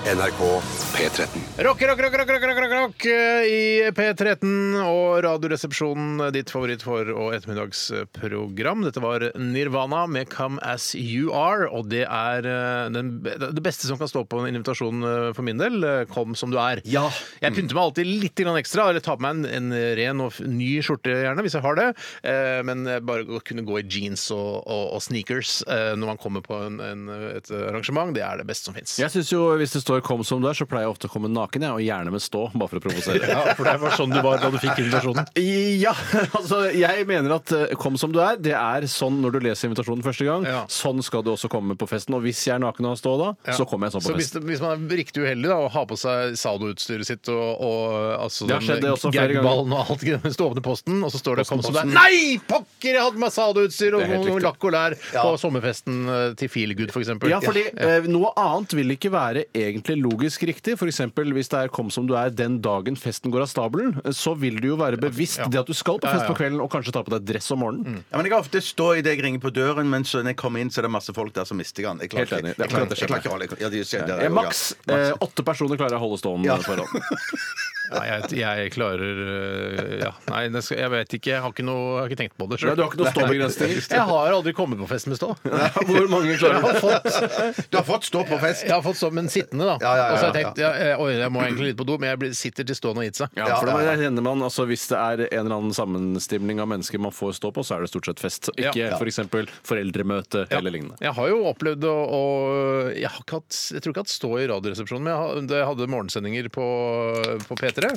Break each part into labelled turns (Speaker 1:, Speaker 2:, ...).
Speaker 1: NRK P13.
Speaker 2: Rock, rock, rock, rock, rock, rock, rock, rock eh, i P13 og Radioresepsjonen, ditt favoritt for- og ettermiddagsprogram. Dette var Nirvana med Come As You Are, og det er eh, den, be- det beste som kan stå på en invitasjon eh, for min del. eh, Kom som du er.
Speaker 3: Ja.
Speaker 2: Jeg pynter meg alltid litt grann ekstra, eller tar på meg en, en ren og f- ny skjorte gjerne, hvis jeg har det. Eh, Men bare å kunne gå i jeans og, og, og sneakers eh, når man kommer på en, en, et arrangement, det er det beste som fins.
Speaker 3: Jeg synes jo Hvis det står 'kom som du er', så pleier jeg ofte å komme naken, jeg, og gjerne med stå, bare for å provosere.
Speaker 2: Ja, for det var sånn du var da du fikk invitasjonen.
Speaker 3: Ja, altså jeg mener at eh, 'kom som du er', det er sånn når du leser invitasjonen første gang.
Speaker 2: Ja.
Speaker 3: Sånn skal du også komme på festen. Og hvis jeg er naken og har stå da,
Speaker 2: Ja.
Speaker 3: så kommer jeg sånn
Speaker 2: Så
Speaker 3: på
Speaker 2: hvis,
Speaker 3: festen.
Speaker 2: det, hvis man er riktig uheldig da, og har på seg saldoutstyret sitt og, og altså,
Speaker 3: Det har skjedd det også flere ganger.
Speaker 2: gagballen og alt, hvis du åpner posten, og så står det
Speaker 3: Posten,
Speaker 2: kom som det er
Speaker 3: posten.
Speaker 2: Nei, pokker, jeg hadde på meg saldoutstyr
Speaker 3: Det
Speaker 2: og
Speaker 3: er helt
Speaker 2: noe
Speaker 3: riktig.
Speaker 2: lakk og lær på sommerfesten eh, til Feelgood, for eksempel.
Speaker 3: Ja, fordi eh, Noe annet vil ikke være egentlig logisk riktig. For eksempel, hvis det er 'kom som du er' den dagen festen går av stabelen, eh, så vil du jo være bevisst det at du skal på fest på kvelden, og kanskje ta på deg dress om morgenen.
Speaker 4: Ja, men Jeg kan ofte stå i det jeg ringer på døren, men så når jeg kommer inn, så er det masse folk der som mister han. Jeg klarer
Speaker 3: Helt enig.
Speaker 4: ikke-
Speaker 3: Det er
Speaker 4: jeg klarer-
Speaker 3: akkurat det
Speaker 4: jeg klarer ikke å holde ja, det skjer der,
Speaker 3: Eh,
Speaker 4: jeg også, ja.
Speaker 3: maks eh, åtte personer klarer jeg å holde stående på forhånd.
Speaker 2: Ja, jeg, jeg klarer eh, ja. Nei, det skal, jeg vet ikke. Jeg har ikke, noe, jeg har ikke tenkt på det
Speaker 3: Ja,
Speaker 2: selv.
Speaker 3: du har ikke noen ståbegrensninger?
Speaker 2: Jeg har aldri kommet på fest med stå.
Speaker 3: Hvor mange
Speaker 2: Jeg har fått
Speaker 4: Du har fått stå på fest.
Speaker 2: Jeg har fått sånn, men sittende, da.
Speaker 4: Ja, ja, ja,
Speaker 2: og så har jeg tenkt ja, eh, oi, jeg må egentlig litt på do, men jeg blir, sitter til stående og gitt seg.
Speaker 3: Ja, for det jeg kjenner man, altså Hvis det er en eller annen sammenstimling av mennesker man får stå på, så er det stort sett fest. Ikke
Speaker 2: Ja.
Speaker 3: for eksempel foreldremøte
Speaker 2: Ja.
Speaker 3: eller lignende.
Speaker 2: Jeg har jo opplevd å, å jeg, har ikke hatt, jeg tror ikke jeg har hatt stå i Radioresepsjonen, men jeg, har, jeg hadde morgensendinger på, på P3.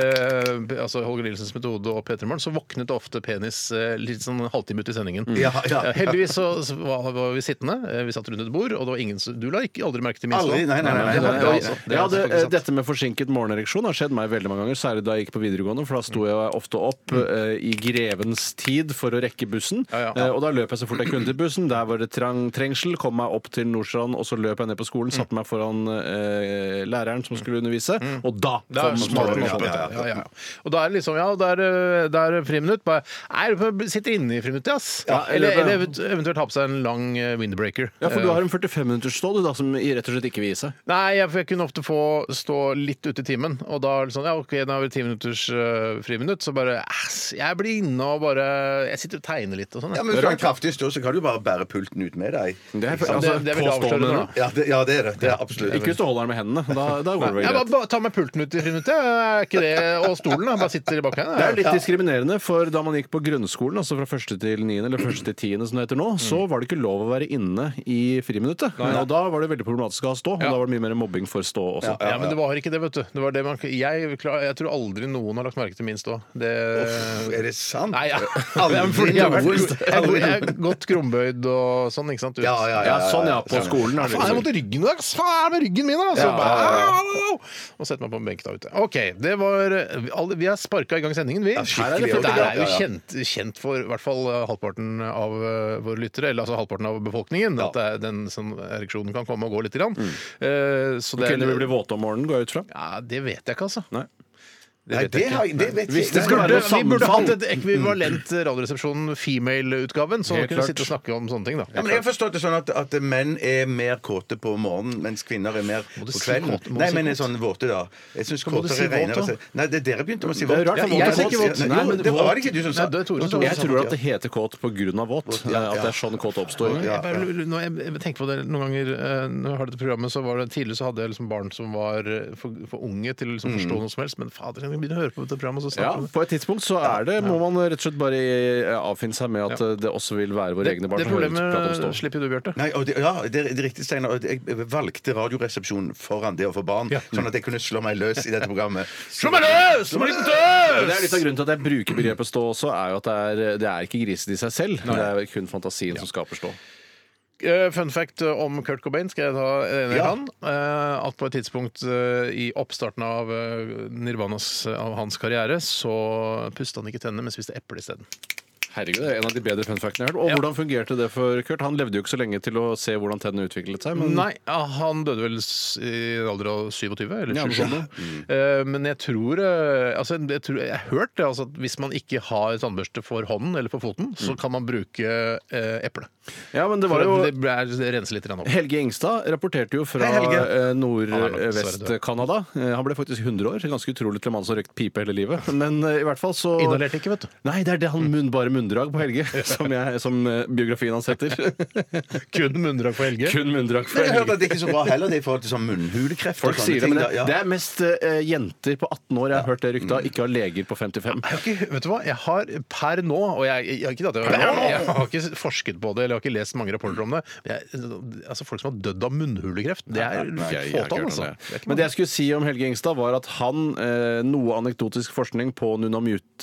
Speaker 2: Eh, altså Holger Nilsens metode og P3 Morgen. Så våknet ofte penis eh, litt sånn halvtime ut i sendingen.
Speaker 4: Mm. Ja, ja.
Speaker 2: Eh, Heldigvis så, så var, var vi sittende, eh, vi satt rundt et bord, og det var ingen som Du la ikke aldri merke til min
Speaker 4: Aldri, nei, nei, nei, nei,
Speaker 3: Ja,
Speaker 4: nei,
Speaker 3: ja,
Speaker 4: altså.
Speaker 2: det er
Speaker 3: ja, det,
Speaker 2: faktisk sant.
Speaker 3: dette med forsinket morgenereksjon har skjedd meg veldig mange ganger, særlig da jeg gikk på videregående, for da sto jeg ofte opp eh, i grevens tid for å rekke bussen.
Speaker 2: Mm. Ja, ja.
Speaker 3: Eh, og da løp jeg så fort jeg kunne til bussen. Der var det trang trengsel. Kom meg opp til Nordstrand, og så løp jeg ned på skolen,
Speaker 2: Mm.
Speaker 3: satte meg foran eh, læreren som skulle undervise, og da
Speaker 2: Det Mm. er
Speaker 3: kom
Speaker 2: smart,
Speaker 3: morgenereaksjonen.
Speaker 2: ja, ja, ja. Og da er det liksom Ja, det er, eh, det er friminutt. Bare, Nei, du sitter inne i friminuttet, ass.
Speaker 3: Ja,
Speaker 2: eller,
Speaker 3: eller-
Speaker 2: eller event- eventuelt ha på seg en lang eh, windbreaker.
Speaker 3: Ja, for du
Speaker 2: Eh,
Speaker 3: har en 45-minutters stå, du da, som i- rett og slett ikke vil gi seg.
Speaker 2: Nei, jeg, for jeg kunne ofte få stå litt ute i timen. Og da er det sånn, ja ok, da har vi ti minutters eh, friminutt, så bare ass, Jeg blir inne og bare Jeg sitter og tegner litt og sånn.
Speaker 4: Ja,
Speaker 2: jeg.
Speaker 4: men Hvis du har en kraftig stå, så kan du bare bære pulten ut med deg.
Speaker 3: Det er,
Speaker 2: det, det er veldig avslørende. da.
Speaker 4: Ja, det, ja, det er det. Det er absolutt
Speaker 3: Altså, Ikke hvis du holder den med hendene. Da, da går det vel
Speaker 2: Jeg bare,
Speaker 3: greit.
Speaker 2: bare ta med pulten ut i friminuttet, er ikke det, og stolen. Jeg bare sitter i bakgrunnen.
Speaker 3: Det er litt diskriminerende, for da man gikk på grunnskolen, altså fra første til niende, eller første til tiende som det heter nå,
Speaker 2: Mm.
Speaker 3: så var det ikke lov å være inne i friminuttet. Og da var det veldig problematisk å ha stå, og
Speaker 2: Ja.
Speaker 3: da var det mye mer mobbing for stå også.
Speaker 2: Ja, men det var ikke det, vet du. Det var det man, jeg, klar, jeg tror aldri noen har lagt merke til min stå. Det,
Speaker 4: Er det sant?
Speaker 2: Nei, ja.
Speaker 4: Aldri
Speaker 2: Ja, fordi jeg har vært-
Speaker 4: noen stå.
Speaker 2: jeg jeg er godt krumbøyd og sånn, ikke sant? ut.
Speaker 4: Ja, ja,
Speaker 3: Ja, sånn ja, på skolen er det liksom-
Speaker 2: Faen, jeg måtte ryggen i dag! ass. Faen, er det med ryggen min, da? Så
Speaker 3: Ja,
Speaker 2: bare,
Speaker 3: ja, ja.
Speaker 2: au, au, au. Og setter meg på en benk da ute. OK, det var eh, vi alle- Vi har sparka i gang sendingen, vi.
Speaker 4: skikkelig.
Speaker 2: Her er det
Speaker 4: Ja,
Speaker 2: Der
Speaker 4: ja,
Speaker 2: er jo
Speaker 4: ja.
Speaker 2: kjent, kjent for i hvert fall eh, halvparten av eh, våre lyttere, eller altså halvparten av befolkningen, at det er den sånn ereksjonen kan komme og gå lite grann. Eh, så det er-
Speaker 3: Mm. Kunne vi bli våte om morgenen, går jeg ut fra?
Speaker 2: ja, det vet jeg ikke, altså.
Speaker 3: Nei.
Speaker 2: Det
Speaker 4: Nei,
Speaker 2: vet
Speaker 4: det,
Speaker 2: jeg
Speaker 4: har,
Speaker 2: ikke.
Speaker 4: jeg- det vet
Speaker 3: Hvis
Speaker 4: jeg
Speaker 3: det skal
Speaker 4: Nei,
Speaker 3: være-
Speaker 2: Burde, vi burde hatt
Speaker 3: sammenfall.
Speaker 2: et ekvivalent Radioresepsjonen female-utgaven, så
Speaker 3: Mm. Helt
Speaker 2: kunne vi
Speaker 3: klart.
Speaker 2: sitte og snakke om sånne ting, da.
Speaker 4: Ja, men jeg har forstått det sånn at, at menn er mer kåte på morgenen, mens kvinner er mer
Speaker 2: Må
Speaker 4: på
Speaker 2: du si
Speaker 4: kvelden.
Speaker 2: kåt? Må du
Speaker 4: Nei,
Speaker 2: si
Speaker 4: men er
Speaker 2: kåt?
Speaker 4: sånn våte, da. Jeg syns
Speaker 2: Må du
Speaker 4: kåtere
Speaker 2: si
Speaker 4: er
Speaker 2: våt,
Speaker 4: renere.
Speaker 2: da?
Speaker 4: å si- Nei, det er dere begynte med å si
Speaker 3: Det
Speaker 4: våt.
Speaker 3: er rart, for
Speaker 4: Ja,
Speaker 3: våt
Speaker 4: jeg
Speaker 3: er
Speaker 4: sier
Speaker 3: våt.
Speaker 4: Nei,
Speaker 3: Nei,
Speaker 4: jo,
Speaker 3: men
Speaker 4: det
Speaker 3: våt-
Speaker 4: var det ikke du som sa
Speaker 2: Nei, det er Tore som sa
Speaker 3: Jeg tror at det heter kåt på grunn av våt. At det er sånn kåt oppstår.
Speaker 2: Jeg, bare, lurer- når jeg, jeg tenker på det noen ganger eh, Når jeg har dette programmet, så var det tidligere så hadde jeg liksom barn som var eh, for, for unge til å liksom forstå noe som helst, men fader, jeg begynner å høre på dette programmet, og
Speaker 3: Ja,
Speaker 2: så snakker vi om det.
Speaker 3: på et tidspunkt så er det, må man rett og slett bare eh, avfinne seg med at eh, det også vil være våre
Speaker 2: Det,
Speaker 3: egne barn
Speaker 2: det
Speaker 3: som hører prat om
Speaker 2: problemet
Speaker 3: stå.
Speaker 2: slipper du, Bjarte.
Speaker 4: Nei, og det, ja, det er det er riktig, Steinar. Og det- Jeg valgte Radioresepsjonen foran det å få barn,
Speaker 2: Ja.
Speaker 4: sånn at jeg kunne slå meg løs i dette programmet.
Speaker 2: Slå meg løs! Slå meg løs!
Speaker 3: Det er litt av grunnen til at jeg bruker begrepet stå også, er jo at det er, det er ikke grisete i seg selv. Det er kun fantasien som skaper stå.
Speaker 2: Eh, Fun fact om Kurt Cobain skal jeg ta en jeg
Speaker 4: Ja.
Speaker 2: kan. Eh, At på et tidspunkt eh, i oppstarten av eh, Nirvanas av hans karriere, så pusta han ikke tennene, men spiste eple isteden.
Speaker 3: Herregud, det er en av de bedre fun factene jeg har hørt. Og
Speaker 2: Ja.
Speaker 3: hvordan fungerte det for Kurt? Han levde jo ikke så lenge til å se hvordan tennene utviklet seg. Men
Speaker 2: Nei, ja, han døde vel s- i en alder av 27, eller
Speaker 3: Ja, noe
Speaker 2: 27.
Speaker 3: sånt,
Speaker 2: Eh, Men jeg tror eh, altså, jeg, tror, jeg har hørt det, altså, at hvis man ikke har tannbørste for hånden eller for foten, så kan man bruke eh, eple.
Speaker 3: Ja, men Mm. det
Speaker 2: For
Speaker 3: var jo
Speaker 2: det, ble- det renser litt grann opp.
Speaker 3: Helge Ingstad rapporterte jo fra
Speaker 4: Hei, Helge.
Speaker 3: eh,
Speaker 2: Han er nok dessverre død.
Speaker 3: Nordvest-Canada. Eh, Han ble faktisk 100 år. Ganske utrolig til en mann som har røykt pipe hele livet. Men eh, i hvert fall så
Speaker 2: Inhalerte ikke, vet du.
Speaker 3: Nei, det er det
Speaker 4: Mm.
Speaker 3: han munn, bare munndrag på Helge, som, jeg, som eh, biografien hans heter.
Speaker 2: Kun munndrag for Helge.
Speaker 3: Kun munndrag
Speaker 4: Men
Speaker 3: for
Speaker 4: jeg har hørt
Speaker 3: Helge.
Speaker 4: at det ikke er så bra heller, det i forhold til sånn munnhulekreft. og
Speaker 3: Folk
Speaker 4: sånne
Speaker 3: sier det,
Speaker 4: ting,
Speaker 3: men
Speaker 4: da. Ja. Mm.
Speaker 3: det, det er mest eh, jenter på 18 år jeg har hørt det ryktet av, ikke av leger på 55.
Speaker 2: Jeg har ikke, vet du hva, jeg har per nå, og jeg, jeg, har ikke, tatt det, jeg har ikke forsket på det, eller jeg har ikke lest mange rapporter om det, men jeg, altså folk som har dødd av munnhulekreft, det er
Speaker 3: Jeg- jeg har ikke
Speaker 2: fåtall,
Speaker 3: hørt
Speaker 2: altså.
Speaker 3: om det. Men det jeg skulle si om Helge Ingstad, var at han, eh, noe anekdotisk forskning på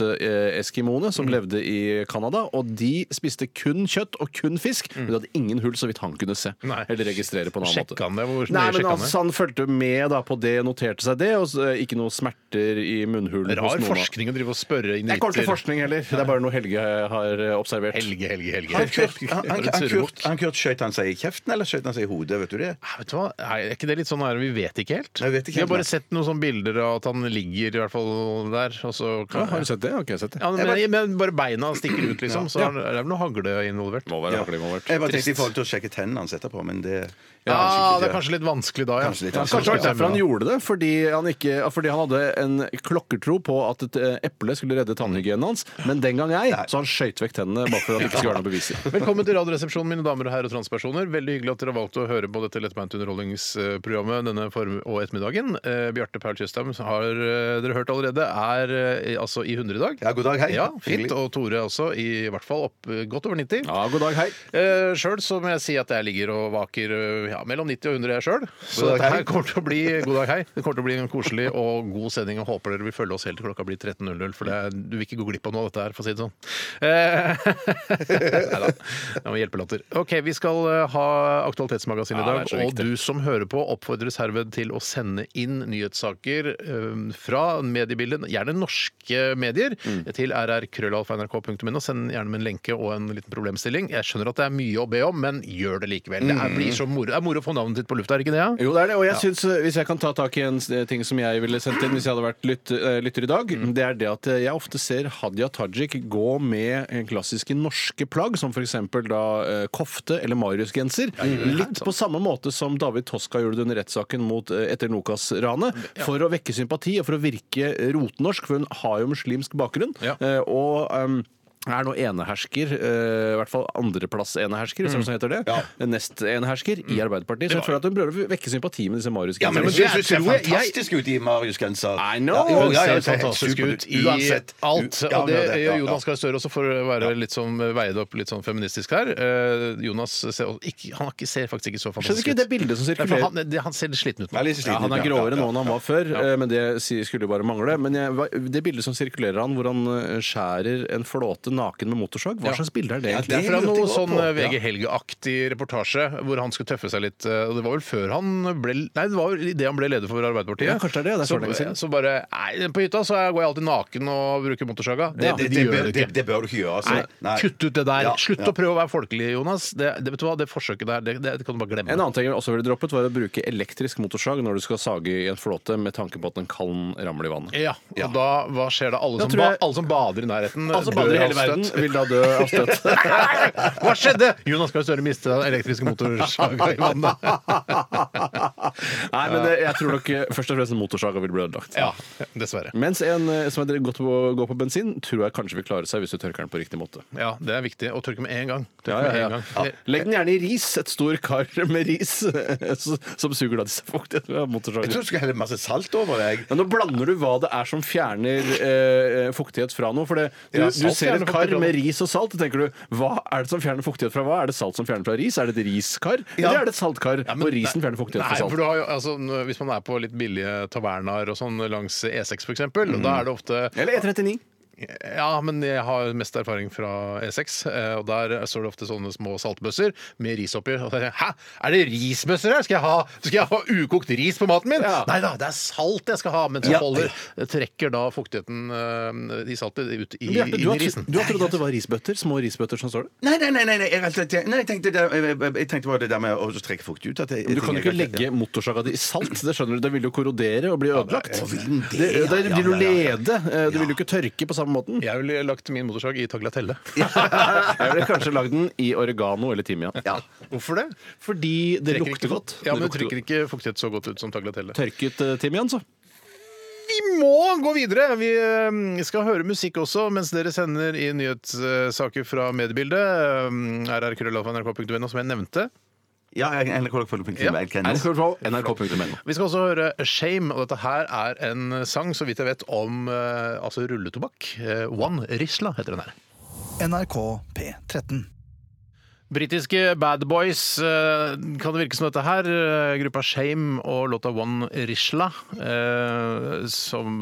Speaker 3: Nunamute-eskimoene som
Speaker 2: Mm.
Speaker 3: levde i Canada, og de spiste kun kjøtt og kun fisk, men de hadde ingen hull så vidt han kunne se.
Speaker 2: Mm. Nei.
Speaker 3: Eller registrere på en annen
Speaker 2: Sjekka
Speaker 3: måte.
Speaker 2: han det? Hvor nøye
Speaker 3: Nei, men
Speaker 2: sjekka han det?
Speaker 3: altså, han fulgte med da på det, noterte seg det, og så, eh, ikke noe smerter i munnhulen hos
Speaker 2: Rar
Speaker 3: noen. av-
Speaker 2: forskning å drive og spørre
Speaker 3: Jeg kommer ikke til
Speaker 2: inuitter.
Speaker 3: forskning heller. Det er bare noe Helge har eh, observert.
Speaker 2: Helge, Helge, Helge.
Speaker 4: Han Kurt, han, han,
Speaker 2: For
Speaker 4: han,
Speaker 2: en
Speaker 4: Kurt,
Speaker 2: surrebukk.
Speaker 4: han Kurt skjøt han seg i kjeften, eller skjøt han seg i hodet? Vet du det?
Speaker 2: Nei, Vet du hva? Nei, Er ikke det litt sånn her, vi vet ikke helt?
Speaker 4: Nei, vi vet ikke
Speaker 2: vi har
Speaker 4: helt,
Speaker 2: bare
Speaker 4: nei.
Speaker 2: sett noen sånne bilder av at han ligger i hvert fall der, og så
Speaker 3: Ja,
Speaker 2: kan
Speaker 3: har du sett det? Har ikke jeg sett det.
Speaker 2: Ja, men,
Speaker 4: Jeg
Speaker 2: men bare beina stikker ut, liksom. Så er det er vel noe hagle involvert.
Speaker 3: Må være hakelig involvert.
Speaker 4: Jeg bare tenkte i
Speaker 2: Trist.
Speaker 4: forhold til å sjekke tennene hans etterpå, men det
Speaker 2: Ja, det er
Speaker 4: sikkert,
Speaker 2: kanskje litt vanskelig da, ja.
Speaker 4: Kanskje litt
Speaker 2: Ja,
Speaker 4: vanskelig.
Speaker 3: Kanskje det var derfor han
Speaker 2: gjorde
Speaker 3: gjorde det, fordi han, ikke, fordi han hadde en klokkertro på at et eh, eple skulle redde tannhygienen hans, men den gang ei, så han skøyt vekk tennene bare for at han ikke skulle være noe beviser.
Speaker 2: Velkommen til Radioresepsjonen, mine damer og herrer og transpersoner. Veldig hyggelig at dere har valgt å høre på dette lettbeinte underholdningsprogrammet denne form og ettermiddagen. Eh, Bjarte Paul Tjøstheim har eh, dere hørt allerede, er eh, altså i 100 i dag.
Speaker 4: Ja, god dag, hei.
Speaker 2: Ja, fint.
Speaker 4: Hyggelig.
Speaker 2: Og Tore også, i hvert fall opp, eh, godt over 90.
Speaker 3: Ja, god dag, hei.
Speaker 2: Eh, sjøl så må jeg si at jeg ligger og vaker eh, ja, mellom 90 og 100 jeg sjøl. Så
Speaker 4: dag,
Speaker 2: dette
Speaker 4: hei.
Speaker 2: her kommer til å bli God dag, hei. Det kommer til å bli en koselig og god sending. og Håper dere vil følge oss helt til klokka blir 13.00, for det er, du vil ikke gå glipp av noe av dette her, for å si det sånn. Eh, Nei da. Det var hjelpelatter. OK, vi skal eh, ha Aktualitetsmagasinet i
Speaker 3: Ja, det er
Speaker 2: dag.
Speaker 3: så
Speaker 2: Og
Speaker 3: viktig.
Speaker 2: du som hører på, oppfordres herved til å sende inn nyhetssaker eh, fra mediebildet, gjerne norske medier,
Speaker 4: Mm.
Speaker 2: til rrkrøllalfa.nrk.no. Send gjerne med en lenke og en liten problemstilling. Jeg skjønner at det er mye å be om, men gjør det likevel. Det er, blir så moro. det er moro å få navnet ditt på lufta, er det ikke det? Ja?
Speaker 3: Jo, det er det, og jeg synes, eh, Hvis jeg kan ta tak i en s- eh, ting som jeg ville sendt inn hvis jeg hadde vært lytt, eh, lytter i dag,
Speaker 2: Mm.
Speaker 3: det er det at eh, jeg ofte ser Hadia Tajik gå med eh, klassiske norske plagg, som f.eks. da eh, kofte eller Marius-genser. Litt på samme måte som David Toska gjorde det under rettssaken mot eh, etter Nokas-ranet, for å vekke sympati og for å virke rotnorsk, for hun har jo muslimsk bakgrunn.
Speaker 2: Ja.
Speaker 3: eh, og... ehm, er nå enehersker, eh, i hvert fall andreplass-enehersker, hvis det er
Speaker 4: Mm.
Speaker 3: sånn heter det. Nest-enehersker i Arbeiderpartiet. Så jeg føler at hun prøver å vekke sympati med disse marius
Speaker 4: Ja, men
Speaker 2: men
Speaker 4: jeg
Speaker 2: det
Speaker 4: syns du
Speaker 2: tror
Speaker 4: ser
Speaker 2: jeg-
Speaker 4: fantastisk ut i Marius-genser.
Speaker 3: I know.
Speaker 4: Ja, jo,
Speaker 2: Hun
Speaker 4: ja, ja,
Speaker 2: ser
Speaker 4: det ser helt
Speaker 2: fantastisk
Speaker 4: supert
Speaker 2: ut i
Speaker 4: Uansett.
Speaker 2: alt.
Speaker 4: Ja,
Speaker 2: Og det
Speaker 4: ja, ja,
Speaker 2: gjør
Speaker 4: ja.
Speaker 2: Jonas Gahr Støre også, for å være litt sånn veid opp litt sånn feministisk her. Eh, Jonas ser, ikke, han har ikke- ser faktisk ikke så
Speaker 3: Skjønner
Speaker 2: fantastisk
Speaker 3: ikke
Speaker 2: ut.
Speaker 3: det bildet som
Speaker 2: Nei, for
Speaker 3: sirkulerer.
Speaker 2: han, det- han ser litt sliten ut. nå.
Speaker 4: Ja, litt sliten
Speaker 3: Ja, han
Speaker 4: ut,
Speaker 3: er
Speaker 4: ja,
Speaker 3: gråere
Speaker 4: ja,
Speaker 3: nå
Speaker 4: ja.
Speaker 3: enn han var før, eh, men det si- skulle jo bare mangle. Men jeg, hva- det bildet som sirkulerer han, hvor han eh, skjærer en flåte naken med motorsag, hva slags bilde er det?
Speaker 4: Ja,
Speaker 3: egentlig?
Speaker 2: Det er fra
Speaker 4: lurte
Speaker 2: noe
Speaker 4: jeg også
Speaker 2: sånn
Speaker 4: på.
Speaker 2: VG Helge-aktig reportasje hvor han skulle tøffe seg litt. eh, Og det var vel før han ble Nei, det var vel idet han ble leder for Arbeiderpartiet.
Speaker 3: Ja, kanskje det er det, det er så lenge siden.
Speaker 2: så, så bare Nei, på hytta så går jeg alltid naken og bruker motorsaga. Det,
Speaker 3: Ja.
Speaker 2: det,
Speaker 4: Det,
Speaker 2: de
Speaker 4: det,
Speaker 2: gjør
Speaker 4: bør-
Speaker 2: det
Speaker 4: det,
Speaker 2: ikke.
Speaker 4: det bør du ikke gjøre. Altså.
Speaker 2: Nei, kutt ut det der.
Speaker 4: Ja,
Speaker 2: Slutt
Speaker 4: ja.
Speaker 2: å prøve å være folkelig, Jonas. Det, det, vet du hva, det forsøket der, det, det, det kan du bare glemme.
Speaker 3: En annen ting jeg også ville droppet, var å bruke elektrisk motorsag når du skal sage i en flåte, med tanke på at den kan ramle i
Speaker 4: Eh,
Speaker 3: vannet.
Speaker 2: Ja, og da, hva skjer da? Alle,
Speaker 3: Da
Speaker 2: som,
Speaker 3: tror jeg-
Speaker 2: ba, alle som bader i nærheten,
Speaker 3: Altså bader i hele verden vil da dø av støt.
Speaker 2: Hva skjedde?! Jonas Gahr Støre mistet den elektriske motorsaga i vannet.
Speaker 3: Nei, men det, jeg tror nok eh, først og fremst motorsaga vil bli ødelagt.
Speaker 2: Ja, dessverre.
Speaker 3: Mens en eh, som er godt på å gå på bensin, tror jeg kanskje vil klare seg hvis du tørker den på riktig måte.
Speaker 2: Ja, det er viktig. Og tørke med en gang. Tørke
Speaker 3: Ja, Ah, ja,
Speaker 2: med en
Speaker 3: ja.
Speaker 2: gang.
Speaker 3: Ja. Legg den gjerne i ris. Et stor kar med ris som- som suger da disse fuktighetene. av
Speaker 4: Jeg tror
Speaker 3: motorsagen.
Speaker 4: du skal helle masse salt over deg.
Speaker 3: Men nå blander du hva det er som fjerner eh, fuktighet fra noe. For det, du,
Speaker 2: Ja,
Speaker 3: du
Speaker 2: salt
Speaker 3: ser
Speaker 2: fjerner
Speaker 3: et kar
Speaker 2: fuktighet.
Speaker 3: med ris og salt, og tenker du hva er det som fjerner fuktighet fra hva? Er det salt som fjerner fra ris? Er det et riskar? Eller er det et saltkar?
Speaker 2: men-
Speaker 3: og risen fjerner fuktighet
Speaker 2: Nei,
Speaker 3: fra salt.
Speaker 2: for du har jo, altså, n- Hvis
Speaker 3: Mm.
Speaker 2: man er på litt billige tavernaer og sånn langs E6 f.eks., eksempel da er det ofte
Speaker 3: Eller E E39.
Speaker 2: Ja, men jeg har mest erfaring fra E6, eh, og der står det ofte sånne små saltbøsser med ris oppi. Og da tenker jeg, Hæ, er det risbøsser her? Skal jeg ha, skal jeg ha ukokt ris på maten min?
Speaker 3: Ja.
Speaker 2: Nei da, det er salt jeg skal ha. Men så
Speaker 3: Ja.
Speaker 2: holder, trekker da fuktigheten eh, i saltet ut i,
Speaker 3: Bjarte,
Speaker 2: inn
Speaker 3: du,
Speaker 2: i
Speaker 3: har,
Speaker 2: risen.
Speaker 3: du har trodd at det var risbøtter? Små risbøtter som står der?
Speaker 4: Nei, nei, nei, nei, nei, jeg, tenkte, nei jeg, tenkte det, jeg, jeg, jeg tenkte bare det der med å trekke fukt ut. At jeg,
Speaker 3: Du kan jo ikke legge motorsaga di i salt. Det skjønner du, det vil jo korrodere og bli ødelagt.
Speaker 4: ja, vil den
Speaker 3: Det,
Speaker 4: det?
Speaker 3: det,
Speaker 4: Ja,
Speaker 3: vil jo
Speaker 4: ja, ja, ja.
Speaker 3: lede. Eh, Det vil jo ikke tørke på samme måten.
Speaker 2: Jeg ville lagt min motorsag i tagliatelle.
Speaker 3: Jeg ville kanskje lagd den i oregano eller timian.
Speaker 2: Hvorfor det?
Speaker 3: Fordi det
Speaker 2: Trekker ikke-
Speaker 3: lukter godt.
Speaker 2: Ja, men
Speaker 3: Det
Speaker 2: det
Speaker 3: lukter
Speaker 2: trekker ikke fuktighet så godt ut som tagliatelle.
Speaker 3: Tørket eh, timian, så.
Speaker 2: Vi må gå videre! Vi eh, skal høre musikk også mens dere sender i nyhetssaker fra mediebildet. eh, rrkrøllalfa.nrk.no, som jeg nevnte.
Speaker 4: Ja, jeg, jeg, jeg,
Speaker 2: Ja.
Speaker 3: NRK.no.
Speaker 2: Vi skal også høre Shame, og dette her er en sang, så vidt jeg vet, om eh, altså rulletobakk. Eh, One Risla heter den her.
Speaker 5: NRK P13.
Speaker 2: Britiske Bad Boys eh, kan det virke som dette her. eh, Gruppa Shame og låta One Rishla, eh, som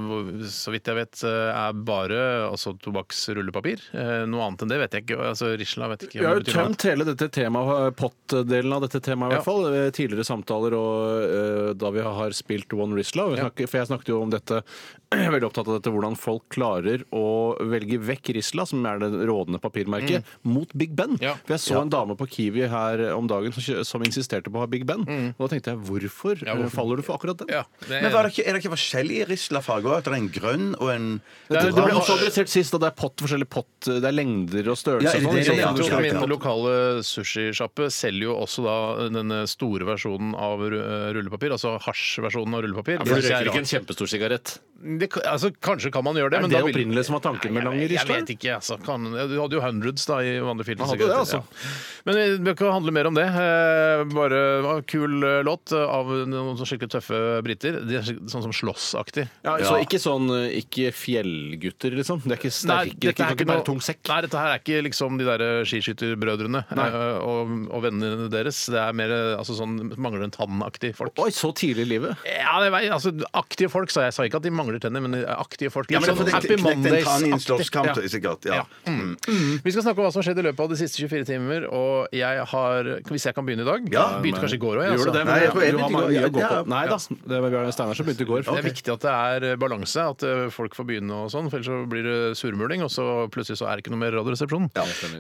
Speaker 2: så vidt jeg vet eh, er bare altså tobakksrullepapir. Eh, Noe annet enn det vet jeg ikke. Altså Rishla vet jeg ikke
Speaker 3: Vi
Speaker 2: hva
Speaker 3: har jo
Speaker 2: det betyr. noe annet.
Speaker 3: tømt hele dette temaet, pott-delen av dette temaet i
Speaker 2: Ja.
Speaker 3: hvert fall. ved Tidligere samtaler og eh, da vi har spilt One Risla. og vi snakker- For jeg snakket jo om dette, jeg er veldig opptatt av dette, hvordan folk klarer å velge vekk Risla, som er det rådende papirmerket, mot Big Ben.
Speaker 2: Mm. Ja.
Speaker 3: For jeg så en dame på Kiwi her eh, om dagen som, kjø- som insisterte på å ha Big Ben. Og da tenkte jeg, hvorfor,
Speaker 2: Mm. Ja, hvorfor?
Speaker 3: eh, faller du for akkurat den?
Speaker 2: Ja, det
Speaker 4: Men
Speaker 2: er
Speaker 4: var det ikke, er det ikke forskjellige Risla-farger? At det er en grønn og en
Speaker 3: Det,
Speaker 2: er-
Speaker 3: det ble
Speaker 2: var-
Speaker 3: også adressert sist, og det er pott, forskjellige pott, eh, det er lengder og størrelser.
Speaker 4: Ja, er det
Speaker 3: og sånn,
Speaker 4: det?
Speaker 3: ikke sant?
Speaker 4: Ja,
Speaker 2: Min
Speaker 4: ja.
Speaker 2: lokale sushisjappe selger jo også da denne store versjonen av ru- eh, rullepapir, altså hasjversjonen av
Speaker 3: For
Speaker 2: rullepapir.
Speaker 3: du
Speaker 2: synes jeg er
Speaker 3: røyker ikke
Speaker 2: rart.
Speaker 3: en kjempestor sigarett.
Speaker 2: det, kan- altså, kanskje kan man gjøre det,
Speaker 3: Er
Speaker 2: men
Speaker 3: det
Speaker 2: da vil
Speaker 3: opprinnelig som var tanken med lange
Speaker 2: Jeg-
Speaker 3: ristler?
Speaker 2: Jeg vet ikke. Altså, kan, du hadde jo hundreds da, i vanlige
Speaker 3: Man hadde det,
Speaker 2: filmsigaretter.
Speaker 3: altså.
Speaker 2: ja. Men vi bør ikke handle mer om det. Eh, Bare det var en kul eh, låt av noen sånn skikkelig tøffe briter. De er skik- sånn som slåssaktig.
Speaker 3: Ja, Så ikke sånn eh, ikke fjellgutter, liksom? Det er ikke sterke, det kan ikke bære tung sekk?
Speaker 2: nei, dette her er ikke liksom de der skiskytterbrødrene eh, og, og vennene deres. Det er mer eh, altså, sånn mangler en tann-aktig folk.
Speaker 3: Oi, så tidlig i livet?
Speaker 2: Ja, det var, altså, aktive folk, sa jeg. Jeg sa ikke at de mangler tenner, men aktive folk.
Speaker 4: Ja, men
Speaker 2: Litt sånn
Speaker 4: for det-
Speaker 2: Happy
Speaker 4: knekte en tann i en slåsskamp,
Speaker 2: Mondays-aktig.
Speaker 4: sikkert, ja.
Speaker 2: Mm. Vi skal snakke om hva som har skjedd i løpet av de siste 24 timer. Og jeg har, hvis jeg kan begynne i dag
Speaker 4: Ja.
Speaker 2: Begynte kanskje i går òg, jeg.
Speaker 3: Gjorde
Speaker 2: Altså.
Speaker 3: det,
Speaker 4: Nei,
Speaker 3: men
Speaker 4: jeg tror jeg
Speaker 3: du har
Speaker 4: begynte i
Speaker 3: mange
Speaker 4: går.
Speaker 3: å gå på.
Speaker 4: Ja.
Speaker 3: Nei da, det var Bjarne Steinar som begynte i går.
Speaker 2: Det er viktig at det er balanse, at eh, folk får begynne og sånn, for ellers så blir det surmuling, og så plutselig så er det ikke noe mer Radioresepsjon.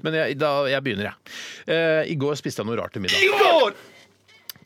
Speaker 2: Men jeg, da, jeg begynner, jeg. Eh, I går spiste jeg noe rart til middag. I går!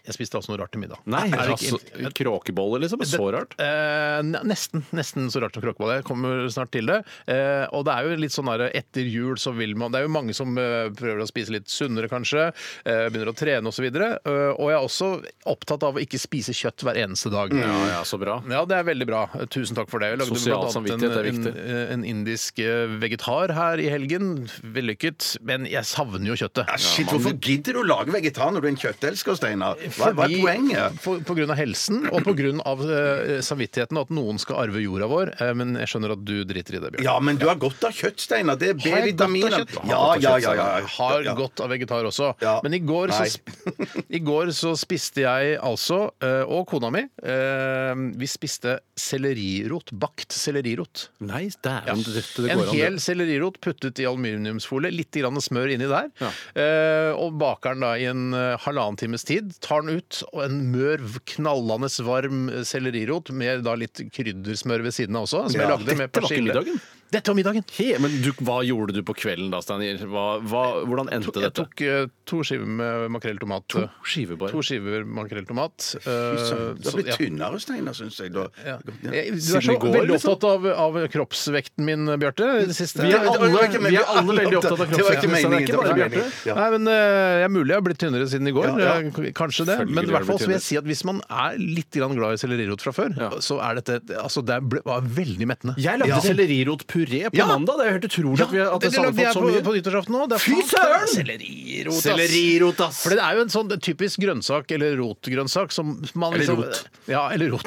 Speaker 2: Jeg spiste altså noe rart til middag.
Speaker 3: Nei,
Speaker 2: Er det
Speaker 3: altså,
Speaker 2: ikke-
Speaker 3: Kråkeboller, liksom? Så rart.
Speaker 2: Eh, ne- nesten. Nesten så rart som kråkebolle. Jeg kommer snart til det. Eh, og det er jo litt sånn der, etter jul så vil man Det er jo mange som eh, prøver å spise litt sunnere, kanskje. Eh, begynner å trene osv. Eh, og jeg er også opptatt av å ikke spise kjøtt hver eneste dag.
Speaker 3: Ja, ja, så bra.
Speaker 2: Ja, det er veldig bra. Tusen takk for det. Jeg lagde
Speaker 3: Sosial
Speaker 2: blant annet
Speaker 3: samvittighet er
Speaker 2: en,
Speaker 3: viktig.
Speaker 2: en, en indisk eh, vegetar her i helgen. Vellykket. Men jeg savner jo kjøttet.
Speaker 4: Ah, Shit, Hvorfor gidder du å lage vegetar når du er en kjøttelsker, Steinar? Hva, hva er
Speaker 2: Fordi-
Speaker 4: poenget?
Speaker 2: For, på grunn av helsen og på grunn av eh, samvittigheten og at noen skal arve jorda vår. Eh, men jeg skjønner at du driter i det, Bjørn.
Speaker 4: Ja, men du har godt av kjøtt, Steinar. Det er
Speaker 2: Har jeg godt av
Speaker 4: B-vitaminer.
Speaker 2: kjøtt? Har
Speaker 4: Ja,
Speaker 2: godt
Speaker 4: ja,
Speaker 2: av kjøtt,
Speaker 4: ja, ja,
Speaker 2: sa jeg. Har
Speaker 4: ja.
Speaker 2: godt av vegetar også.
Speaker 4: Ja.
Speaker 2: Men i går, så,
Speaker 4: Nei.
Speaker 2: sp- i går så spiste jeg altså, eh, og kona mi, eh, vi spiste sellerirot. Bakt sellerirot.
Speaker 3: Nei, dæven døtte, det
Speaker 2: En
Speaker 3: går an.
Speaker 2: hel
Speaker 3: det.
Speaker 2: sellerirot puttet i aluminiumsfolie, litt grann smør inni der.
Speaker 3: Ja.
Speaker 2: Eh, og baker den da i en eh, halvannen times tid. Tar den ut, og en mør, knallende varm eh, sellerirot med da litt kryddersmør ved siden av også. Som jeg
Speaker 4: Ja.
Speaker 2: lagde med
Speaker 3: Dette var ikke
Speaker 2: persille.
Speaker 3: middagen?
Speaker 2: Dette var middagen.
Speaker 3: He, men du, hva gjorde du på kvelden da, Steinar? Hva- hva- Hvordan endte
Speaker 2: Jeg
Speaker 3: dette?
Speaker 2: tok eh, to skiver med makrell i tomat. To,
Speaker 3: skiver bare.
Speaker 2: skiver makrell i tomat. Eh,
Speaker 4: Du har
Speaker 2: så- ja.
Speaker 4: blitt tynnere, Steinar, syns jeg. Da.
Speaker 2: Ja.
Speaker 4: Ja.
Speaker 2: Jeg- Du er
Speaker 3: Siden
Speaker 2: så
Speaker 3: i går,
Speaker 2: veldig
Speaker 3: liksom.
Speaker 2: opptatt av, av kroppsvekten min, Bjarte. i det siste.
Speaker 3: Vi er
Speaker 4: Det var- det var
Speaker 3: alle-
Speaker 4: ikke meningen.
Speaker 3: vi er alle veldig opptatt av
Speaker 4: Det var
Speaker 3: kroppsvekten, så
Speaker 4: ikke
Speaker 3: det er
Speaker 4: meningen.
Speaker 3: ikke
Speaker 4: Det var
Speaker 3: bare
Speaker 4: ikke
Speaker 3: Bjarte.
Speaker 4: meningen. Ja.
Speaker 2: Nei, men eh, jeg er mulig jeg har blitt tynnere siden i går.
Speaker 4: Ja,
Speaker 2: eh, k- Kanskje det.
Speaker 3: Selvfølgelig
Speaker 2: Men i
Speaker 3: har du
Speaker 2: hvert fall
Speaker 3: blitt
Speaker 2: så vil jeg si at hvis man er litt grann glad i sellerirot fra før,
Speaker 3: Ja.
Speaker 2: så er dette altså Det ble, var veldig mettende.
Speaker 3: Jeg lagde
Speaker 4: Ja.
Speaker 3: sellerirotpuré på
Speaker 2: Ja.
Speaker 3: mandag. Det er jo helt utrolig at vi
Speaker 2: Ja,
Speaker 3: at
Speaker 2: det,
Speaker 3: det
Speaker 2: det
Speaker 3: hadde
Speaker 2: lagde jeg
Speaker 3: fått så
Speaker 2: på,
Speaker 3: mye.
Speaker 2: på nyttårsaften òg.
Speaker 3: Fy søren!
Speaker 2: Sellerirot, ass!
Speaker 3: Sellerirot, ass!
Speaker 2: For det er jo en sånn typisk grønnsak, eller rotgrønnsak, som man
Speaker 3: Eller
Speaker 2: liksom,
Speaker 3: rot.
Speaker 2: Ja, eller rot.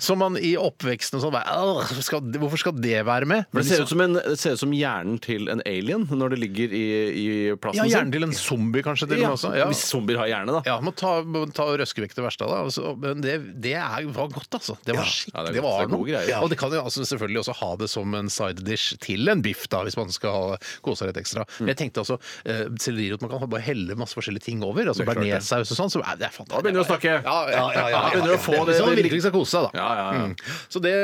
Speaker 2: Som man i oppveksten og sånn bare, «Åh, skal, Hvorfor skal det være med? liksom-
Speaker 3: For det ser ut som, en, det ser ut som hjernen til en alien når det ligger i, i plassen.
Speaker 2: ja, Gjerne til en zombie, kanskje. til og
Speaker 3: Ja,
Speaker 2: med også. Ja.
Speaker 3: Hvis zombier har hjerne, da.
Speaker 2: Ja, må ta, må ta og røske vekk det verste av deg. altså. Men det, det er, var godt, altså. Det var skikkelig,
Speaker 3: Ja, det er godt. Det
Speaker 2: det, var
Speaker 3: er gode
Speaker 2: noe.
Speaker 3: greier.
Speaker 2: Og det kan jo altså selvfølgelig også ha det som en side sliders til en biff, da, hvis man skal kose seg litt ekstra. Men jeg tenkte altså, eh, sellerirot man kan bare helle masse forskjellige ting over. altså Bearnéssaus og sånn. så er det er
Speaker 3: Da begynner du å snakke.
Speaker 2: Ja, ja, ja, ja,
Speaker 3: Da begynner du å få det-
Speaker 2: Hvis man virkelig skal kose seg, da.
Speaker 3: Ja, ja, ja.
Speaker 2: Mm. Så det,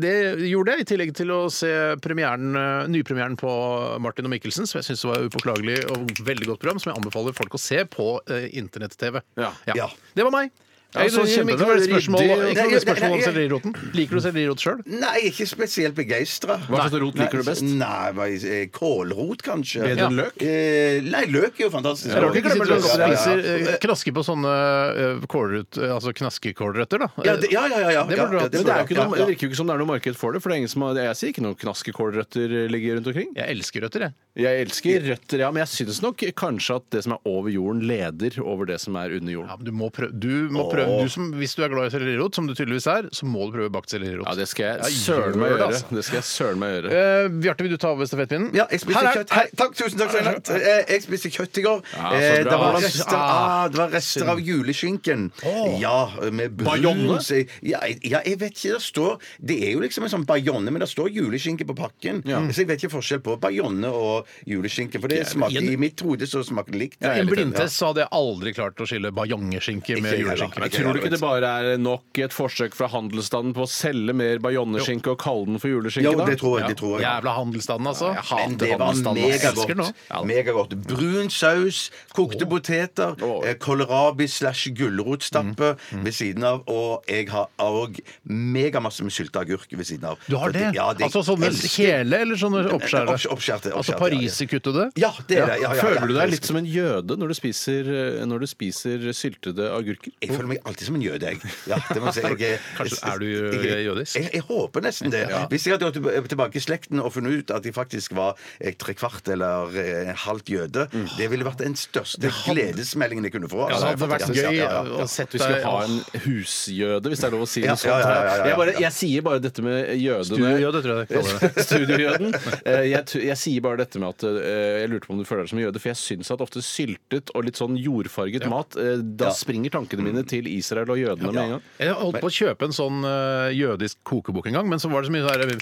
Speaker 2: det gjorde jeg, i tillegg til å se premieren, eh, nypremieren på Martin og Mikkelsen, som jeg syns var upåklagelig og veldig godt program, som jeg anbefaler folk å se på eh, internett-TV.
Speaker 3: Ja.
Speaker 4: Ja.
Speaker 2: Det var meg.
Speaker 3: Ja,
Speaker 2: Jeg-
Speaker 3: så
Speaker 2: Mikkel,
Speaker 3: kjempebra.
Speaker 2: hva er det spørsmål-
Speaker 3: Ryddig.
Speaker 2: ikke noe
Speaker 4: Nei,
Speaker 2: spørsmål om
Speaker 4: nei, nei.
Speaker 2: selleriroten? Liker du sellerirot sjøl?
Speaker 4: Nei, jeg er ikke spesielt begeistra.
Speaker 3: Hva slags rot liker du best?
Speaker 4: Nei, hva- eh, Kålrot, kanskje.
Speaker 3: Bedre
Speaker 2: Ja.
Speaker 3: enn løk?
Speaker 4: Eh, nei, løk er jo fantastisk.
Speaker 2: Jeg rart ikke
Speaker 4: Ja,
Speaker 2: glemmer å
Speaker 4: ja, ja.
Speaker 2: spiser eh, knaske på sånne eh, kålrøtt- altså knaskekålrøtter, da.
Speaker 4: Ja, det- ja, ja, ja, ja.
Speaker 2: Det burde du
Speaker 4: Ja,
Speaker 2: hatt.
Speaker 3: Men det, er jo ikke noe,
Speaker 4: Ja,
Speaker 3: det
Speaker 4: ja.
Speaker 3: virker jo ikke som det er noe marked for det. For det er ingen som har, Jeg sier ikke noen knaskekålrøtter ligger rundt omkring.
Speaker 2: Jeg elsker røtter, jeg.
Speaker 3: Jeg elsker røtter, ja, men jeg syns nok kanskje at det som er over jorden, leder over det som er under
Speaker 2: Ja,
Speaker 3: jorden.
Speaker 2: men du må prøve, du må prøve du som, Hvis du er glad i sellerirot, som du tydeligvis er, så må du prøve bakt sellerirot.
Speaker 3: Ja, det skal
Speaker 2: Ja,
Speaker 3: jeg søren meg
Speaker 2: gjør det,
Speaker 3: gjøre.
Speaker 2: altså.
Speaker 3: Det skal jeg søren meg gjøre.
Speaker 2: Eh, Bjarte, vil du ta over stafettpinnen?
Speaker 4: Ja, jeg spiste
Speaker 2: Her er-
Speaker 4: kjøtt. Hei, takk, tusen takk. Steinar. Eh, Jeg spiste kjøtt i går.
Speaker 3: Ja, så
Speaker 4: Eh, det,
Speaker 3: bra.
Speaker 4: var
Speaker 3: Ah,
Speaker 4: rester,
Speaker 2: ah,
Speaker 4: ah, det var rester av juleskinken. Ja, med
Speaker 3: Bayonne?
Speaker 4: brun se- ja, jeg- ja, jeg vet ikke. Det står Det er jo liksom en sånn bayonne, men det står juleskinke på pakken. Så jeg vet ikke forskjell på bayonne og juleskinke. For det smaker, i mitt hode så smaker det likt.
Speaker 2: En blindtest så hadde jeg aldri klart å skille bajongeskinke med
Speaker 4: Ikke jeg, da.
Speaker 2: juleskinke.
Speaker 3: Men tror du ikke det bare er nok et forsøk fra handelsstanden på å selge mer bajonneskinke og kalle den for juleskinke?
Speaker 4: Jo,
Speaker 3: da?
Speaker 4: det tror jeg. Det tror jeg.
Speaker 2: Jævla handelsstanden, altså.
Speaker 3: jeg hater
Speaker 4: Men det var
Speaker 3: handelsstanden, ass.
Speaker 2: Jeg elsker den
Speaker 4: megagodt. megagodt. Brun saus, kokte poteter,
Speaker 3: Åh.
Speaker 4: eh, kålrabi slash gulrotstappe ved siden av. Og jeg har òg megamasse med sylteagurk ved siden av.
Speaker 2: Du har
Speaker 4: For
Speaker 2: det?
Speaker 4: ja,
Speaker 2: altså sånne
Speaker 4: elsker-
Speaker 2: hele, eller sånne oppskjære?
Speaker 4: Opps-
Speaker 2: Altså
Speaker 4: oppskjærte, oppskjærte, ja, ja.
Speaker 2: pariserkuttede?
Speaker 4: Ja, det er det. Ja, ja, ja,
Speaker 3: Føler du deg
Speaker 4: jeg
Speaker 3: litt som en jøde når du spiser, eh, når du spiser syltede agurker?
Speaker 4: Jeg føler meg alltid som en jøde, jeg. Ja, det må jeg si. Jeg, jeg,
Speaker 2: Kanskje er du eh,
Speaker 4: jeg- jeg-
Speaker 2: jødisk?
Speaker 4: Jeg, jeg håper nesten det. Hvis jeg hadde gått tilbake i slekten og funnet ut at jeg faktisk var eh, trekvart eller eh, halvt jøde, det ville vært den største gledesmeldingen jeg kunne få.
Speaker 2: Mm. Ja, det hadde vært
Speaker 4: faktisk, ja,
Speaker 2: gøy altså.
Speaker 4: ja, ja.
Speaker 2: å sette
Speaker 3: Vi skulle ha en husjøde, hvis det er lov å si
Speaker 4: Ja,
Speaker 3: noe sånt.
Speaker 4: ja, ja, ja, ja, ja.
Speaker 3: her. Jeg, bare, jeg sier bare dette med jødene
Speaker 2: Studiejøde, tror jeg det kaller det.
Speaker 3: Studiojøden. Eh, Jeg, tu- jeg sier bare dette med at eh, jeg lurte på om du føler deg som en jøde, for jeg syns at ofte syltet og litt sånn jordfarget mat, eh, da springer tankene mine
Speaker 4: Mm.
Speaker 3: til Israel og jødene med en gang.
Speaker 2: Jeg holdt på å kjøpe en sånn eh, jødisk kokebok en gang, men så var det så mye, der,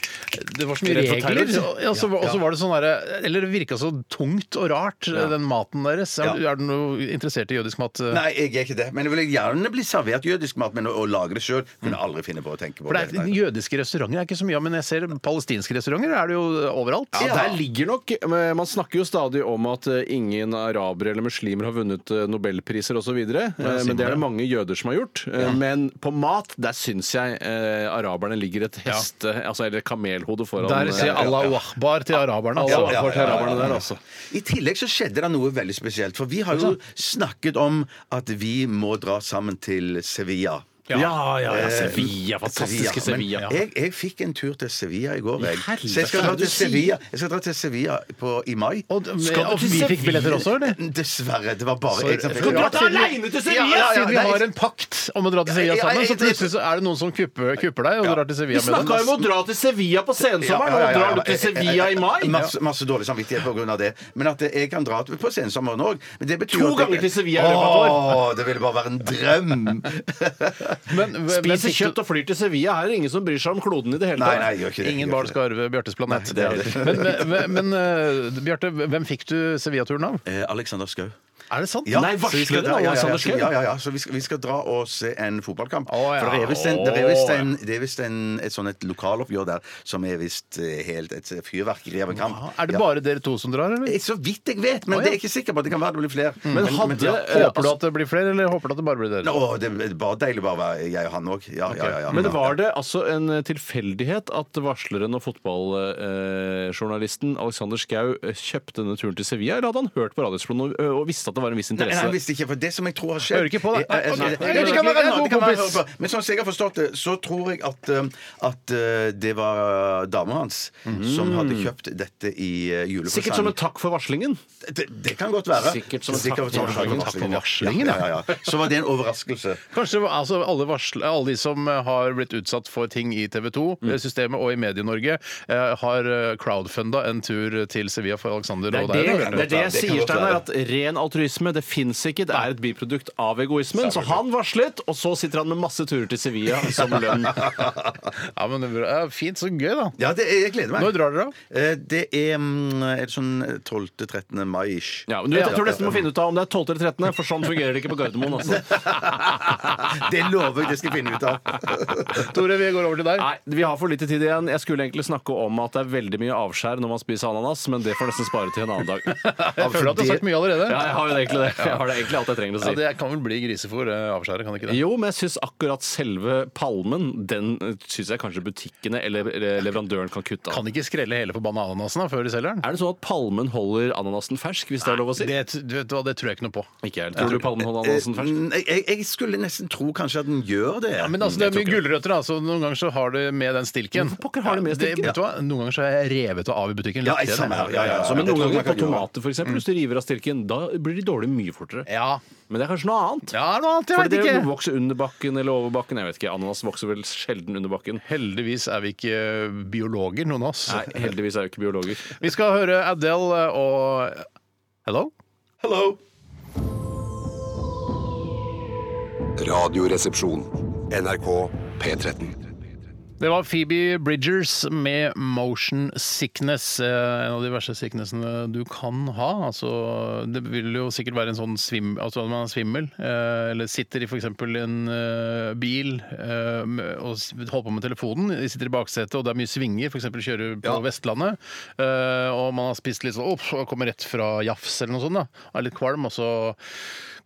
Speaker 2: det var så mye
Speaker 3: Rett for
Speaker 2: regler.
Speaker 3: terror.
Speaker 2: Og og så var- og så var det sånn der, Eller det virka så tungt og rart, den maten deres. Er,
Speaker 4: Ja.
Speaker 2: er du noe interessert i jødisk mat? eh?
Speaker 4: Nei, jeg er ikke det. Men jeg vil gjerne bli servert jødisk mat, men å, å lage det sjøl kunne jeg aldri finne på å tenke på.
Speaker 2: For det er,
Speaker 4: nei.
Speaker 2: Jødiske restauranter er ikke så mye av, men jeg ser palestinske restauranter er det jo overalt.
Speaker 3: Ja, der ligger nok men Man snakker jo stadig om at eh, ingen arabere eller muslimer har vunnet eh, nobelpriser osv. Eh, Men det er det mange jøder som har gjort. Eh, Men på mat, der syns jeg eh, araberne ligger et heste, altså, eller et kamelhode foran.
Speaker 2: Der sier
Speaker 3: eh,
Speaker 2: Allahu akbar til altså. araberne.
Speaker 3: Ja,
Speaker 2: Altså.
Speaker 3: ja, ja, ja, ja, ja.
Speaker 4: I tillegg så skjedde det noe veldig spesielt. For vi har jo snakket om at vi må dra sammen til Sevilla.
Speaker 2: Ja, ja,
Speaker 3: Eh,
Speaker 2: ja, Sevilla.
Speaker 4: Sevilla.
Speaker 2: Fantastiske Sevilla.
Speaker 4: Men
Speaker 2: Ja.
Speaker 4: jeg, jeg fikk en tur til Sevilla i går. Jeg.
Speaker 2: helvete,
Speaker 4: Så jeg skal dra
Speaker 2: hva er det
Speaker 4: til
Speaker 2: du sier?
Speaker 4: Sevilla, jeg skal dra til Sevilla på, i mai.
Speaker 2: Og,
Speaker 3: Skal du
Speaker 2: og
Speaker 3: til
Speaker 2: vi fikk
Speaker 3: Sevilla?
Speaker 2: billetter også, eller?
Speaker 4: Dessverre. Det var bare jeg som
Speaker 2: Skal
Speaker 4: fikk
Speaker 2: du dra
Speaker 4: det.
Speaker 2: til
Speaker 3: aleine til
Speaker 2: Ja, ja, ja, siden vi
Speaker 4: nei,
Speaker 2: har en pakt om å dra til Sevilla
Speaker 4: Ja, ja,
Speaker 2: sammen,
Speaker 4: jeg-
Speaker 2: så plutselig så er det noen som kupper, kupper deg og drar til Sevilla med
Speaker 3: snakket
Speaker 2: dem.
Speaker 3: å dra til Sevilla på sensommeren,
Speaker 4: Ja, ja, ja, ja. Masse, masse dårlig samvittighet pga. det. Men at jeg kan dra til- på sensommeren òg.
Speaker 3: To ganger til Sevilla i løpet av et
Speaker 4: Åh, det ville bare være en drøm!
Speaker 2: Men, men, fikk du-
Speaker 3: og flyr til Sevilla. Her er det ingen som bryr seg om kloden i det hele
Speaker 4: Nei, nei, jeg gjør ikke det.
Speaker 2: Ingen
Speaker 4: jeg gjør
Speaker 2: barn
Speaker 4: ikke det.
Speaker 2: skal arve Bjartes planet.
Speaker 4: Nei, det er det.
Speaker 2: men men, men eh, Bjarte, hvem fikk du Sevilla-turen av?
Speaker 4: Eh, Alexander Skau.
Speaker 2: Er det sant?
Speaker 4: Ja,
Speaker 3: Nei,
Speaker 4: så vi
Speaker 3: varsler
Speaker 4: skal
Speaker 3: det,
Speaker 4: dra- ja, ja,
Speaker 3: Alexander Schou?
Speaker 4: Ja, ja, ja, ja, så vi skal, vi skal dra og se en fotballkamp.
Speaker 2: Å, ja.
Speaker 4: For det er visst en-
Speaker 2: Å,
Speaker 4: det er visst
Speaker 2: ja.
Speaker 4: en- det er visst en- et sånn et lokaloppgjør der som er visst eh, helt et fyrverkeri av en kamp.
Speaker 2: Er det
Speaker 4: Ja.
Speaker 2: bare dere to som drar, eller?
Speaker 4: Eh, Så vidt jeg vet, men
Speaker 2: Å, ja.
Speaker 4: det er jeg ikke sikker på. Det kan være det blir flere.
Speaker 3: Men hadde
Speaker 4: ja.
Speaker 3: eh,
Speaker 2: Håper du at det blir flere, eller håper du at det bare blir dere?
Speaker 4: Å, det er bare deilig bare å være jeg og han òg. Ja, ja, ja, ja.
Speaker 3: Men det
Speaker 4: Ja.
Speaker 3: var det altså en tilfeldighet at varsleren og fotballjournalisten Alexander Schou eh, kjøpte denne turen til Sevilla, eller hadde han hørt på Radiosplonen og, eh, og visste at det var en viss
Speaker 4: Nei, nei,
Speaker 3: interesse?
Speaker 4: han visste ikke, for det som jeg tror har skjedd
Speaker 2: Hører ikke på det. Nei,
Speaker 4: Eh, eh,
Speaker 2: nei,
Speaker 4: eh,
Speaker 2: nei,
Speaker 4: det kan være
Speaker 2: det er en god
Speaker 4: det kan være-
Speaker 2: kompis.
Speaker 4: Men sånn som jeg har forstått det, så tror jeg at, eh, at eh, det var dama hans
Speaker 2: Mhm.
Speaker 4: som hadde kjøpt dette i eh, julepresang.
Speaker 3: Sikkert som en takk for varslingen.
Speaker 4: det, det kan godt være.
Speaker 3: Sikkert som en takk for
Speaker 4: som en
Speaker 3: varslingen.
Speaker 4: takk for
Speaker 2: Takk for varslingen,
Speaker 4: ja. Ja, ja, ja. Så var det en overraskelse.
Speaker 2: Kanskje det var- altså, alle, varsle, alle de som eh, har blitt utsatt for ting i TV 2-systemet eh, og i Medie-Norge, eh, har eh, crowdfunda en tur til Sevilla for Alexander og deg. da, Bjarte.
Speaker 4: det er det jeg sier, Steinar, at
Speaker 3: ren altruisme. Det fins ikke. Det er et biprodukt av egoismen. Så han varslet, og så sitter han med masse turer til Sevilla som lønn.
Speaker 2: Ja, men det er bra. Ja, Fint. Så gøy, da.
Speaker 4: Ja, det, jeg gleder meg.
Speaker 2: Når drar dere, da?
Speaker 4: Eh, Det er, mm, er det sånn 12.-13. mai-ish.
Speaker 3: Ja, men du, vet, jeg tror nesten du må finne ut av om det er 12. eller 13., for sånn fungerer det ikke på Gardermoen. Altså.
Speaker 4: Det lover jeg det skal jeg finne ut av.
Speaker 2: Tore, vi går over til deg.
Speaker 3: Nei, vi har for lite tid igjen. Jeg skulle egentlig snakke om at det er veldig mye avskjær når man spiser ananas, men det får nesten spare til en annen dag.
Speaker 2: Jeg føler at du har sagt mye allerede.
Speaker 3: Ja, jeg har jo egentlig det. Jeg har det egentlig alt jeg trenger å
Speaker 2: Ja,
Speaker 3: si.
Speaker 2: Det kan vel bli grisefôr, eh, avskjæret, kan det ikke det?
Speaker 3: Jo, men jeg syns akkurat selve palmen, den syns jeg kanskje butikkene eller eller leverandøren kan kutte av.
Speaker 2: Kan ikke skrelle hele forbanna ananasen da, før de selger den?
Speaker 3: Er det sånn at palmen holder ananasen fersk, hvis det er lov å si?
Speaker 2: Det, du vet hva, det tror jeg ikke noe på.
Speaker 3: Ikke jeg. Tror du palmen holder ananasen fersk?
Speaker 4: Eh, Jeg, jeg skulle nesten tro kanskje at den gjør det.
Speaker 2: Ja, men altså, Det er mye gulrøtter, da, så noen ganger så har det med den stilken.
Speaker 3: Hvorfor pokker har det med stilken?
Speaker 2: vet du hva? Noen ganger så er jeg revet av i butikken.
Speaker 4: Ja,
Speaker 2: Litt
Speaker 4: jeg
Speaker 2: det,
Speaker 4: samme
Speaker 2: da.
Speaker 4: her. Ja, ja, ja.
Speaker 3: Så, men
Speaker 4: Jeg
Speaker 3: noen
Speaker 4: tror man
Speaker 3: ganger på
Speaker 4: kan gjøre det.
Speaker 3: tomater, f.eks. Hvis du river av stilken, da blir de dårlige mye fortere.
Speaker 2: ja.
Speaker 3: Men det er kanskje noe annet.
Speaker 2: Ja, noe annet, jeg
Speaker 3: Fordi
Speaker 2: vet
Speaker 3: det
Speaker 2: ikke.
Speaker 3: vokser under bakken eller over bakken. Jeg vet ikke, Ananas vokser vel sjelden under bakken.
Speaker 2: Heldigvis er vi ikke biologer, noen av oss.
Speaker 3: Nei, heldigvis er jeg jo ikke biologer.
Speaker 2: Vi skal høre Adele og Hello?
Speaker 4: Hello.
Speaker 1: Radioresepsjon. NRK P13.
Speaker 2: Det var Phoebe Bridgers med motion sickness. eh, En av de verste sicknessene du kan ha. Altså, det vil jo sikkert være en sånn svim, altså at man er svimmel, eh, eller sitter i f.eks. en eh, bil eh, med- og s- holder på med telefonen. De Sitter i baksetet, og det er mye svinger, f.eks. kjører på Vestlandet. eh, Og man har spist litt sånn opp, og kommer rett fra jafs eller noe sånt. da. Er litt kvalm, og så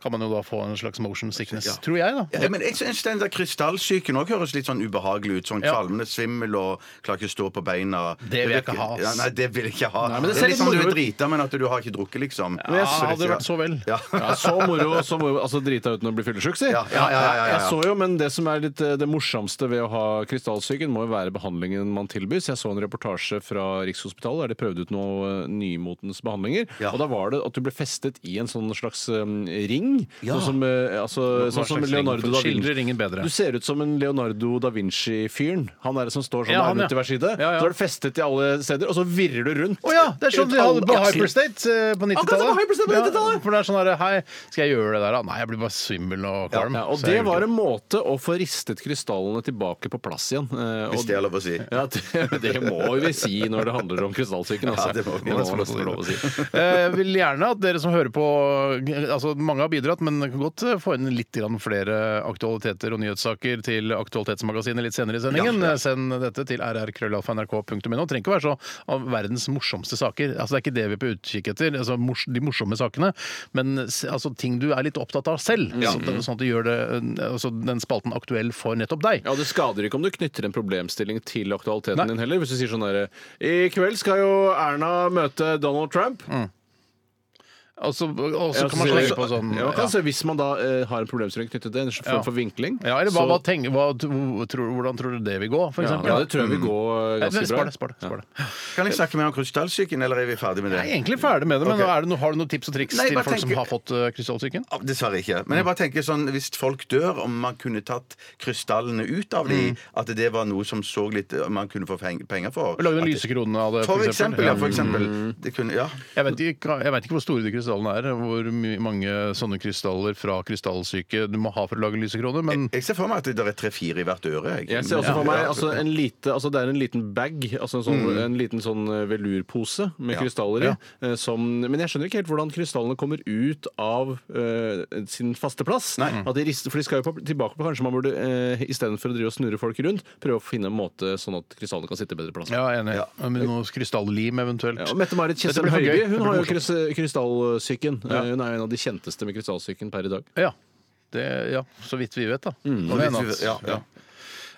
Speaker 2: kan man jo da få en slags motion sickness. Tror jeg, da.
Speaker 4: Ja, men jeg synes den der Krystallsyken òg høres litt sånn ubehagelig ut. Sånn
Speaker 2: Ja.
Speaker 4: kvalmende svimmel og klarer ikke å stå på beina.
Speaker 2: Det vil jeg
Speaker 4: virker-
Speaker 2: ikke ha, ass.
Speaker 4: Ja, nei, det vil jeg ikke ha.
Speaker 3: Nei, men det ser
Speaker 4: det, er
Speaker 3: litt
Speaker 4: litt sånn du
Speaker 3: moro
Speaker 4: er
Speaker 3: ut.
Speaker 4: drita, men at du har ikke drukket, liksom.
Speaker 2: Ja, hadde det vært så vel.
Speaker 4: Ja.
Speaker 3: Ja, så moro som altså drita uten å bli fyllesyk, si.
Speaker 4: Ja, ja, ja, ja, ja, ja.
Speaker 3: Jeg så jo, men det som er litt eh, det morsomste ved å ha krystallsyken, må jo være behandlingen man tilbys. Jeg så en reportasje fra Rikshospitalet der de prøvde ut noe eh, nymotens behandlinger.
Speaker 4: Ja.
Speaker 3: Og da var det at du ble festet i en sånn slags eh, ring.
Speaker 4: Ja.
Speaker 3: Sånn som, eh, altså,
Speaker 2: Hva
Speaker 3: sånn som
Speaker 2: slags ring?
Speaker 3: Leonardo da
Speaker 2: Skildrer
Speaker 3: Vinci.
Speaker 2: ringen bedre.
Speaker 3: Du ser ut som en Leonardo da Vinci-fyren. Han er det som står sånn
Speaker 2: Ja,
Speaker 3: med
Speaker 2: han,
Speaker 3: armene
Speaker 2: ja.
Speaker 3: til hver side.
Speaker 2: Ja, ja.
Speaker 3: Så er du festet i alle steder, og så virrer du rundt.
Speaker 2: Å ja! Det er sånn
Speaker 3: Ut
Speaker 2: de hadde
Speaker 3: alle
Speaker 2: på
Speaker 3: aksler.
Speaker 2: Hyperstate eh, på 90-tallet.
Speaker 3: Akkurat som på Hyperstate på 90-tallet.
Speaker 2: Ja, for det er sånn der, Hei, skal jeg gjøre det der, da? Nei, jeg blir bare svimmel og kvalm.
Speaker 3: Ja, og
Speaker 2: så jeg
Speaker 3: det
Speaker 2: gjør
Speaker 3: var
Speaker 2: ikke
Speaker 3: en måte å få ristet krystallene tilbake på plass igjen. Eh,
Speaker 4: Hvis
Speaker 3: og-
Speaker 4: det er lov å si.
Speaker 3: Ja, det, det må vi si når det handler om krystallsyken. Altså.
Speaker 4: Ja, det må vi
Speaker 3: må
Speaker 4: nesten
Speaker 3: nesten få lov å si.
Speaker 2: Eh, Jeg vil gjerne at dere som hører på altså Mange har bidratt, men kan godt eh, få inn litt grann flere aktualiteter og nyhetssaker til Aktualitetsmagasinet litt senere i sendingen. Eh, Send dette til rrkrøllalfa.nrk.no. Trenger ikke å være så av verdens morsomste saker. Altså Det er ikke det vi er på utkikk etter, altså mors de morsomme sakene, men s- altså ting du er litt opptatt av selv. Så- Sånn at du gjør det, eh, altså, den spalten aktuell for nettopp deg.
Speaker 3: Ja, Det skader ikke om du knytter en problemstilling til aktualiteten
Speaker 2: Nei.
Speaker 3: din heller. Hvis du sier sånn derre I kveld skal jo Erna møte Donald Trump.
Speaker 4: Mm.
Speaker 2: Og så Altså, og så
Speaker 3: Ja,
Speaker 2: kan man
Speaker 3: så-
Speaker 2: slenge på sånn
Speaker 3: ja,
Speaker 2: ja.
Speaker 3: kanskje, Hvis man da eh, har en problemstilling knyttet til en form
Speaker 2: Ja.
Speaker 3: for vinkling
Speaker 2: Ja, eller hva, hva
Speaker 3: så-
Speaker 2: tenker, hva, tror, Hvordan tror du det vil gå, for
Speaker 3: ja,
Speaker 2: eksempel?
Speaker 3: ja, det tror jeg vil gå eh,
Speaker 2: Nei,
Speaker 3: ganske bra.
Speaker 2: Spar det, spar det. Spar det.
Speaker 4: Kan jeg snakke mer om krystallsyken, eller er vi ferdig med det?
Speaker 2: Jeg er egentlig ferdig med det, men
Speaker 4: Ok.
Speaker 2: er det noe, har du noen tips og triks
Speaker 4: Nei,
Speaker 2: til
Speaker 4: bare
Speaker 2: folk som
Speaker 4: tenker-
Speaker 2: har fått uh, krystallsyken?
Speaker 4: Ja, Ah, Dessverre ikke. Men jeg bare tenker sånn, hvis folk dør, om man kunne tatt krystallene ut av de, at det var noe som så litt eh, man kunne få peng- penger for.
Speaker 2: Lagd en
Speaker 4: At-
Speaker 2: lysekrone av det,
Speaker 4: For eksempel, ja.
Speaker 2: Mm.
Speaker 4: For eksempel. Det kunne, ja.
Speaker 2: Jeg vet, ikke, jeg vet ikke hvor store de krystallene er, hvor my- mange sånne krystaller fra krystallsyke du må ha for å lage lysekrone, men
Speaker 4: Jeg ser for meg at det er tre-fire i hvert øre. Jeg.
Speaker 3: Jeg ser også for meg
Speaker 4: Ja.
Speaker 3: altså, en lite, altså, Det er en liten bag, altså en, sånn,
Speaker 2: Mm.
Speaker 3: en liten sånn eh, velurpose med
Speaker 4: Ja.
Speaker 3: krystaller i. eh, Som, men jeg skjønner ikke helt hvordan krystallene kommer ut av eh, sin faste plass.
Speaker 4: Nei.
Speaker 3: At de rister, for de skal jo på, tilbake på Kanskje man burde uh, istedenfor å drive og snurre folk rundt, prøve å finne en måte sånn at krystallene kan sitte bedre plass.
Speaker 2: ja, jeg er enig.
Speaker 4: Ja.
Speaker 2: Med noe krystallim eventuelt.
Speaker 3: Ja, og Mette-Marit
Speaker 2: Dette
Speaker 3: Kjensel
Speaker 2: blir for
Speaker 3: Høiby
Speaker 2: gøy. Det
Speaker 3: hun
Speaker 2: blir
Speaker 3: har jo
Speaker 2: morsomt.
Speaker 3: krys- krystallsyken.
Speaker 2: Ja.
Speaker 3: Eh, Hun er jo en av de kjenteste med krystallsyken per i dag.
Speaker 2: Ja. Det, ja, så vidt vi vet, da. Det er en
Speaker 4: Mm, Så hvis
Speaker 2: annen.
Speaker 4: vi- Ja, ja.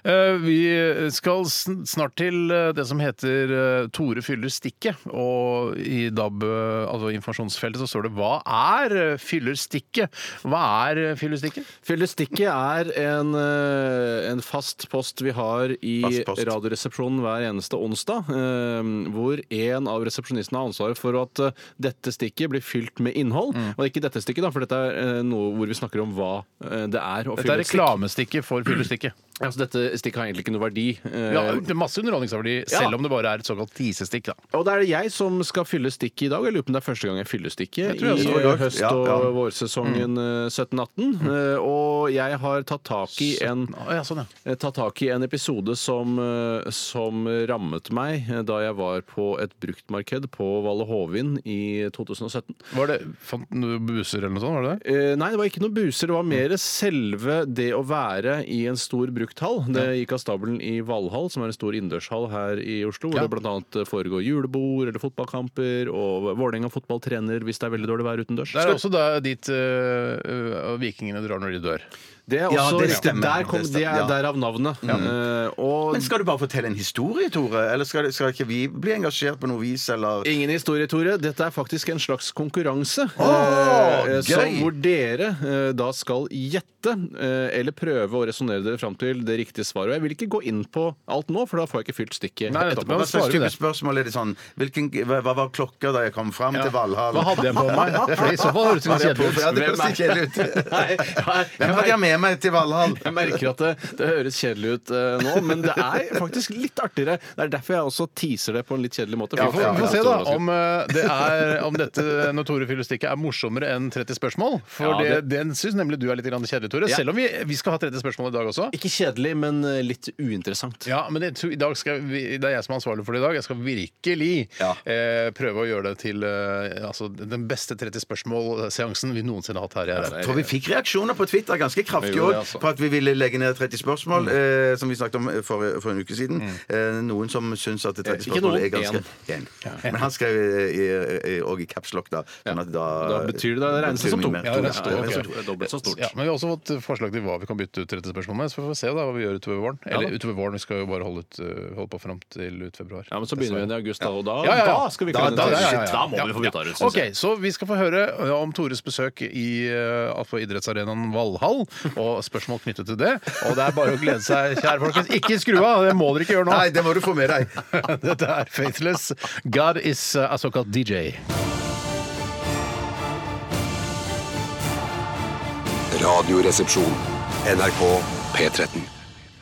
Speaker 2: Eh, Vi skal sn- snart til eh, det som heter eh, Tore fyller stikket. Og i DAB, eh, altså informasjonsfeltet, så står det 'Hva er eh, fyller stikket'? Hå er eh, fyller stikket?
Speaker 3: Fyllestikket er en, eh, en fast post vi har i
Speaker 4: Fast post.
Speaker 3: Radioresepsjonen hver eneste onsdag, eh, hvor en av resepsjonistene har ansvaret for at eh, dette stikket blir fylt med innhold.
Speaker 2: Mm.
Speaker 3: Og ikke dette stikket, da, for dette er eh, noe hvor vi snakker om hva eh, det er å
Speaker 2: Dette
Speaker 3: fylle
Speaker 2: er
Speaker 3: et stikk.
Speaker 2: reklamestikket for fyller stikket.
Speaker 3: Altså, dette stikket har egentlig ikke noe verdi. Eh,
Speaker 2: Ja, det er masse underholdningsverdi, selv
Speaker 3: Ja.
Speaker 2: om det bare er et såkalt tisestikk. da.
Speaker 3: Og da er det jeg som skal fylle stikket i dag. Jeg lurer på om det er første gang jeg fyller stikket
Speaker 2: tror jeg
Speaker 3: i eh,
Speaker 2: også
Speaker 4: det var i dag.
Speaker 3: høst-
Speaker 4: Ja,
Speaker 3: og
Speaker 4: ja.
Speaker 3: vårsesongen
Speaker 2: Mm.
Speaker 3: eh, 17-18. Eh, Og jeg har tatt tak i en
Speaker 2: Å, ja, sånn, ja.
Speaker 3: eh, tatt tak i en episode som, eh, som rammet meg eh, da jeg var på et bruktmarked på Valle Hovin i 2017.
Speaker 2: Var det, Fant du busser eller noe sånt? var det det?
Speaker 3: Eh, Nei, det var ikke noen buser. Det var mer selve det å være i en stor brukthall. Det gikk av stabelen i Valhall, som er en stor innendørshall her i Oslo. Hvor
Speaker 2: Ja.
Speaker 3: det bl.a. foregår julebord eller fotballkamper, og Vålerenga fotball trener hvis det er veldig dårlig vær utendørs.
Speaker 2: Det er også da dit øh, øh, vikingene drar når de dør.
Speaker 3: Det er
Speaker 4: Ja,
Speaker 3: også
Speaker 4: det
Speaker 3: riktig.
Speaker 4: stemmer.
Speaker 3: Der kom,
Speaker 4: Det
Speaker 3: det
Speaker 4: stemmer,
Speaker 3: er
Speaker 4: ja.
Speaker 3: derav navnet. Eh, og
Speaker 4: Men skal du bare fortelle en historie, Tore? Eller skal, skal ikke vi bli engasjert på noe vis, eller
Speaker 3: Ingen historie, Tore. Dette er faktisk en slags konkurranse. eh, som,
Speaker 4: gøy!
Speaker 3: hvor dere eh, da skal gjette, eh, eller prøve å resonnere dere fram til det riktige svaret. Og jeg vil ikke gå inn på alt nå, for da får jeg ikke fylt stikket.
Speaker 2: Nei,
Speaker 3: etterpå.
Speaker 2: nettopp.
Speaker 4: Hva slags
Speaker 2: svarer
Speaker 4: type
Speaker 2: det?
Speaker 4: spørsmål er det sånn hvilken, Hva hva var klokka da jeg kom fram til Valhall?
Speaker 2: Hva hadde jeg på meg? For I så fall høres det ganske kjedelig ut.
Speaker 4: Ja, det høres litt kjedelig ut.
Speaker 3: Nei, nei,
Speaker 4: Hvem hadde jeg med meg til Valhall?
Speaker 3: Jeg merker at det, det høres kjedelig ut eh, nå, men det er faktisk litt artigere. Det er derfor jeg også teaser det på en litt kjedelig måte.
Speaker 2: Ja,
Speaker 3: for
Speaker 2: vi
Speaker 3: jeg får-
Speaker 2: får, vi får se
Speaker 3: jeg
Speaker 2: da
Speaker 3: får
Speaker 2: om, eh, det er, om dette når Tore fyller stikket er morsommere enn 30 spørsmål. For
Speaker 3: Ja,
Speaker 2: det, den syns nemlig du er litt grann kjedelig, Tore.
Speaker 3: Ja.
Speaker 2: Selv om vi, vi skal ha 30 spørsmål i dag også.
Speaker 3: Ikke kjedelig, men eh, litt uinteressant.
Speaker 2: Ja, men jeg tror- i dag skal vi, Det er jeg som er ansvarlig for det i dag. Jeg skal virkelig
Speaker 4: Ja.
Speaker 2: eh, prøve å gjøre det til eh, altså, den beste 30 spørsmål-seansen vi noensinne har hatt her i RR.
Speaker 4: Jeg tror vi fikk reaksjoner på Twitter ganske kraftig
Speaker 3: Vi gjorde det,
Speaker 4: også,
Speaker 3: altså.
Speaker 4: på at vi ville legge ned 30 spørsmål, eh, som vi snakket om for, for en uke siden. Eh, noen som syns at 30
Speaker 3: Ikke
Speaker 4: spørsmål
Speaker 3: noen,
Speaker 4: er ganske en. Men han skrev eh, i, i, og i caps lock, da. Sånn at da,
Speaker 3: Da betyr det- det regnes
Speaker 4: betyr
Speaker 3: som to.
Speaker 4: mye mer.
Speaker 2: Ja, det regnes
Speaker 4: Ja,
Speaker 2: som to,
Speaker 4: ja,
Speaker 2: ok.
Speaker 4: ja.
Speaker 3: Det er dobbelt så stort.
Speaker 2: Ja, men Vi har også fått forslag til hva vi kan bytte ut 30 spørsmål med. Så vi får se da hva vi gjør utover våren. Eller utover våren, vi skal jo bare holde, ut, eh, holde på fram til ut februar.
Speaker 3: Ja, men så begynner vi igjen i august, da, og da,
Speaker 2: Ja, ja, ja.
Speaker 3: da skal vi
Speaker 2: Da-
Speaker 3: kunne
Speaker 2: da-
Speaker 3: ta-
Speaker 2: ja, ja, ja.
Speaker 3: Shit, da må vi få bytta det ut. synes
Speaker 2: Ok,
Speaker 3: jeg.
Speaker 2: så Vi skal få høre eh, om Tores besøk i, eh, altså idrettsarenaen Valhall og spørsmål knyttet til det. Og Det er bare å glede seg, kjære folkens. Ikke skru av! Det må dere ikke gjøre nå.
Speaker 4: Nei, det må du få med deg.
Speaker 2: Dette er Faithless. God is eh, a såkalt DJ.
Speaker 1: Radioresepsjon. NRK P13.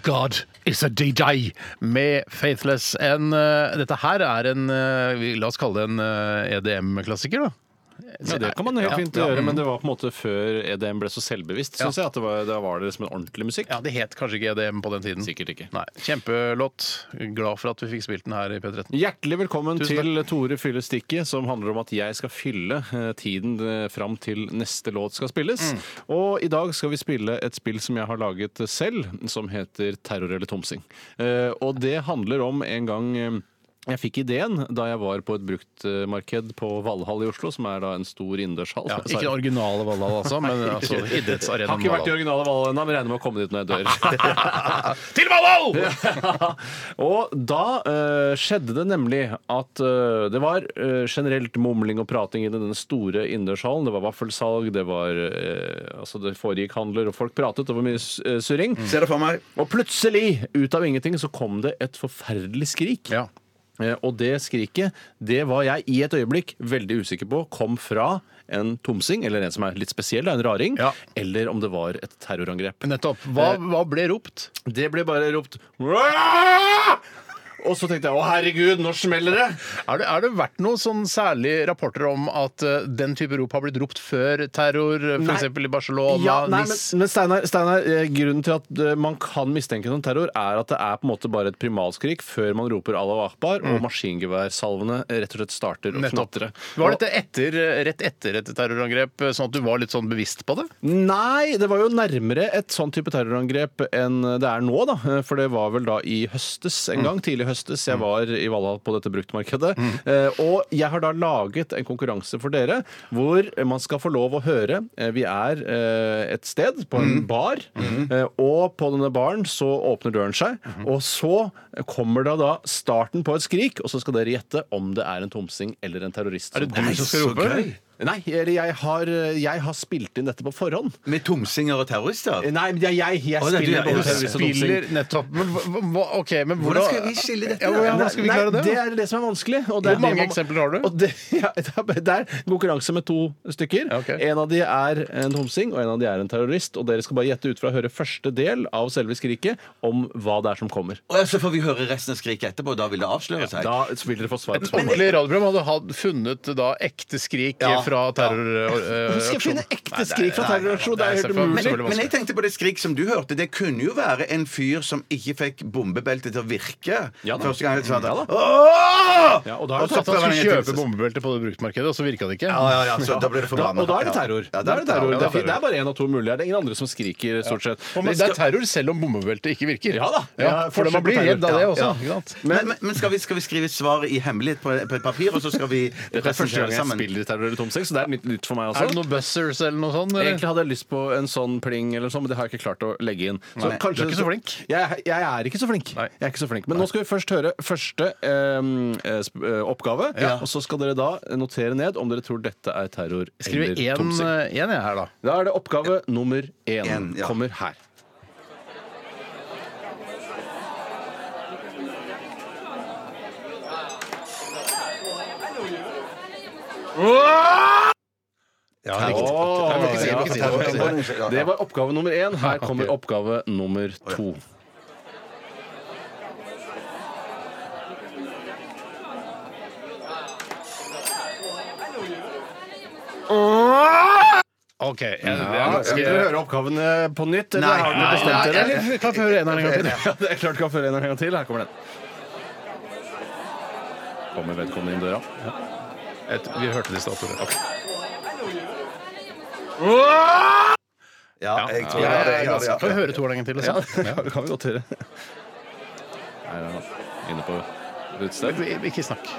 Speaker 2: God is a DJ med Faithless. En, eh, dette her er en eh, vi- La oss kalle det en eh, EDM-klassiker, da.
Speaker 3: Ja, Mm. det kan man helt
Speaker 2: Ja,
Speaker 3: fint
Speaker 2: ja.
Speaker 3: gjøre, men det var på en måte før EDM ble så selvbevisst, syns jeg. At det var, da var det liksom en ordentlig musikk.
Speaker 2: Ja, Det het kanskje ikke EDM på den tiden.
Speaker 3: Sikkert ikke.
Speaker 2: Nei, Kjempelåt. Glad for at vi fikk spilt den her i P13.
Speaker 3: Hjertelig velkommen
Speaker 2: Tusen
Speaker 3: til Tore fyller stikket, som handler om at jeg skal fylle eh, tiden eh, fram til neste låt skal spilles. Og i dag skal vi spille et spill som jeg har laget selv, som heter Terror eller tomsing. Eh, Og det handler om en gang eh, jeg fikk ideen da jeg var på et bruktmarked på Valhall i Oslo, som er da en stor innendørshall.
Speaker 2: Ja, ikke den originale Valhall, altså, men altså,
Speaker 3: har
Speaker 2: idrettsarenaen
Speaker 3: ikke vært i
Speaker 2: Valhall.
Speaker 3: originale Valhall ennå, men regner med å komme dit når jeg dør.
Speaker 2: Til Valhall!
Speaker 3: og da eh, skjedde det nemlig at eh, det var eh, generelt mumling og prating i denne store innendørshallen. Det var vaffelsalg, det var eh, Altså, det foregikk handler, og folk pratet, det var mye s- eh, surring.
Speaker 2: Mm.
Speaker 4: Se det for meg.
Speaker 3: Og plutselig, ut av ingenting, så kom det et forferdelig skrik.
Speaker 2: Ja.
Speaker 3: Eh, Og det skriket, det var jeg i et øyeblikk veldig usikker på kom fra en tomsing, eller en som er litt spesiell, da, en raring,
Speaker 2: Ja.
Speaker 3: eller om det var et terrorangrep.
Speaker 2: Nettopp. Hva, hva ble ropt?
Speaker 3: Det ble bare ropt «Aah!» Og så tenkte jeg å herregud, når smeller det?
Speaker 2: Er det, er det vært noen sånn særlige rapporter om at eh, den type rop har blitt ropt før terror,
Speaker 3: Nei.
Speaker 2: f.eks. i Barcelona,
Speaker 3: Ja, nei, men,
Speaker 2: Nis?
Speaker 3: men Steinar, Steinar, eh, grunnen til at eh, man kan mistenke noen terror, er at det er på en måte bare et primalskrik før man roper Allah akbar, og maskingeværsalvene eh, rett og slett starter å knatre.
Speaker 2: Var dette etter, eh, rett etter et terrorangrep, sånn at du var litt sånn bevisst på det?
Speaker 3: Nei, det var jo nærmere et sånn type terrorangrep enn det er nå, da. For det var vel da i høstes
Speaker 2: Mm.
Speaker 3: en gang. Tidlig høstes. Jeg var i Valhall på dette bruktmarkedet. Eh, Og jeg har da laget en konkurranse for dere hvor man skal få lov å høre eh, Vi er eh, et sted, på en
Speaker 2: Mm.
Speaker 3: bar, eh, og på denne baren så åpner døren seg,
Speaker 2: Mm.
Speaker 3: og så kommer da da starten på et skrik, og så skal dere gjette om det er en tomsing eller en terrorist.
Speaker 2: Er det
Speaker 3: som kommer.
Speaker 2: du som skal rope?
Speaker 3: Nei, eller jeg har, eh, jeg har spilt inn dette på forhånd.
Speaker 4: Med tomsinger og terrorister?
Speaker 3: Nei, men jeg, jeg, jeg
Speaker 4: Å, det er du,
Speaker 3: spiller
Speaker 4: ja,
Speaker 3: både
Speaker 4: ja, ja.
Speaker 3: terrorist og domsing.
Speaker 2: Spiller nettopp men, hva- hva- OK, men hvordan
Speaker 4: skal vi skille dette,
Speaker 2: Ja,
Speaker 4: da?
Speaker 2: hvordan skal vi
Speaker 3: Nei,
Speaker 2: klare det?
Speaker 3: Det er det som er vanskelig. og det
Speaker 2: Hvor
Speaker 3: er det
Speaker 2: mange
Speaker 3: man-
Speaker 2: eksempler har du?
Speaker 3: Og det, ja, det er det er konkurranse med to stykker.
Speaker 2: Ja, ok.
Speaker 3: En av de er en homsing, og en av de er en terrorist. Og dere skal bare gjette ut fra å høre første del av selve skriket om hva det er som kommer.
Speaker 4: Og så får vi høre resten av skriket etterpå, og da vil det avsløre seg.
Speaker 3: Da vil dere få svar på
Speaker 2: Et ordentlig radioprogram hadde hatt funnet da ekte skrik
Speaker 4: Ja.
Speaker 2: fra eh,
Speaker 3: Hvordan skal jeg
Speaker 2: terroraksjon.
Speaker 3: finne ekte skrik fra terroraksjon? Det er helt
Speaker 4: Men,
Speaker 3: umulig.
Speaker 4: men jeg tenkte på det skrik som du hørte. Det kunne jo være en fyr som ikke fikk bombebeltet til å virke.
Speaker 3: Ja da.
Speaker 4: Første gang jeg sa det.
Speaker 3: Ja da.
Speaker 4: Åh!
Speaker 3: Ja, og da er det
Speaker 4: så
Speaker 2: Han
Speaker 4: prøver han
Speaker 2: skulle
Speaker 4: igjen til-
Speaker 2: kjøpe bombebelte på det bruktmarkedet, og så virka det ikke.
Speaker 4: Ja, ja, ja, så da blir det
Speaker 3: Da,
Speaker 4: forbanna.
Speaker 3: og da er det terror. da
Speaker 4: Ja,
Speaker 3: er det, terror.
Speaker 2: ja,
Speaker 3: det,
Speaker 2: da
Speaker 3: er,
Speaker 2: er det
Speaker 3: det er bare én av to mulige. Det er ingen andre som skriker, stort sett.
Speaker 2: Men det er terror selv om bombebeltet ikke virker.
Speaker 3: Ja da. Ja,
Speaker 2: for
Speaker 3: forskjell
Speaker 2: man
Speaker 3: på
Speaker 2: blir
Speaker 3: terror.
Speaker 2: redd av det
Speaker 3: Ja,
Speaker 2: også.
Speaker 3: ja.
Speaker 2: Ikke sant?
Speaker 4: Men, men, men skal, vi, skal vi skrive svaret i hemmelighet på, på et papir, og så skal vi
Speaker 3: Dette er første
Speaker 4: presentere
Speaker 3: gang jeg
Speaker 4: sammen?
Speaker 3: spiller terror eller tom sex, så det er litt nytt for meg også.
Speaker 2: Er det noen buzzers eller noe sånt? Eller?
Speaker 3: Egentlig hadde jeg lyst på en sånn pling, eller sånn, men det har jeg ikke klart å legge inn. Så
Speaker 4: Nei,
Speaker 2: du er ikke så flink.
Speaker 3: Jeg, jeg er ikke så flink.
Speaker 2: Nei.
Speaker 3: Jeg er ikke så flink. Men nå skal vi først høre første ehm, eh, sp- eh, oppgave. Og så skal dere da notere ned om dere tror dette er terror
Speaker 2: Skriver
Speaker 3: eller
Speaker 2: én
Speaker 3: tomsing.
Speaker 2: eh, én jeg her, da.
Speaker 3: Da er det oppgave nummer én.
Speaker 4: En, ja.
Speaker 3: Kommer her. Åh,
Speaker 2: Jeg
Speaker 3: ja,
Speaker 2: vil ikke si det, jeg vil ikke si det.
Speaker 3: terror. Det var oppgave nummer én. Her kommer
Speaker 2: Ok.
Speaker 3: oppgave nummer to.
Speaker 2: OK. Jeg, jeg,
Speaker 3: Skal dere høre oppgavene på nytt? Eller
Speaker 4: eh, Nei,
Speaker 3: har dere
Speaker 4: nei,
Speaker 3: bestemt
Speaker 4: nei,
Speaker 3: dere?
Speaker 4: nei,
Speaker 2: eller kan vi høre en her en gang til?
Speaker 3: Ja, det er klart kan føre en gang til. Her kommer den. Kommer vedkommende inn døra?
Speaker 2: Et- Vi hørte det i stad, Tore.
Speaker 4: Ja, jeg
Speaker 2: Ja, ja,
Speaker 4: tror jeg har det. Jeg
Speaker 2: ja,
Speaker 4: har det,
Speaker 2: ja. Kan vi
Speaker 4: ja.
Speaker 2: høre Tore en gang til?
Speaker 3: Ja,
Speaker 2: Liksom?
Speaker 3: det kan vi godt gjøre. Her er han inne på utested.
Speaker 2: Ikke- Ikke snakk.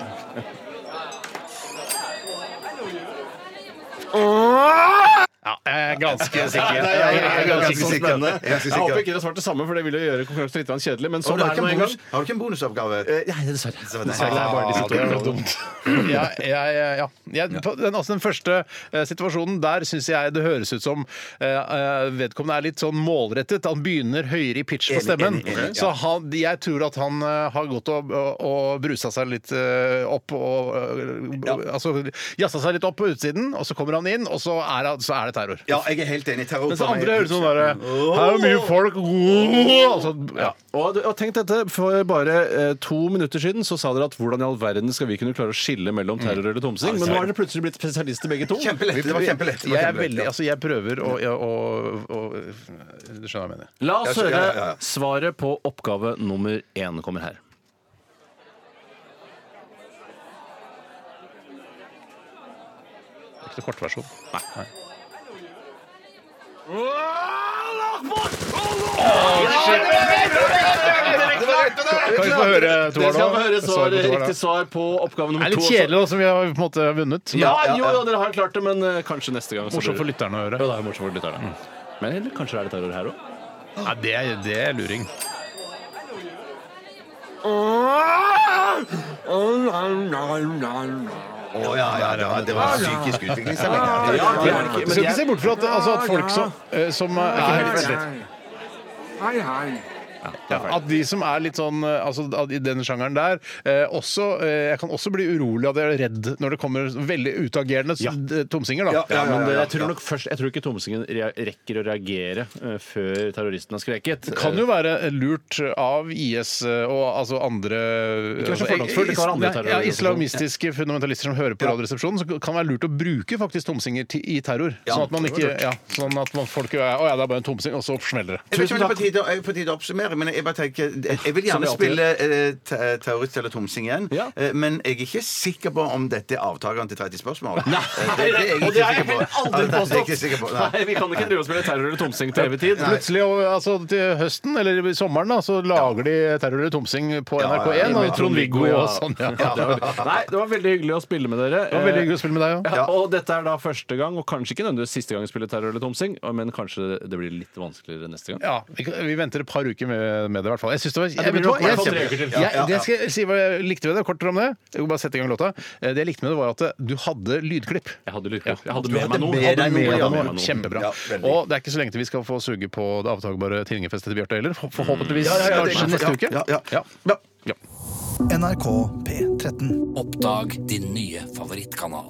Speaker 2: Ja, jeg er ganske sikker.
Speaker 3: Nei,
Speaker 2: Jeg er ganske
Speaker 4: ganske
Speaker 2: sikker.
Speaker 4: sikker.
Speaker 3: spennende.
Speaker 4: Jeg er ganske
Speaker 3: Jeg
Speaker 4: sikker.
Speaker 3: håper ikke dere svarte det samme, for det ville jo gjøre konkurransen litt kjedelig. Men
Speaker 4: Har
Speaker 3: sånn
Speaker 4: du
Speaker 3: er
Speaker 4: ikke
Speaker 3: det nå
Speaker 4: en
Speaker 3: en gang.
Speaker 4: bonus- har du ikke en bonusoppgave?
Speaker 3: Nei, dessverre.
Speaker 4: Så- nei.
Speaker 2: Dessverre, det er bare disse to.
Speaker 3: det er dumt.
Speaker 2: Ja, ja, ja, ja. Jeg, på den, altså den første eh, situasjonen der syns jeg det høres ut som eh, eh, vedkommende er litt sånn målrettet. Han begynner høyere i pitch på
Speaker 4: Enig,
Speaker 2: stemmen.
Speaker 4: enig, enig, ja.
Speaker 2: Så han, jeg tror at han eh, har gått og, og, og brusa seg litt eh, opp og eh, Altså jazza seg litt opp på utsiden, og så kommer han inn, og så er, han- så er det terror.
Speaker 4: Ja, jeg er helt enig. Terror
Speaker 2: Mens
Speaker 4: for meg.
Speaker 2: andre høres sånn derre Her er mye folk altså, ja.
Speaker 3: Og, og tenk dette, For bare eh, to minutter siden så sa dere at hvordan i all verden skal vi kunne klare å skille mellom terror eller tomsing? Men nå er dere plutselig blitt spesialister begge to.
Speaker 4: Kjempelett. Det var kjempelett. det var
Speaker 2: Jeg er
Speaker 4: kjempelett,
Speaker 2: veldig
Speaker 4: ja.
Speaker 2: Altså, jeg prøver å, å, å, å Du skjønner hva jeg mener?
Speaker 3: La oss
Speaker 4: Ja, så- ja,
Speaker 3: høre
Speaker 4: ja, ja.
Speaker 3: svaret på oppgave nummer én kommer her.
Speaker 2: Det er ikke noen kortversjon. Kan vi få høre
Speaker 3: Dere
Speaker 2: to her
Speaker 3: skal få høre
Speaker 2: nå?
Speaker 3: svar,
Speaker 2: Svaret på to her, da.
Speaker 3: riktig svar på oppgave
Speaker 2: Det
Speaker 3: nummer
Speaker 2: er
Speaker 3: to.
Speaker 2: litt kjedelig, da, som vi har på en måte vunnet.
Speaker 3: Ja, jo, jo, dere har klart det, men eh, kanskje neste gang. så blir
Speaker 2: Morsomt for
Speaker 3: det- Mm.
Speaker 2: lytterne å
Speaker 3: Ja,
Speaker 2: høre.
Speaker 3: det er morsomt for lytterne. Men eller, kanskje det er det terror her òg?
Speaker 2: Nei, det, er- det er luring.
Speaker 4: Å ja, ja, ja, det var psykisk utviklingshemming. ja.
Speaker 3: Ja, det er det ikke.
Speaker 2: Du skal ikke se bort fra at, altså, at folk som, eh, som er ja, At de som er litt sånn eh, altså, at i den sjangeren der eh, også, eh, Jeg kan også bli urolig at jeg er redd når det kommer veldig utagerende s-
Speaker 3: Ja.
Speaker 2: d- tomsinger. da
Speaker 4: Ja, ja,
Speaker 3: Men eh,
Speaker 4: ja, ja.
Speaker 3: jeg tror nok først, jeg tror ikke Thomsingen rea- rekker å reagere eh, før terroristen har skreket.
Speaker 2: Det kan jo være eh, lurt av IS og altså andre altså,
Speaker 3: Ikke vær så fordomsfull, det kan være andre
Speaker 2: Nei, ja,
Speaker 3: terrororganisasjoner.
Speaker 2: Islamistiske fundamentalister som hører på Radioresepsjonen, så kan det være lurt å bruke faktisk tomsinger til- i terror. Sånn at man ikke ja, Sånn at man, folk er Å ja, det er bare en tomsing, og så smeller det.
Speaker 4: Jeg vet ikke om det er på tide, jeg er på tide å oppsummere, men jeg bare tenker Jeg vil
Speaker 3: Som vi
Speaker 4: gjerne
Speaker 3: alltid
Speaker 4: spille eh, te- terrorist eller tomsing igjen,
Speaker 3: Ja.
Speaker 4: eh, men jeg er ikke sikker på om dette er avtakeren til 30 spørsmål. Eh, Nei,
Speaker 3: Og det har jeg heller aldri
Speaker 4: Det er jeg ikke sikker på.
Speaker 3: påstått! Nei, vi kan ikke drive og spille terror eller tomsing til evig tid.
Speaker 2: Plutselig og, altså, til høsten, eller i sommeren, da, så lager de terror eller tomsing på
Speaker 4: Ja, ja, ja.
Speaker 2: NRK1.
Speaker 3: Med
Speaker 2: Og Trond-Viggo
Speaker 3: Trond-Viggo, ja.
Speaker 2: og sånn. Ja. Det var
Speaker 3: Nei, det var veldig hyggelig å spille med dere. Eh,
Speaker 2: veldig hyggelig å spille med deg òg.
Speaker 3: Ja, og dette er da første gang, og kanskje ikke nødvendigvis siste gang vi spiller terror eller tomsing, men kanskje det blir litt vanskeligere neste gang.
Speaker 2: Ja, vi, kan- vi venter et par uker med eh, med det, i hvert fall. Jeg syns det var
Speaker 3: det blir nok i hvert fall tre
Speaker 2: jeg-
Speaker 3: uker til.
Speaker 2: jeg- jeg- Det skal jeg si hva jeg likte ved det. Kort om det. Jeg vil bare sette i gang låta. Eh, Det jeg likte med det, var at eh, du hadde lydklipp.
Speaker 3: Jeg hadde lydklipp. Jeg hadde
Speaker 2: Du
Speaker 3: med
Speaker 2: hadde
Speaker 3: meg noe.
Speaker 2: med deg
Speaker 3: Hadde
Speaker 2: noe,
Speaker 3: noe,
Speaker 2: ja,
Speaker 3: hadde med meg
Speaker 2: noe.
Speaker 3: noe.
Speaker 2: Kjempebra.
Speaker 4: Ja, veldig.
Speaker 2: og det er ikke så lenge til vi skal få suge på det avtagbare Tvillingfestet til Bjarte heller. For- Forhåpentligvis kanskje neste uke.
Speaker 4: Mm. Ja, ja.
Speaker 2: Ja.
Speaker 4: Ja.
Speaker 2: Ja.
Speaker 5: NRK P13.
Speaker 6: Oppdag din nye favorittkanal.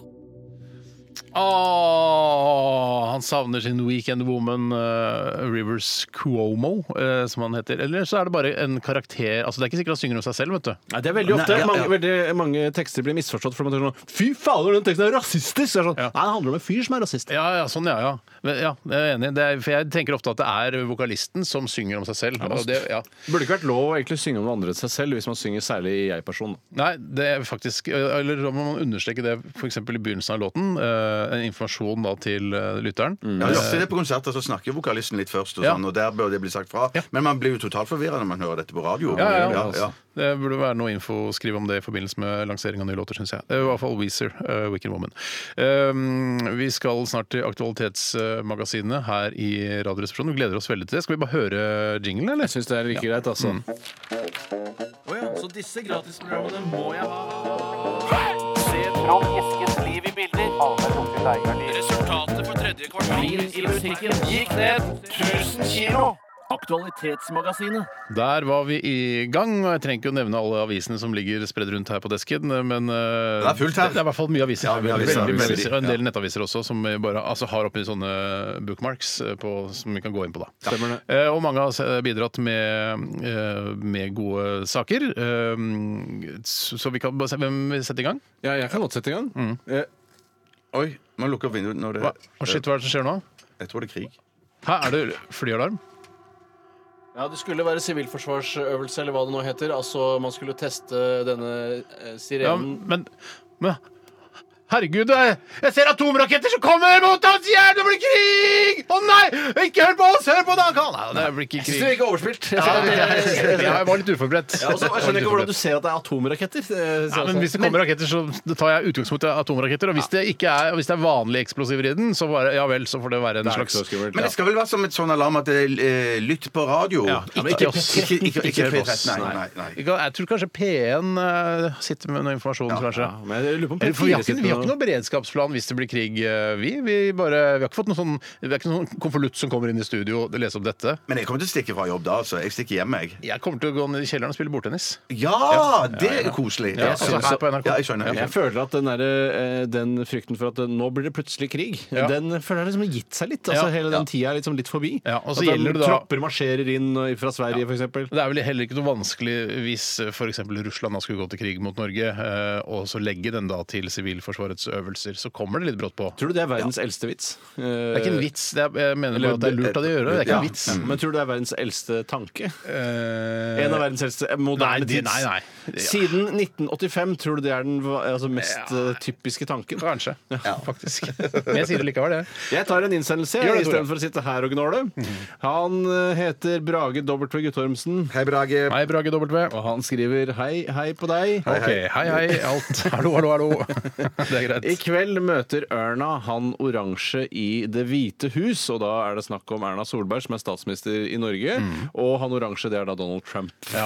Speaker 2: Åh, han savner sin Weekend Woman, eh, Rivers Cuomo, eh, som han heter. Eller så er det bare en karakter Altså, Det er ikke sikkert han synger om seg selv, vet du.
Speaker 3: Nei, det er veldig ofte
Speaker 4: Nei, ja, ja.
Speaker 3: Mange, veldig, mange tekster blir misforstått. For man tenker sånn, Fy fader, den teksten er rasistisk! Så er det sånn,
Speaker 2: Ja.
Speaker 3: Nei, det handler om en fyr som er rasist.
Speaker 2: Ja, ja, sånn, ja. ja. Men, ja jeg er enig. Det er, for jeg tenker ofte at det er vokalisten som synger om seg selv. Og det, ja. altså.
Speaker 3: Burde ikke vært lov å egentlig synge om noe andre enn seg selv hvis man synger særlig i jeg-person.
Speaker 2: Nei, det er faktisk Eller da må man understreke det f.eks. i begynnelsen av låten. eh, En informasjon da til eh, lytteren.
Speaker 4: Ja, det er ofte det på konserter så snakker vokalisten litt først, og,
Speaker 2: Ja.
Speaker 4: sånn, og der bør det bli sagt fra. Men man blir jo totalt forvirra når man hører dette på radio.
Speaker 2: Ja, ja, ja.
Speaker 4: Ja, ja.
Speaker 2: Det burde være noe info å skrive om det i forbindelse med lansering av nye låter, syns jeg. Det er I hvert fall Weezer, uh, Wicked Woman. Um, vi skal snart til Aktualitetsmagasinet her i Radioresepsjonen. Vi gleder oss veldig til det. Skal vi bare høre jinglen, eller?
Speaker 3: Jeg syns det er like greit, altså.
Speaker 2: Mm.
Speaker 7: Resultatet for tredje kvartal i musikken gikk ned 1000 kilo. Aktualitetsmagasinet.
Speaker 2: Der var vi i gang. og Jeg trenger ikke å nevne alle avisene som ligger spredd rundt her på desken, men eh,
Speaker 4: Det er fullt her.
Speaker 2: Det er i hvert fall mye aviser.
Speaker 4: Ja, mye aviser,
Speaker 2: Veldig mye
Speaker 4: veldig.
Speaker 2: aviser. Og en del nettaviser også, som vi bare altså, har oppi sånne bookmarks eh, på, som vi kan gå inn på, da.
Speaker 3: Stemmer det.
Speaker 2: Eh, og mange har s- bidratt med, eh, med gode saker. Eh, så så vi kan bare se hvem vi setter i gang.
Speaker 3: Ja, jeg kan godt sette i gang.
Speaker 2: Mm.
Speaker 3: Eh,
Speaker 4: Oi, man lukker vinduet når det
Speaker 2: Hva, Å, shit, hva er det som skjer nå?
Speaker 4: Jeg tror det er krig.
Speaker 2: Her er det flyalarm.
Speaker 8: Ja, Det skulle være sivilforsvarsøvelse, eller hva det nå heter. Altså, Man skulle teste denne eh,
Speaker 2: Ja,
Speaker 8: sirenen
Speaker 2: men, men Herregud, jeg, jeg ser atomraketter som kommer mot oss! Hjelp, det blir krig! Å nei! Ikke hør på oss! Hør på Dankan! Nei, det blir ikke
Speaker 8: Det er
Speaker 2: krig.
Speaker 8: ikke overspilt.
Speaker 2: Ja, jeg, jeg var litt uforberedt.
Speaker 8: Ja, og så- jeg skjønner ikke hvordan du ser at det er atomraketter. eh,
Speaker 2: Ja, men Hvis det kommer raketter, så tar jeg utgangspunkt i atomraketter. Og hvis det ikke er, og hvis det er vanlige eksplosiver i den, så bare, ja vel, så får det være en
Speaker 3: slags-
Speaker 2: slags
Speaker 4: Men det skal vel være som et sånn alarm at det er eh, lytt på radio.
Speaker 2: Ja, ja, men ikke oss.
Speaker 4: Ikke, ikke, ikke,
Speaker 2: Ikke hør på oss,
Speaker 4: P13, Nei, nei, nei.
Speaker 2: Jeg kan- jeg tror kanskje P1 eh, sitter med noe informasjon, kanskje.
Speaker 3: ja, men jeg lurer på om
Speaker 2: Eller, for vi, har
Speaker 3: P4
Speaker 2: ikke,
Speaker 3: sitter
Speaker 2: vi har
Speaker 3: med
Speaker 2: ikke
Speaker 3: noe.
Speaker 2: noen beredskapsplan hvis det blir krig, eh, vi. Vi, bare, vi har ikke fått noen sånn, det er ikke noen sånn konvolutt som kommer inn i studio og leser opp dette.
Speaker 4: Men jeg kommer til å stikke fra jobb da, altså. Jeg stikker hjem, jeg.
Speaker 2: Jeg kommer til å gå ned i kjelleren og spille bordtennis.
Speaker 4: Ja, det er koselig.
Speaker 2: Ja, altså, her på NRK.
Speaker 4: Ja, jeg skjønner.
Speaker 3: Jeg
Speaker 4: Jeg skjønner.
Speaker 3: føler at den, der, eh, den frykten for at eh, nå blir det plutselig krig,
Speaker 2: Ja.
Speaker 3: den føler jeg liksom har gitt seg litt. Altså,
Speaker 2: Ja.
Speaker 3: Hele
Speaker 2: Ja.
Speaker 3: den tida er liksom litt forbi.
Speaker 2: Ja, og så
Speaker 3: at den-
Speaker 2: gjelder det da-
Speaker 3: tropper marsjerer inn eh, fra Sverige, for f.eks.
Speaker 2: Det er vel heller ikke noe vanskelig hvis f.eks. Russland da skulle gå til krig mot Norge, eh, og så legge den da til Sivilforsvarets øvelser. Så kommer det litt brått på.
Speaker 3: Tror du det er verdens eldste vits?
Speaker 2: Det er ikke en vits. Det er, jeg mener bare at det er lurt av de å gjøre. Det er ikke en vits.
Speaker 3: Eh, Men tror du det er verdens eldste tanke?
Speaker 2: Eh,
Speaker 3: En av verdens eldste eh, moderne
Speaker 2: Nei, de-
Speaker 3: tids.
Speaker 2: nei, nei. Ja.
Speaker 3: Siden 1985 tror du det er den va- altså, mest eh, typiske tanken?
Speaker 2: Kanskje. Faktisk. Men jeg sier det likevel, jeg.
Speaker 3: Jeg tar en innsendelse
Speaker 2: Gjør det, Tore.
Speaker 3: istedenfor å sitte her og gnåle.
Speaker 2: Mhm.
Speaker 3: Han eh, heter Brage W. Guttormsen.
Speaker 4: Hei, Brage.
Speaker 2: Hei, Brage W.
Speaker 3: Og han skriver hei, hei på deg.
Speaker 2: Ok, hei, hei, alt. Hallo, hallo, hallo. Det er greit.
Speaker 3: I kveld møter Erna han oransje i Det hvite hus, og da er det snakk om Erna Solberg, som er statsminister i Norge, og han oransje, det er da Donald Trump.
Speaker 2: Ja.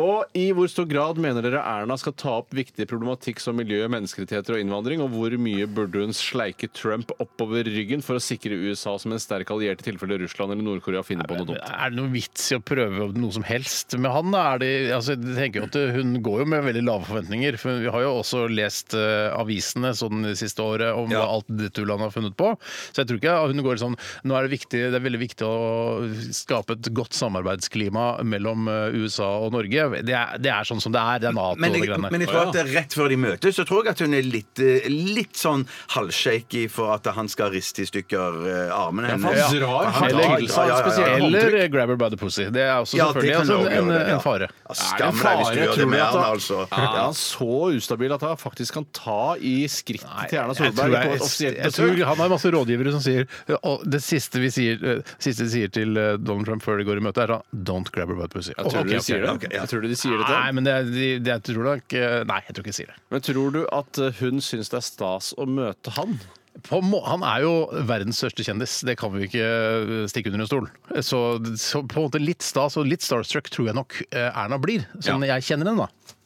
Speaker 3: Og i hvor stor grad mener dere Erna skal ta opp viktig problematikk som miljø, menneskerettigheter og innvandring, og hvor mye burde hun sleike Trump oppover ryggen for å sikre USA som en sterk alliert i tilfelle Russland eller Nord-Korea finner på noe dumt?
Speaker 2: Er det noe vits i å prøve noe som helst med han? da? Er det, altså, jeg tenker jo at Hun går jo med veldig lave forventninger. For vi har jo også lest eh, avisene sånn det siste året om hva alt det tullet har funnet på. Så jeg tror ikke hun går sånn Nå er det viktig, det er veldig viktig å skape et godt samarbeidsklima mellom eh, USA og Norge. Det er, det er sånn som det er. Det er Nato
Speaker 4: Men
Speaker 2: og det
Speaker 4: jeg,
Speaker 2: greiene.
Speaker 4: men jeg tror at det er rett før de møtes, så tror jeg at hun er litt, eh, litt sånn halvshaky for at han skal riste i stykker eh, armene
Speaker 3: for
Speaker 4: hennes.
Speaker 3: han drar
Speaker 4: Ja,
Speaker 3: feil
Speaker 4: drar- sånn
Speaker 3: leggelse av
Speaker 4: ja, ja, ja, ja.
Speaker 3: spesielt.
Speaker 2: Eller grab her by the pussy. Det er også
Speaker 4: Ja, det
Speaker 2: selvfølgelig
Speaker 4: kan
Speaker 2: altså,
Speaker 4: jo gjøre
Speaker 2: en,
Speaker 4: det, ja.
Speaker 2: en fare.
Speaker 4: Ja, Skam deg hvis du gjør det med Erna, altså.
Speaker 3: Er han så ustabil at han faktisk kan ta i skrittet til Erna
Speaker 2: Jeg tror,
Speaker 3: Solberg på et
Speaker 2: jeg,
Speaker 3: offisielt
Speaker 2: jeg tror
Speaker 3: besøk?
Speaker 2: Han har masse rådgivere som sier og Det siste vi sier, eh, siste de sier til eh, Donald Trump før de går i møte, er sånn Don't grab her by the pussy.
Speaker 3: Jeg tror
Speaker 2: Ok,
Speaker 3: du de
Speaker 2: ok,
Speaker 3: sier det.
Speaker 2: ok.
Speaker 3: Jeg tror du de sier det til
Speaker 2: Nei,
Speaker 3: ham.
Speaker 2: men det, er- de, de, jeg tror nok eh, Nei, jeg tror ikke de sier det.
Speaker 3: Men tror du at eh, hun syns det er stas å møte han?
Speaker 2: på må han er jo verdens største kjendis, det kan vi ikke eh, stikke under en stol. Så, så på en måte litt stas og litt starstruck tror jeg nok eh, Erna blir, sånn jeg kjenner henne, da.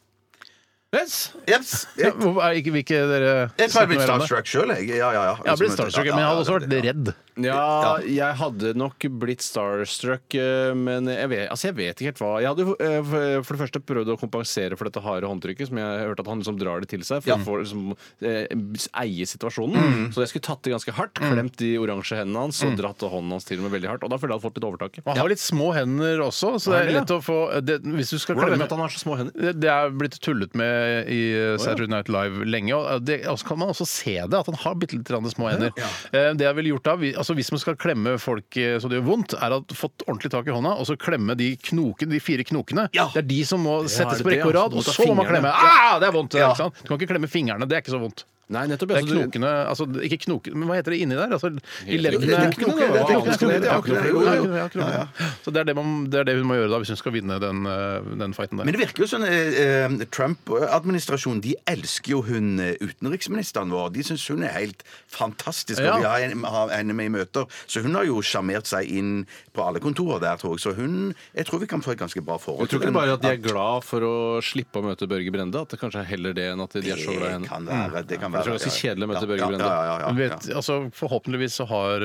Speaker 3: Yes.
Speaker 4: Jeps.
Speaker 2: Ja, hvorfor er ikke, vil ikke dere
Speaker 4: Jeg har
Speaker 2: snakke
Speaker 4: blitt
Speaker 2: mer om det?
Speaker 4: starstruck sjøl, jeg. Ja, ja, ja.
Speaker 2: Jeg har blitt starstruck, men jeg hadde også vært redd.
Speaker 3: Ja, jeg hadde nok blitt starstruck, eh, men jeg vet, altså jeg vet ikke helt hva Jeg hadde jo, eh, for for det første prøvd å kompensere for dette harde håndtrykket, som jeg hørte at han liksom drar det til seg for å få liksom, eh, eie situasjonen. Så jeg skulle tatt det ganske hardt, klemt de oransje hendene hans og dratt hånden hans til og med veldig hardt. Og da føler jeg at jeg hadde fått litt overtaket.
Speaker 2: Og han har litt små hender også, så
Speaker 3: Har
Speaker 2: det er
Speaker 3: han det,
Speaker 2: lett å få det, Hvis du skal
Speaker 3: Hvordan vet du
Speaker 2: klemme
Speaker 3: at han har så små hender?
Speaker 2: Det det er blitt tullet med i eh, Saturday Night Live lenge. Og det, og så kan man også se det, at han har bitte litt grann små hender. Eh, Det jeg ville gjort da, vi- altså Hvis man skal klemme folk eh, så det gjør vondt, er at fått ordentlig tak i hånda, og så klemme de knokene, de fire knokene. Det er de som må settes
Speaker 3: er
Speaker 2: på
Speaker 3: det,
Speaker 2: rekke og
Speaker 3: ja,
Speaker 2: rad,
Speaker 3: som må
Speaker 2: og
Speaker 3: ta
Speaker 2: så må man
Speaker 3: fingrene.
Speaker 2: klemme. Ah, det er vondt! Ikke sant? Du kan ikke klemme fingrene, det er ikke så vondt.
Speaker 3: Nei, nettopp.
Speaker 2: Det er
Speaker 3: altså, du-
Speaker 2: knokene altså ikke knoke, Men hva heter det inni der? Altså, de
Speaker 3: Helt riktig. Det
Speaker 2: levende
Speaker 3: er knokene, det er
Speaker 2: Ja,
Speaker 3: knokene,
Speaker 2: knokene,
Speaker 3: det er knokene,
Speaker 2: knokene,
Speaker 4: jo, jo.
Speaker 2: knokene, ja, knokene. Så det er det, man, det er det hun må gjøre da, hvis hun skal vinne den, eh, den fighten der.
Speaker 4: Men det virker jo sånn eh, eh, Trump-administrasjonen de elsker jo hun eh, utenriksministeren vår. De syns hun er helt fantastisk.
Speaker 2: Ja.
Speaker 4: Og vi har henne- har henne med i møter. Så hun har jo sjarmert seg inn på alle kontorer der, tror jeg. Så hun Jeg tror vi kan få et ganske bra forhold
Speaker 3: Jeg tror ikke
Speaker 4: henne.
Speaker 3: bare at de er glad for å slippe å møte Børge Brende, at det kanskje er heller det enn at de er så glad i
Speaker 4: Det
Speaker 3: henne.
Speaker 4: kan være.
Speaker 2: Mm.
Speaker 4: Det kan
Speaker 3: Jeg
Speaker 4: være
Speaker 3: tror det er ganske
Speaker 4: ja.
Speaker 3: kjedelig å møte
Speaker 4: Ja,
Speaker 3: Børge
Speaker 4: ja,
Speaker 3: Brende.
Speaker 4: Ja, ja, ja,
Speaker 2: Men
Speaker 4: ja,
Speaker 2: Vet, altså, forhåpentligvis så har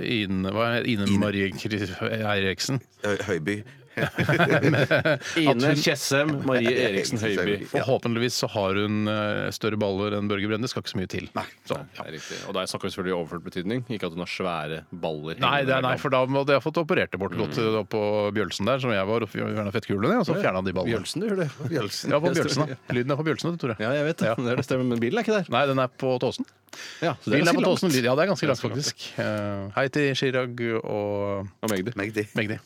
Speaker 2: eh, Ine, hva er det? Ine, Marie Kri- Eriksen
Speaker 4: Hø- Høiby.
Speaker 3: Ine Tjessem, Marie Eriksen Høiby.
Speaker 4: Høiby.
Speaker 2: Forhåpentligvis så har hun eh, større baller enn Børge Brende. Skal ikke så mye til. Nei, sånn.
Speaker 3: Det er riktig. Og der snakker vi selvfølgelig i overført betydning, ikke at hun har svære baller.
Speaker 2: nei,
Speaker 3: hengende
Speaker 2: det er, nei,
Speaker 3: mellom.
Speaker 2: for da hadde jeg fått operert det bort godt eh, oppå Bjølsen der, som jeg var. og Fjerna fettkulene, og så fjerna de ballene.
Speaker 3: Bjølsen, du gjør det.
Speaker 2: Ja, på Bjølsen, da. Lyden er på Bjølsen, Tore.
Speaker 3: Ja, jeg vet det. Det er det stemmer, men bilen er ikke der.
Speaker 2: Nei, den er på Tåsen.
Speaker 3: Ja, så det
Speaker 2: Bilen er
Speaker 3: ganske
Speaker 2: på
Speaker 3: langt.
Speaker 2: Tåsen. Lyd- Ja, det er ganske langt,
Speaker 3: Ganske langt.
Speaker 2: faktisk. Eh, Hei til Chirag og
Speaker 3: Og Magdi.
Speaker 4: Meg, det.
Speaker 2: Magdi.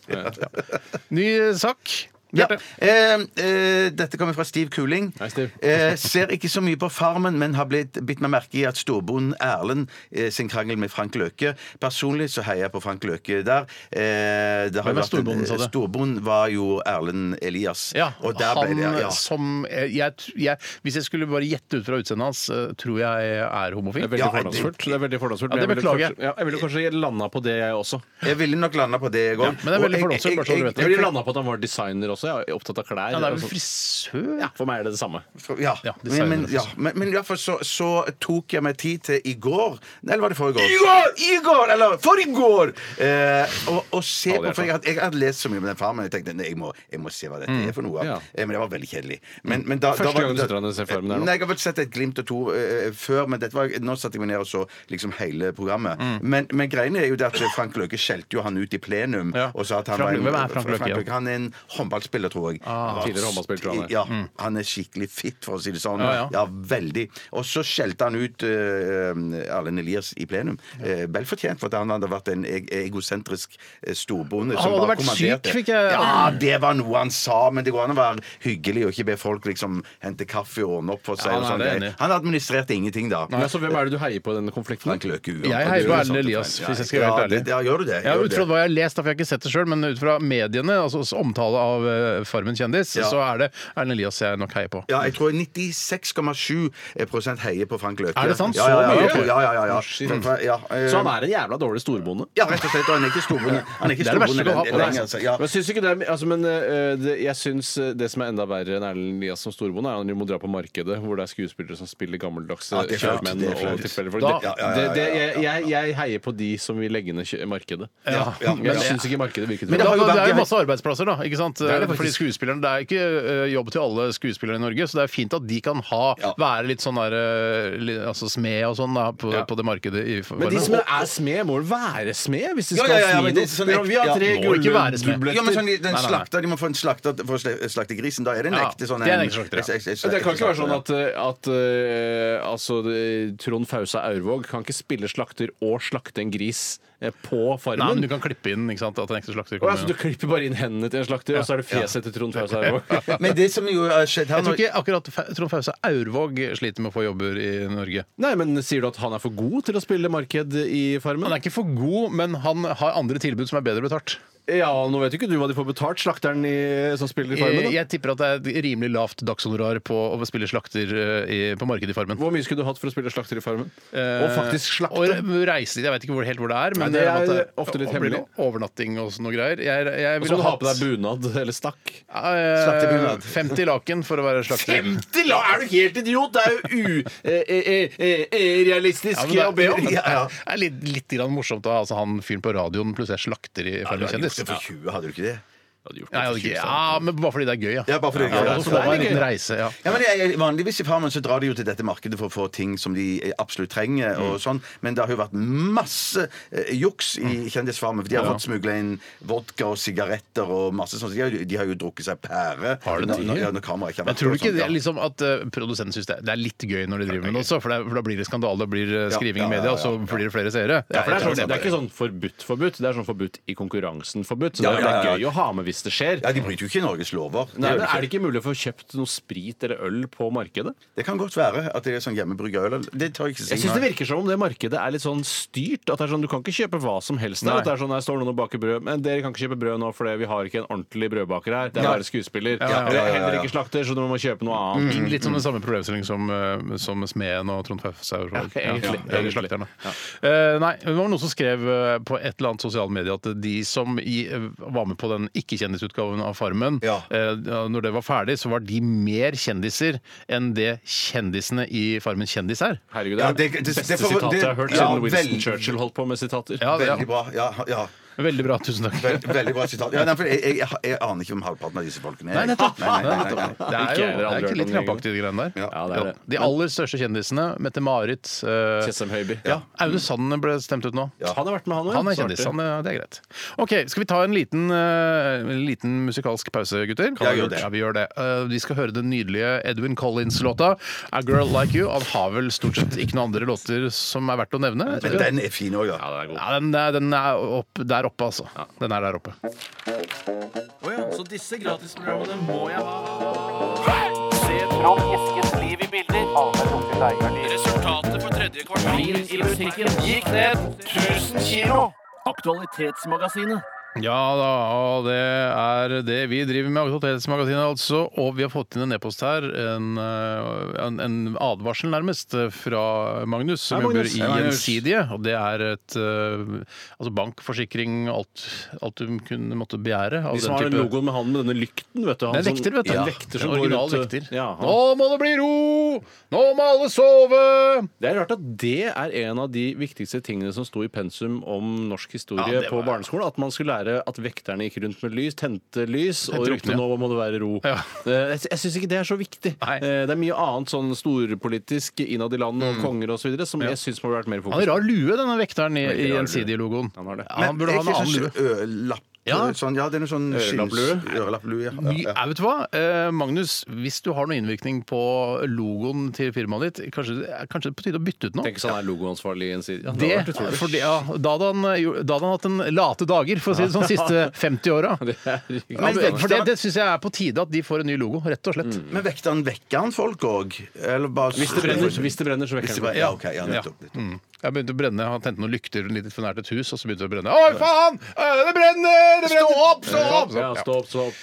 Speaker 2: Ny sak.
Speaker 4: Ja.
Speaker 2: Bjarte.
Speaker 4: Eh, eh, dette kommer fra Stiv Kuling.
Speaker 3: Hei, Stiv.
Speaker 4: Eh, ser ikke så mye på Farmen, men har blitt bitt meg merke i at storbonden Erlend eh, sin krangel med Frank Løke. Personlig så heier jeg på Frank Løke der. Eh,
Speaker 2: Hvem
Speaker 4: det har jo
Speaker 2: er
Speaker 4: vært en-
Speaker 2: storbonden, sa du?
Speaker 4: Storbonden var jo Erlend Elias.
Speaker 2: Ja,
Speaker 4: og der
Speaker 2: han eh,
Speaker 4: ble det, ja.
Speaker 2: som jeg, jeg, Hvis jeg skulle bare gjette ut fra utseendet hans, eh, tror jeg er
Speaker 3: Det
Speaker 2: homofil.
Speaker 3: er veldig
Speaker 4: Ja,
Speaker 3: fordomsfullt. Det er veldig fordomsfullt.
Speaker 2: Ja, det
Speaker 3: men jeg ville
Speaker 2: beklager jeg.
Speaker 3: kanskje- Ja, jeg ville kanskje landa på det, jeg også.
Speaker 4: Jeg ville nok landa på det i går.
Speaker 2: Ja, men det er veldig
Speaker 4: Og jeg-
Speaker 2: fordomsfullt, bare så du
Speaker 4: jeg-
Speaker 2: vet det.
Speaker 3: Jeg
Speaker 4: jeg-
Speaker 3: ville landa på at han var designer også. Jeg er opptatt av klær.
Speaker 2: Han er
Speaker 3: og
Speaker 2: vel
Speaker 3: sånt.
Speaker 2: frisør?
Speaker 3: altså- ja, for meg er det det samme.
Speaker 4: Ja,
Speaker 2: Ja,
Speaker 4: men, men,
Speaker 2: designer,
Speaker 4: ja, men, men i hvert fall så, så tok jeg meg tid til i går Eller var det forrige går? I går! I går! Eller for i går! Eh, og, og se
Speaker 3: det er
Speaker 4: på, for jeg hadde, jeg hadde lest så mye om den farmen, og jeg tenkte nei, jeg må, jeg må se hva dette er for noe.
Speaker 3: Mm. Ja.
Speaker 4: Eh, men det var veldig kjedelig. Men, men da,
Speaker 3: Første
Speaker 4: da var,
Speaker 3: gang du setter deg ned og ser Farmen her nå?
Speaker 4: Nei, jeg har vel sett et glimt og to eh, før, men dette var, nå satte jeg meg ned og så liksom hele programmet.
Speaker 3: Mm.
Speaker 4: Men, men greiene er jo det at Frank Løke skjelte jo han ut i plenum.
Speaker 2: Ja.
Speaker 4: Og sa at han
Speaker 2: Frank Løke,
Speaker 4: var en,
Speaker 2: hvem er Frank Løke igjen?
Speaker 4: Han er en håndballspiller, tror jeg. Ah,
Speaker 3: tidligere håndballspiller, tror jeg han er.
Speaker 4: Ja, han er skikkelig fit, for å si det sånn.
Speaker 2: Mm. Ja,
Speaker 4: Ja,
Speaker 2: ja.
Speaker 4: veldig. Og så skjelte han ut eh, Erlend Elias i plenum. Eh, Vel fortjent, for at han hadde vært en e- egosentrisk eh, storbonde.
Speaker 2: Han
Speaker 4: som
Speaker 2: hadde
Speaker 4: bare
Speaker 2: vært
Speaker 4: kommanderte.
Speaker 2: syk, fikk jeg-
Speaker 4: Ja, det var noe han sa, men det går an å være hyggelig og ikke be folk liksom hente kaffe og ordne opp for seg.
Speaker 2: Ja,
Speaker 4: og
Speaker 2: nei,
Speaker 4: sånn
Speaker 2: det er jeg enig
Speaker 4: greier.
Speaker 2: i.
Speaker 4: Han administrerte ingenting da.
Speaker 3: Men altså, Hvem er det du heier på i denne konflikten?
Speaker 4: Frank Løke
Speaker 2: Jeg
Speaker 4: uansett.
Speaker 2: heier på
Speaker 4: Ja,
Speaker 2: Erlend Elias,
Speaker 4: ja,
Speaker 2: hvis jeg skal være helt ærlig.
Speaker 4: det- Ja, gjør du det?
Speaker 2: Ja,
Speaker 4: Gjør du
Speaker 2: ut fra
Speaker 4: det?
Speaker 2: hva jeg har lest, da, for jeg har ikke sett det sjøl, men ut fra mediene, altså s- omtale av eh, Farmen kjendis,
Speaker 4: Ja.
Speaker 2: så er det Erlend Elias jeg nok heier på.
Speaker 4: Ja, jeg tror 96,7 heier på Frank Løke.
Speaker 2: Er det sant?
Speaker 4: Ja, ja, ja,
Speaker 2: Så mye? Sånn,
Speaker 4: jeg tror- ja, ja, ja, ja.
Speaker 3: Shit.
Speaker 4: Men fra- ja, eh,
Speaker 3: Så han er en jævla dårlig storbonde?
Speaker 4: Ja, rett og slett. Og han er ikke storbonde. Han er ikke
Speaker 2: Det er det verste du
Speaker 4: storbonde
Speaker 2: kan ha på deg.
Speaker 4: lenger, altså. Ja.
Speaker 3: Men syns ikke det, er- altså, men eh, det, jeg syns det som er enda verre enn Erlend Elias som storbonde, er at han må dra på markedet hvor det er skuespillere som spiller gammeldagse
Speaker 4: Ja, det er flaut,
Speaker 3: kjøpmenn
Speaker 4: det er
Speaker 3: og
Speaker 4: flaut.
Speaker 3: tilfeldige folk.
Speaker 2: Da-
Speaker 3: Det-
Speaker 4: Ja, ja, ja, ja,
Speaker 3: det- det- Jeg jeg- jeg heier på de som vil legge ned kjø- markedet.
Speaker 2: Ja,
Speaker 4: ja,
Speaker 3: Men
Speaker 4: ja.
Speaker 3: jeg syns ikke markedet virker
Speaker 2: Men det,
Speaker 4: har jo
Speaker 2: da, det
Speaker 4: vært-
Speaker 2: er jo masse arbeidsplasser, da. ikke sant?
Speaker 3: er det
Speaker 2: Fordi
Speaker 3: faktisk.
Speaker 2: skuespillerne, Det er ikke eh, jobb til alle skuespillere i Norge, så det er fint at de kan ha,
Speaker 4: Ja.
Speaker 2: være litt sånn der, eh, li- altså smed og sånn da, på, på det markedet. i
Speaker 3: Men de
Speaker 2: Farmen.
Speaker 3: som er smed, må vel være smed? Hvis de
Speaker 4: Ja,
Speaker 3: skal
Speaker 4: ja, ja,
Speaker 3: smi
Speaker 4: men
Speaker 3: noe.
Speaker 4: det er sånn-
Speaker 3: Men om vi har
Speaker 4: ja.
Speaker 3: tre
Speaker 2: Må ikke være smed.
Speaker 3: gullbubletter
Speaker 4: Ja, men sånn, den
Speaker 2: Nei, nei, nei.
Speaker 4: slakter, De må få en slakter for å sle- slakte grisen. Da er det en
Speaker 2: Ja,
Speaker 4: ekte sånn
Speaker 2: det er en ekte slakter, ja.
Speaker 3: Men Det kan ikke være sånn at, at eh, altså, det- Trond Fausa Aurvåg kan ikke spille slakter og slakte en gris eh, på farmen.
Speaker 2: Nei, men du kan klippe inn ikke sant, at en ekte
Speaker 3: Å,
Speaker 2: slakter kommer.
Speaker 3: altså, du klipper bare inn hendene til en slakter, og så er det fjeset til Trond Fausa Aurvåg.
Speaker 4: Men det som jo har skjedd her
Speaker 2: Jeg
Speaker 4: nå
Speaker 2: tror ikke akkurat Fa- Trond Fausa Aurvåg sliter med å få jobber i Norge.
Speaker 3: Nei, men sier du at han er for god til å spille marked i Farmen?
Speaker 2: Han er ikke for god, men han har andre tilbud som er bedre betalt.
Speaker 3: Ja, nå vet jo ikke du hva de får betalt, slakteren i, som spiller i Farmen.
Speaker 2: Jeg,
Speaker 3: Da.
Speaker 2: jeg tipper at det er et rimelig lavt dagshonorar på å spille slakter eh, i, på markedet i Farmen.
Speaker 3: Hvor mye skulle du hatt for å spille slakter i Farmen? Eh, og faktisk slakte.
Speaker 2: Og re- reise dit. Jeg vet ikke hvor, helt hvor det er. Men
Speaker 3: Nei, det er
Speaker 2: måtte-
Speaker 3: ofte litt
Speaker 2: og blir det
Speaker 3: hemmelig.
Speaker 2: Overnatting og sånne greier. Jeg, jeg
Speaker 3: Og så
Speaker 2: ville
Speaker 3: må du ha
Speaker 2: hatt-
Speaker 3: på deg bunad eller stakk.
Speaker 2: Eh,
Speaker 4: Slaktebunad.
Speaker 2: 50 laken for å være slakter.
Speaker 3: 50 la! Er du helt idiot? Det er jo eh,
Speaker 2: Ja,
Speaker 3: urealistisk
Speaker 2: men det er-
Speaker 3: om.
Speaker 2: Ja, ja. Det er litt, litt grann morsomt å ha altså, han fyren på radioen pluss jeg slakter i
Speaker 4: Du
Speaker 2: Farmen
Speaker 4: hadde gjort
Speaker 2: kjendis.
Speaker 4: det for 20, hadde du ikke det?
Speaker 2: Nei, jeg hadde ikke- Ja, men bare fordi det er gøy, ja.
Speaker 4: Ja, bare for det.
Speaker 2: Ja,
Speaker 4: Ja,
Speaker 2: så
Speaker 4: for
Speaker 2: får man en
Speaker 4: det er
Speaker 2: liten
Speaker 4: gøy.
Speaker 2: reise, ja.
Speaker 4: Ja, men jeg, jeg- vanligvis i Farmen så drar de jo til dette markedet for å få ting som de eh, absolutt trenger.
Speaker 3: Mm.
Speaker 4: og sånn, Men det har jo vært masse eh, juks
Speaker 3: Mm.
Speaker 4: i Kjendisfarmen. for De har fått smugla inn vodka og sigaretter og masse sånt. De har, jo- de har jo drukket seg pære.
Speaker 2: Har de
Speaker 4: når,
Speaker 2: det?
Speaker 4: når, ja, når kameraet ikke har
Speaker 2: Men
Speaker 4: vært
Speaker 2: tror du
Speaker 4: sånn, på og
Speaker 2: ikke det,
Speaker 4: sånt, ja.
Speaker 2: er liksom at eh, produsenten syns det, det er litt gøy når de driver med det også? For, det, er- for da blir det skandale, det blir eh, skriving i
Speaker 4: ja, ja,
Speaker 2: media, og
Speaker 4: ja,
Speaker 2: så blir det flere seere.
Speaker 3: Ja, for det, er sånn, det er ikke sånn forbudt-forbudt. Det er sånn forbudt i konkurransen forbudt. Så
Speaker 4: Ja,
Speaker 3: det,
Speaker 4: ja,
Speaker 3: det
Speaker 4: ja.
Speaker 3: er gøy å ha med hvis det skjer.
Speaker 4: Ja, De bryter jo ikke Norges lover. Det
Speaker 3: Nei,
Speaker 4: gjør
Speaker 3: men Er
Speaker 4: de ikke.
Speaker 3: det ikke mulig å få kjøpt noe sprit eller øl på markedet?
Speaker 4: Det kan godt være at det er sånn hjemmebrygga øl. Det tør jeg ikke si.
Speaker 3: Jeg synes
Speaker 4: nå.
Speaker 3: Det virker som om det markedet er litt sånn styrt. At det er sånn, Du kan ikke kjøpe hva som helst der.
Speaker 2: Nei.
Speaker 3: At det er sånn, her står noen og baker brød, men dere kan ikke kjøpe brød nå fordi vi har ikke en ordentlig brødbaker her. Det er
Speaker 4: Ja.
Speaker 3: bare skuespiller.
Speaker 4: ja, ja,
Speaker 3: Eller
Speaker 4: ja, ja. Mm.
Speaker 3: heller ikke slakter, så du må kjøpe noe annet.
Speaker 2: Litt som den samme problemstilling som, eh, som Smeden og Trond Fausaur. Ja,
Speaker 3: Ja, egentlig.
Speaker 2: ja, eller slakteren, da. Eh, nei, det var noen som skrev eh, på et eller annet sosiale medier at de som i, eh, var med på den ikke-kjendisutgaven av Farmen,
Speaker 4: Ja.
Speaker 2: eh, når det var ferdig, så var de mer kjendiser enn det kjendisene i Farmen kjendis er.
Speaker 3: Herregud, det
Speaker 4: Ja,
Speaker 3: er det,
Speaker 4: det- det-
Speaker 3: beste
Speaker 4: det får-
Speaker 3: sitatet jeg har
Speaker 4: det-
Speaker 3: hørt
Speaker 4: ja,
Speaker 3: siden Winston
Speaker 4: veldig-
Speaker 3: Churchill holdt på med sitater.
Speaker 2: Ja, det, ja.
Speaker 4: Veldig bra. Ja, ja.
Speaker 2: Veldig bra, tusen takk.
Speaker 4: Veld, veldig bra sitat. Ja, nei, for jeg, jeg, jeg aner ikke om halvparten av disse folkene.
Speaker 2: Nei,
Speaker 4: jeg.
Speaker 2: nettopp.
Speaker 4: Nei, nei, nei, nei, nei.
Speaker 2: Det
Speaker 3: Ikke
Speaker 2: er jo
Speaker 3: jeg,
Speaker 2: det
Speaker 3: dere har
Speaker 2: er
Speaker 3: aldri hørt om
Speaker 2: ikke litt
Speaker 3: det,
Speaker 2: krampaktig, de greiene der.
Speaker 4: Ja.
Speaker 3: Ja, det er det.
Speaker 2: De aller største kjendisene, Mette-Marit eh,
Speaker 3: Sesam Høiby.
Speaker 2: ja. Aune Sand ble stemt ut nå.
Speaker 4: Ja.
Speaker 3: Han har vært med, han òg.
Speaker 2: Han er kjendis, han, ja, det er greit. Ok, Skal vi ta en liten, eh, en liten musikalsk pause, gutter?
Speaker 4: Ja, gjør det.
Speaker 2: Ja, vi gjør det. Eh, vi skal høre den nydelige Edwin Collins-låta 'A Girl Like You'. Han har vel stort sett ikke noen andre låter som er verdt å nevne.
Speaker 4: Men den er fin òg,
Speaker 3: Ja,
Speaker 4: ja.
Speaker 3: det er god.
Speaker 2: Ja, den, er- den er opp, der oppe, altså. Den er der oppe.
Speaker 7: Så disse gratisprogrammene må jeg ha. Se fram Eskens liv i bilder. Resultatet for tredje kvartal i musikken gikk ned 1000 kilo. Aktualitetsmagasinet.
Speaker 2: Ja da, og det er det vi driver med, Aktualitetsmagasinet altså. Og vi har fått inn en e-post her, en, eh, en, en advarsel nærmest, eh, fra Magnus, som
Speaker 3: Hei, Magnus.
Speaker 2: jobber i
Speaker 3: Hei, Magnus.
Speaker 2: Gjensidige. Og det er et eh, altså bank, forsikring, alt, alt du kunne måtte begjære. av
Speaker 3: De som
Speaker 2: den
Speaker 3: har den
Speaker 2: type-
Speaker 3: logoen med han med denne lykten, vet du. Han
Speaker 2: det er
Speaker 3: som-
Speaker 2: vekter, vet du.
Speaker 3: Ja, en vekter som
Speaker 2: En original
Speaker 3: går rundt, eh,
Speaker 2: vekter.
Speaker 3: Ja, han-
Speaker 2: Nå må det bli ro! Nå må alle sove!
Speaker 3: Det er rart at det er en av de viktigste tingene som sto i pensum om norsk historie
Speaker 2: Ja, det
Speaker 3: på
Speaker 2: var-
Speaker 3: barneskolen. At man skulle lære at vekterne gikk rundt med lys, tente lys og
Speaker 2: Tente
Speaker 3: ropte
Speaker 2: lysene, ja.
Speaker 3: 'nå må det være ro'.
Speaker 2: Ja.
Speaker 3: Eh, Jeg, jeg syns ikke det er så viktig.
Speaker 2: Nei.
Speaker 3: Eh, Det er mye annet sånn storpolitisk innad i landet og konger osv. som jeg syns må ha vært mer
Speaker 2: Mm. Han har
Speaker 3: fokus på.
Speaker 2: rar lue, denne vekteren i, i
Speaker 3: Veldig rar
Speaker 2: Gjensidige-logoen.
Speaker 3: Han har det.
Speaker 2: Ja, han burde ha en annen lue.
Speaker 4: Ørelapp
Speaker 2: Ja.
Speaker 4: sånn, Ja, det er noe sånn
Speaker 3: Ørelapplue.
Speaker 4: skinns- Ørelapplue. Ja.
Speaker 2: My,
Speaker 4: Ja, ja.
Speaker 2: ja, vet du hva? Eh, Magnus, hvis du har noen innvirkning på logoen til firmaet ditt, kanskje, kanskje det er på tide å bytte ut nå?
Speaker 3: Tenk hvis han er logoansvarlig i en side. Ja, det
Speaker 2: Det,
Speaker 3: hadde vært utrolig.
Speaker 2: for det, ja, da hadde han, eh, gjort- da hadde han hatt en late dager, for å si det sånn, de siste 50 åra.
Speaker 3: Det er
Speaker 2: Ja, men for det, Mm. det syns jeg er på tide at de får en ny logo, rett og slett.
Speaker 4: Men vekter han vekker han folk òg? Eller bare
Speaker 3: Hvis det brenner, hvis det brenner så
Speaker 4: Hvis
Speaker 3: vekker
Speaker 4: det
Speaker 3: han.
Speaker 4: brenner, Ja, OK. Ja, nettopp. nettopp.
Speaker 2: Jeg begynte å brenne, Han tente noen lykter litt for nært et hus, og så begynte det å brenne. Å, faen! Eh, Det brenner! Det brenner! Stå opp! Stå opp!
Speaker 3: Ja, stopp, stopp.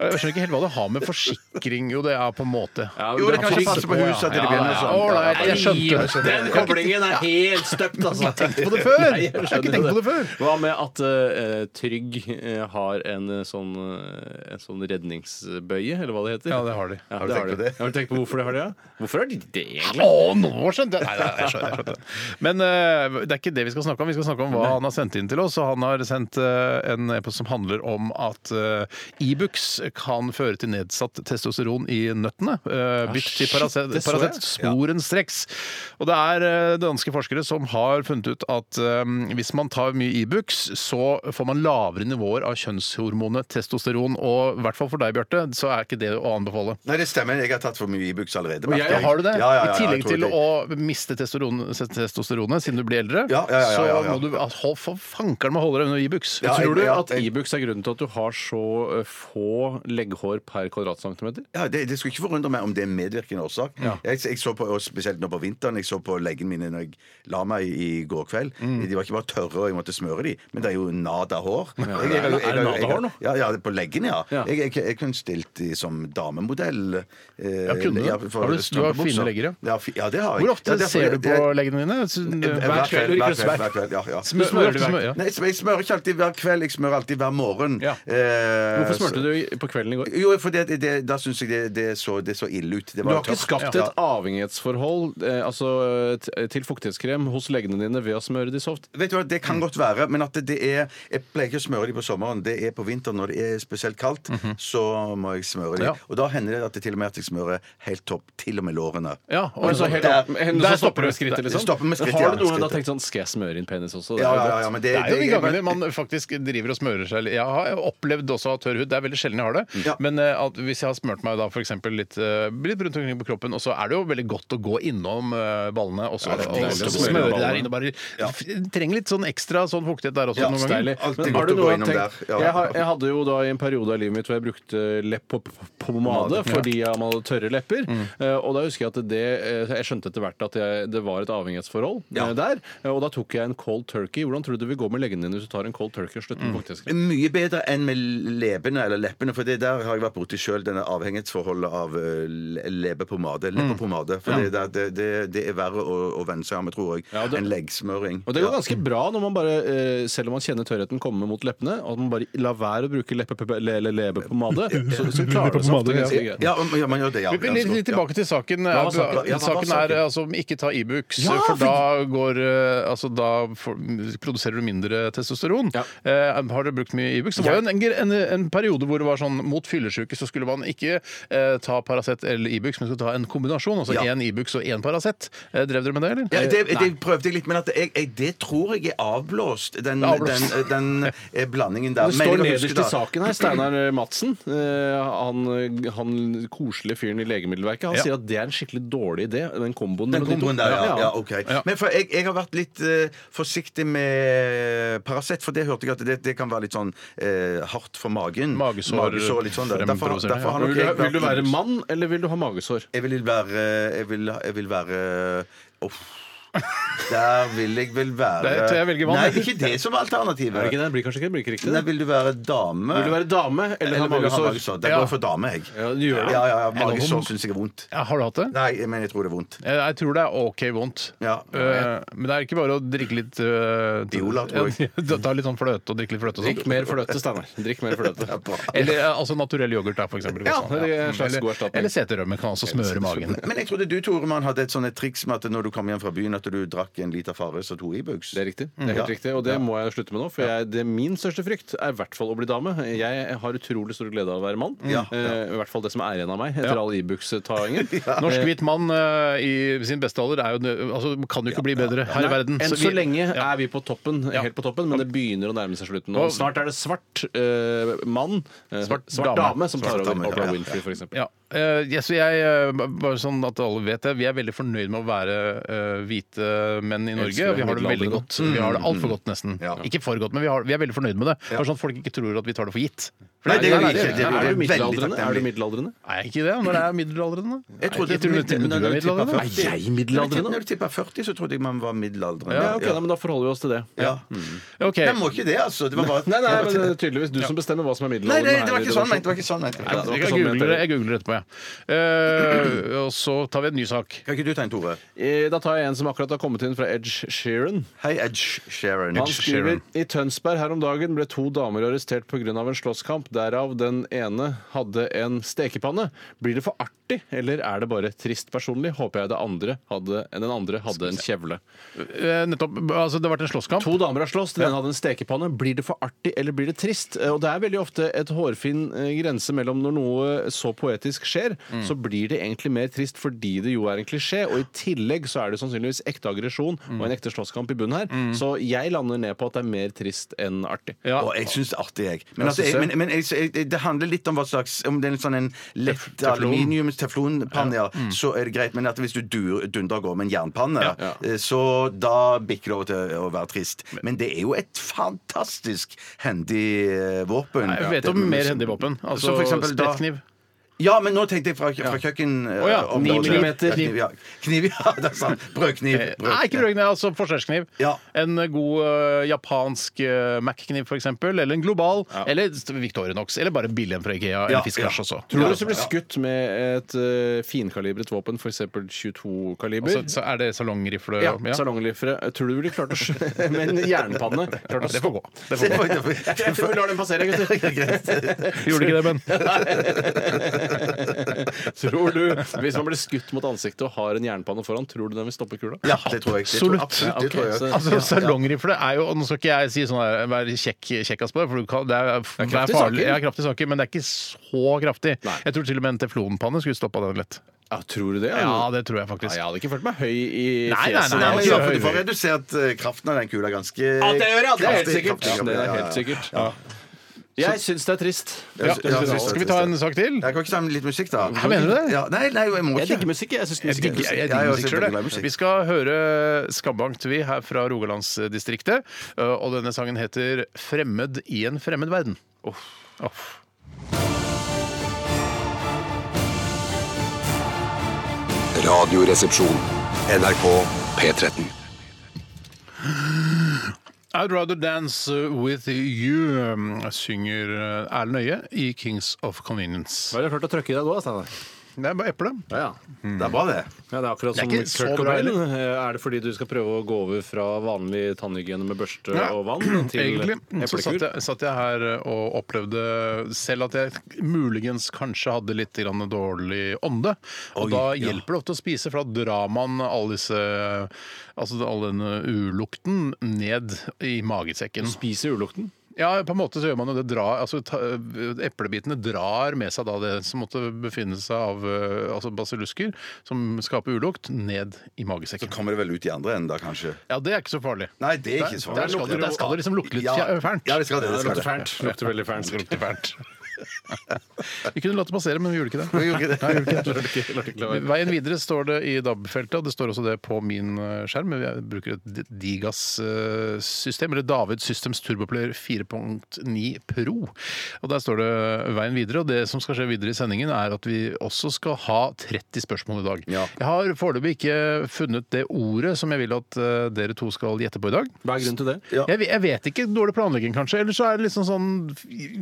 Speaker 2: Jeg skjønner ikke helt hva det har med forsikring Jo, det er på en måte.
Speaker 3: Ja,
Speaker 4: Jo,
Speaker 3: er
Speaker 4: det kan ikke
Speaker 3: trygg-
Speaker 4: passe på huset at det brenner
Speaker 2: ja.
Speaker 4: sånn.
Speaker 2: All right, jeg skjønte.
Speaker 3: Den koblingen er helt støpt, altså. Jeg har ikke tenkt
Speaker 2: på det før.
Speaker 3: Nei,
Speaker 2: Jeg har ikke
Speaker 3: skjønner
Speaker 2: tenkt på det før.
Speaker 3: Hva med at eh, Trygg eh, har en eh, sånn, eh, en sånn redningsbøye, eller hva det heter?
Speaker 2: Ja, det har de.
Speaker 3: Ja, det har,
Speaker 4: tenkt på
Speaker 3: de.
Speaker 4: det?
Speaker 3: har du tenkt på hvorfor de har det? Ja? Hvorfor har de det, egentlig?
Speaker 2: Å, nå skjønte jeg! Nei, nei, jeg skjønner, jeg skjønner. Men eh, det er ikke det vi skal snakke om. Vi skal snakke om hva han har sendt inn til oss. Og han har sendt eh, en e-post som handler om at eh, Ibux kan føre til nedsatt testosteron i nøttene. Eh, bytt til Paracet
Speaker 3: Ah, det så jeg.
Speaker 2: Paracet sporenstreks. Og det er eh, danske forskere som har funnet ut at eh, hvis man tar mye Ibux, så får man lavere nivåer av kjønnshormonet testosteron. Og i hvert fall for deg, Bjarte, så er ikke det å anbefale.
Speaker 4: Nei, det stemmer. Jeg har tatt for mye Ibux allerede.
Speaker 2: Og
Speaker 4: merker
Speaker 2: jeg,
Speaker 4: jeg.
Speaker 2: har du det?
Speaker 4: Ja, ja,
Speaker 2: I
Speaker 4: ja,
Speaker 2: tillegg
Speaker 4: jeg tror
Speaker 2: til
Speaker 4: det.
Speaker 2: å miste testosteron- testosteronet siden du blir eldre,
Speaker 4: Ja, ja, ja, ja, ja, ja.
Speaker 2: så må du ah, hold- for fankeren meg holde deg unna Ibux.
Speaker 4: Ja,
Speaker 3: Tror du
Speaker 4: jeg-
Speaker 3: at
Speaker 4: jeg-
Speaker 3: Ibux er grunnen til at du har så eh, få legghår per kvadratcentimeter? centimeter?
Speaker 4: Ja, det, det skulle ikke forundre meg om det er en medvirkende årsak. Jeg, jeg så på, og Spesielt nå på vinteren. Jeg så på leggene mine når jeg la meg i, i går kveld.
Speaker 2: Mm.
Speaker 4: De var ikke bare tørre, og jeg måtte smøre de, men det er jo nada hår. Jeg- jeg- jeg-
Speaker 3: Er det
Speaker 4: jeg- jeg-
Speaker 3: nada-hår nå?
Speaker 4: Ja, ja, på leggene, ja.
Speaker 3: Ja.
Speaker 4: Jeg, jeg, jeg kunne stilt de som damemodell. Eh,
Speaker 2: Ja, kunne du?
Speaker 4: for
Speaker 2: Har du- du har fine legger, ja.
Speaker 4: ja. fi- Ja, det har jeg.
Speaker 2: Hvor ofte
Speaker 4: ja, det er
Speaker 2: ser
Speaker 4: fordi-
Speaker 2: du på eh,
Speaker 4: det-
Speaker 2: leggene dine? Så-
Speaker 4: Hver kveld, hver kveld, hver
Speaker 2: hver-
Speaker 4: kveld, ja, ja.
Speaker 2: Smører
Speaker 3: Smører
Speaker 2: du
Speaker 3: du
Speaker 2: smører, ja.
Speaker 4: Nei, jeg smører ikke alltid hver kveld, jeg smører alltid hver morgen.
Speaker 3: Ja.
Speaker 4: Eh,
Speaker 3: Hvorfor smurte du i- på kvelden i går?
Speaker 4: Jo, for det, det, da syns jeg det, det, så, det så ille ut.
Speaker 3: Du
Speaker 4: Det var
Speaker 3: har ikke
Speaker 4: tørt.
Speaker 3: skapt
Speaker 4: Ja.
Speaker 3: et avhengighetsforhold eh, altså, t- til fuktighetskrem hos legene dine ved å smøre de soft?
Speaker 4: Vet du hva, Det
Speaker 3: Mm.
Speaker 4: kan godt være, men at det- det er Jeg pleier ikke å smøre de på sommeren. Det er på vinteren når det er spesielt kaldt,
Speaker 3: Mhm.
Speaker 4: så må jeg smøre de.
Speaker 2: Ja.
Speaker 4: Og da hender det at det til og med at jeg smører helt topp, til og med lårene.
Speaker 2: Ja, og
Speaker 3: Men så
Speaker 2: så
Speaker 3: helt
Speaker 2: helt
Speaker 3: opp-
Speaker 4: Der-
Speaker 3: hen-
Speaker 2: der
Speaker 3: så stopper du
Speaker 2: stopper det.
Speaker 3: med skrittet,
Speaker 4: Det
Speaker 3: liksom?
Speaker 4: stopper med skrittet,
Speaker 3: har
Speaker 4: ja,
Speaker 3: du noen gang da
Speaker 4: skrittet.
Speaker 3: tenkt sånn Skal jeg smøre inn penis også? Det er
Speaker 4: Ja,
Speaker 3: jo
Speaker 4: ja,
Speaker 3: godt.
Speaker 4: ja, men det,
Speaker 2: Det er jo de
Speaker 4: det-
Speaker 2: gangene man faktisk driver og smører seg. litt. Jeg har opplevd også å ha tørr hud. Det er veldig sjelden jeg har det.
Speaker 4: Ja.
Speaker 2: Men eh, at hvis jeg har smurt meg da for eksempel litt, eh, litt rundt omkring på kroppen, og så er det jo veldig godt å gå innom eh, ballene og så
Speaker 4: det er
Speaker 2: og
Speaker 4: deilig å
Speaker 2: så
Speaker 4: smøre
Speaker 2: smøre
Speaker 4: ballene.
Speaker 2: der inne. og Bare, f- trenger litt sånn ekstra sånn fuktighet der også
Speaker 4: Ja,
Speaker 2: noen ganger.
Speaker 3: Deilig.
Speaker 4: Alltid
Speaker 3: Men
Speaker 4: godt
Speaker 3: har du
Speaker 4: å gå
Speaker 3: noe
Speaker 4: innom
Speaker 3: tenkt,
Speaker 4: der, ja.
Speaker 3: jeg, har, jeg hadde jo da i en periode av livet mitt hvor jeg brukte leppepomade fordi jeg hadde tørre lepper.
Speaker 4: Mm.
Speaker 3: Eh, Og da husker jeg at det eh, Jeg skjønte etter hvert at jeg, det var et avhengighetsforhold eh, der. Eh, Og da tok jeg en cold turkey. Hvordan tror du det vil gå med leggene dine hvis du tar en cold turkey og slutter
Speaker 4: Mm.
Speaker 3: med fuktighetskrem?
Speaker 4: Mye bedre enn med leppene eller leppene, for det der har jeg vært borti sjøl, denne avhengighetsforholdet av eh, le-
Speaker 3: Mm.
Speaker 4: leppepomade. Leppepomade. For det, der- det, det, det er verre å, å venne seg av med, tror jeg,
Speaker 3: Ja, det-
Speaker 4: enn leggsmøring.
Speaker 3: Og det går ganske bra når man bare, eh, selv om man kjenner tørrheten komme mot leppene, og at man bare lar være å bruke leppepomade, så, så klarer det seg ofte ganske greit.
Speaker 4: Ja, ja, man gjør det, ja.
Speaker 2: Vi vil
Speaker 4: Ja, så-
Speaker 2: litt tilbake til saken.
Speaker 3: Hva var saken?
Speaker 4: Ja, hva var
Speaker 2: Saken er
Speaker 4: saken?
Speaker 2: altså ikke ta Ibux,
Speaker 3: Ja,
Speaker 2: for
Speaker 3: for-
Speaker 2: da går eh, Altså da får- produserer du mindre testosteron.
Speaker 3: Ja.
Speaker 2: Eh, har du brukt mye Ibux? Det var jo en, en, en periode hvor det var sånn mot fyllesyke så skulle man ikke eh, ta Paracet eller Ibux, men skulle ta en kombinasjon. Altså
Speaker 4: Ja.
Speaker 2: én Ibux og én Paracet. Eh, drev dere med det, eller?
Speaker 4: Ja, det, det prøvde jeg litt, men at jeg, jeg, det tror jeg er avblåst, den,
Speaker 2: er avblåst.
Speaker 4: den, den eh, blandingen der.
Speaker 3: Det
Speaker 4: Men jeg
Speaker 3: står
Speaker 4: kan huske
Speaker 3: nederst i
Speaker 4: da-
Speaker 3: saken her. Steinar Madsen, eh, han, han koselige fyren i Legemiddelverket, han
Speaker 2: Ja.
Speaker 3: sier at det er en skikkelig dårlig idé, den komboen.
Speaker 4: Den
Speaker 3: mellom de to.
Speaker 4: komboen der, ja.
Speaker 3: Ja, ja.
Speaker 4: ja ok. Men for jeg, jeg har vært litt eh, forsiktig med eh, Paracet, for det hørte jeg at det, det kan være litt sånn eh, hardt for magen.
Speaker 2: Magesår,
Speaker 4: litt sånn der. Derfor,
Speaker 2: fremprovoserende,
Speaker 4: derfor har
Speaker 3: Vil
Speaker 4: nok
Speaker 3: du,
Speaker 4: jeg vært
Speaker 3: vil du være mann, eller vil du ha magesår?
Speaker 4: Jeg vil være Jeg vil, jeg vil være Uff. Der vil jeg vel være
Speaker 2: Det tror jeg velger vann,
Speaker 4: Nei,
Speaker 2: jeg.
Speaker 4: ikke det som er alternativet.
Speaker 3: Er det ikke det? Det blir kanskje ikke det blir ikke riktig?
Speaker 4: Nei,
Speaker 3: det.
Speaker 4: vil du være dame?
Speaker 3: Vil du være dame, eller,
Speaker 4: Eller
Speaker 3: ha
Speaker 4: vil du ha
Speaker 3: magesår?
Speaker 4: magesår? Da går jeg for dame, jeg.
Speaker 3: Ja, du gjør det.
Speaker 4: Ja, ja, ja.
Speaker 2: Er det
Speaker 4: Magesår
Speaker 2: vondt?
Speaker 4: syns jeg er vondt.
Speaker 2: Ja, har du hatt det?
Speaker 4: Nei, jeg- men jeg tror det er vondt.
Speaker 2: Jeg, jeg tror det er OK vondt.
Speaker 4: Ja.
Speaker 2: Eh, men det er ikke bare å drikke litt eh,
Speaker 4: Viola, tror jeg.
Speaker 2: Ja, ta litt sånn fløte og drikke litt fløte og sånn.
Speaker 3: Drikk mer fløte, Steinar. Drikk mer fløte.
Speaker 2: Eller eh, altså naturell yoghurt da, for eksempel.
Speaker 3: Ja,
Speaker 2: Sånn,
Speaker 3: det er en slags
Speaker 2: Eller-
Speaker 3: god erstatning.
Speaker 2: Eller seterømme kan også smøre magen.
Speaker 4: Men jeg trodde du, Tore Mann, hadde et sånt et triks med at når du kom hjem fra byen, at du drakk en liter Farris og to Ibux.
Speaker 3: Det er riktig. Det er helt
Speaker 4: Ja.
Speaker 3: riktig. Og det må jeg slutte med nå, for jeg, det er min største frykt er i hvert fall å bli dame. Jeg har utrolig stor glede av å være mann.
Speaker 4: Ja.
Speaker 3: Eh, I hvert fall det som er igjen av meg etter all Ibux-taingen.
Speaker 2: Norsk hvit mann eh, i sin beste alder er jo, nø- altså, kan jo ikke bli bedre her i verden.
Speaker 3: Enn så,
Speaker 2: vi-
Speaker 3: lenge
Speaker 2: Ja.
Speaker 3: er vi på toppen, helt på toppen, men det begynner å nærme seg slutten.
Speaker 2: Og-
Speaker 3: Og snart er det svart eh, mann, eh,
Speaker 2: Svart
Speaker 3: svart,
Speaker 2: dame.
Speaker 3: dame, som tar
Speaker 4: Svart
Speaker 3: over.
Speaker 4: dame, ja.
Speaker 3: Oprah Winfrey, for eksempel.
Speaker 2: Ja. Eh, ja, så jeg, eh, bare sånn at alle vet det, vi er veldig fornøyd med å være eh, hvite menn i Norge.
Speaker 3: Elsker
Speaker 2: og Vi har det veldig
Speaker 3: middelaldrende.
Speaker 2: godt. Mm. Vi har det altfor godt, nesten.
Speaker 4: Ja.
Speaker 2: Ikke for godt, men vi, har, vi er veldig fornøyd med det. Bare sånn at folk ikke tror at vi tar det for gitt. For
Speaker 4: Nei, det gjør vi
Speaker 2: er-
Speaker 4: ikke. Det
Speaker 3: Er
Speaker 4: er
Speaker 3: du
Speaker 4: veldig
Speaker 3: middelaldrende? Er du
Speaker 4: takknemlig.
Speaker 3: middelaldrende?
Speaker 2: Er jeg ikke det når jeg er middelaldrende?
Speaker 4: Jeg trodde
Speaker 2: jeg tror til og med du er middelaldrende.
Speaker 3: Er jeg
Speaker 4: Når
Speaker 3: middelaldrende?
Speaker 4: du tippa 40, så trodde jeg man var middelaldrende.
Speaker 3: Ja, ok, da, men da forholder vi oss til det.
Speaker 4: Ja.
Speaker 2: Ok.
Speaker 4: Jeg må ikke det, altså. Det var bare
Speaker 3: Nei, nei, men det er tydeligvis du som bestemmer hva som er
Speaker 4: eh, Nei,
Speaker 3: middelalderen.
Speaker 4: det, det var
Speaker 3: her i
Speaker 4: ikke sånn,
Speaker 3: redaksjonen.
Speaker 4: nei. Det var ikke sånn, nei.
Speaker 3: Nei, det var ikke sånn
Speaker 2: Jeg,
Speaker 3: jeg
Speaker 2: googler,
Speaker 3: mente
Speaker 2: det- jeg googler etterpå, jeg. Eh, og så tar vi en ny sak.
Speaker 4: Kan ikke du ta en, Tore?
Speaker 3: Eh, Da tar jeg en som akkurat har kommet inn fra Edge Sheeran.
Speaker 4: Hei, Edge Sharon.
Speaker 3: Han skriver i Tønsberg her om dagen ble to damer arrestert pga. en slåsskamp, derav den ene hadde en stekepanne. Blir det for artig, eller er det bare trist personlig? Håper jeg det andre hadde, den andre hadde en kjevle.
Speaker 2: Eh, nettopp, altså Det har vært en slåsskamp.
Speaker 3: To damer har slåss, den ene hadde en stekepanne. Blir det for artig, eller blir det trist? Eh, Og det er veldig ofte et hårfin eh, grense mellom når noe eh, så poetisk skjer,
Speaker 2: Mm.
Speaker 3: så blir det egentlig mer trist fordi det jo er en klisjé, og i tillegg så er det sannsynligvis ekte aggresjon
Speaker 2: Mm.
Speaker 3: og en ekte slåsskamp i bunnen her, så jeg lander ned på at det er mer trist enn artig.
Speaker 2: Ja.
Speaker 4: Og jeg syns det er artig, jeg. Men, altså,
Speaker 3: synes
Speaker 4: jeg,
Speaker 3: jeg.
Speaker 4: men, men jeg, jeg, det handler litt om hva slags Om det er en sånn en lett
Speaker 2: teflon.
Speaker 4: aluminiums-teflonpanne, ja, så er det greit. Men at hvis du dur, dundrer av gårde med en jernpanne, eh, så da bikker det over til å være trist. Men det er jo et fantastisk hendig eh, våpen.
Speaker 2: Jeg vet
Speaker 4: Det-
Speaker 3: liksom-
Speaker 2: om mer hendig våpen. Altså
Speaker 4: Som for eksempel da-
Speaker 2: sprettkniv.
Speaker 4: Ja, men nå tenkte jeg fra, fra kjøkken... eh,
Speaker 3: ja, ni
Speaker 4: området.
Speaker 3: millimeter.
Speaker 4: Ja, Kniv, ja. kniv, ja, det er sant. Brødkniv.
Speaker 2: Eh, Nei, ikke brødkniv, altså forskjellskniv.
Speaker 4: Ja.
Speaker 2: En god eh, japansk eh, Mac-kniv, f.eks., eller en global, eller Victorinox, eller bare billig en fra Ikea, eller
Speaker 4: Ja,
Speaker 2: Fiskars
Speaker 4: ja.
Speaker 3: Tror
Speaker 2: også.
Speaker 3: du hvis du blir skutt med et eh, finkalibret våpen, f.eks. 22-kaliber
Speaker 2: Så, så er det salongrifle?
Speaker 3: ja, Salonglifre. Tror du du ville klart å skjønne med en jernpanne? Klart å
Speaker 2: Det får gå. Det
Speaker 4: Se
Speaker 2: får gå.
Speaker 4: på- det får-
Speaker 3: Jeg tror vi lar den passere, gutter.
Speaker 2: Gjorde ikke det, Ben?
Speaker 3: Tror du, Hvis man blir skutt mot ansiktet og har en jernpanne foran, tror du den vil stoppe kula?
Speaker 4: Ja, det tror jeg. Det tror,
Speaker 2: Absolutt.
Speaker 4: absolutt,
Speaker 3: Ja,
Speaker 4: det
Speaker 3: ok,
Speaker 4: tror jeg.
Speaker 3: så-
Speaker 2: Altså, Salongrifle er jo og Nå skal ikke jeg si sånn her, vær kjekk, kjekkas på det, for du kan, det er, det er
Speaker 3: kraftige
Speaker 2: farlig.
Speaker 3: saker.
Speaker 2: Ja, kraftige saker, men det er ikke så kraftig.
Speaker 3: Nei.
Speaker 2: Jeg tror til og med en teflonpanne skulle stoppa den lett.
Speaker 3: Ja, tror du det?
Speaker 2: Ja, det tror jeg faktisk.
Speaker 3: Nei, jeg hadde ikke følt meg høy i
Speaker 2: Nei, nei,
Speaker 3: fjeset.
Speaker 4: Nei,
Speaker 2: Ja,
Speaker 4: men
Speaker 2: det
Speaker 4: ja, liksom for
Speaker 2: gjør
Speaker 4: Du får
Speaker 2: vi.
Speaker 4: redusert eh, kraften av den kula ganske
Speaker 3: Ja, det gjør jeg, det er helt
Speaker 4: kraftig,
Speaker 3: sikkert.
Speaker 4: kraftig,
Speaker 3: Ja, det er
Speaker 4: ja, ja,
Speaker 3: helt
Speaker 4: ja.
Speaker 3: sikkert. Jeg syns det er trist.
Speaker 4: Ja, ja, ja, ja.
Speaker 2: Skal vi ta en sak til?
Speaker 4: Jeg kan ikke ta med litt musikk, da.
Speaker 2: Hva mener du det?
Speaker 4: Ja, nei, nei, jeg må
Speaker 3: Jeg digger
Speaker 4: ikke.
Speaker 3: musikk. Jeg syns
Speaker 2: Jeg
Speaker 3: musikk er
Speaker 2: digger, jeg,
Speaker 3: trist.
Speaker 2: jeg
Speaker 4: Ja,
Speaker 2: digger
Speaker 4: jeg
Speaker 2: musikk
Speaker 4: også
Speaker 2: sjøl,
Speaker 4: digger
Speaker 2: jeg.
Speaker 4: musikk.
Speaker 2: Vi skal høre Skabankt, vi, her fra Rogalandsdistriktet. eh, Og denne sangen heter 'Fremmed i en fremmed verden'. Uff.
Speaker 1: Radioresepsjon. NRK P13.
Speaker 2: I'd rather dance with you, um, synger eh, Erlend Øye i Kings of Convenience.
Speaker 3: Hva har du klart å trøkke i deg nå, altså, Steinar?
Speaker 2: Det er bare eple.
Speaker 3: Ja, ja.
Speaker 4: Det er bra, det.
Speaker 3: Ja, det er akkurat
Speaker 2: Det er
Speaker 3: som
Speaker 2: ikke så
Speaker 3: Kurt
Speaker 2: bra,
Speaker 3: Cobain.
Speaker 2: heller.
Speaker 3: Er det fordi du skal prøve å gå over fra vanlig tannhygiene med børste
Speaker 2: Ja,
Speaker 3: og vann til
Speaker 2: Egentlig så satt
Speaker 3: eplekur?
Speaker 2: jeg, satt jeg her eh, og opplevde selv at jeg muligens kanskje hadde litt grann dårlig ånde. Og da hjelper det ofte å spise, for da drar man all disse Altså all denne ulukten ned i magesekken.
Speaker 3: Spiser ulukten?
Speaker 2: Ja, på en måte så gjør man jo det. Drar, altså, ta, eplebitene drar med seg da det som måtte befinne seg av eh, altså basillusker, som skaper ulukt, ned i
Speaker 4: Så
Speaker 2: magesekken.
Speaker 4: kommer det vel ut i andre enden, da, kanskje.
Speaker 2: Ja, det er ikke så farlig.
Speaker 4: Nei, det
Speaker 2: Der,
Speaker 4: er ikke så
Speaker 2: der, skal det, der skal det liksom lukte litt
Speaker 4: Ja.
Speaker 2: fjer- fjernt.
Speaker 4: Ja, det skal det.
Speaker 3: Det
Speaker 4: det,
Speaker 3: lukter
Speaker 4: skal det.
Speaker 3: fælt. Lukter veldig fælt.
Speaker 2: Det lukter fjernt. Vi kunne latt det passere, men vi gjorde ikke det.
Speaker 4: Vi gjorde ikke det.
Speaker 2: Nei, vi gjorde ikke det. Veien videre står det i DAB-feltet, og det står også det på min eh, skjerm. men Jeg bruker et Digas-system, eller David Systems Turboplayer 4.9 Pro. Og der står det veien videre, og det som skal skje videre i sendingen, er at vi også skal ha 30 spørsmål i dag.
Speaker 4: Ja.
Speaker 2: Jeg har foreløpig ikke funnet det ordet som jeg vil at eh, dere to skal gjette på i dag.
Speaker 3: Hva er grunnen til det?
Speaker 4: Ja.
Speaker 2: Jeg, jeg vet ikke. Dårlig planlegging, kanskje. Eller så er det liksom sånn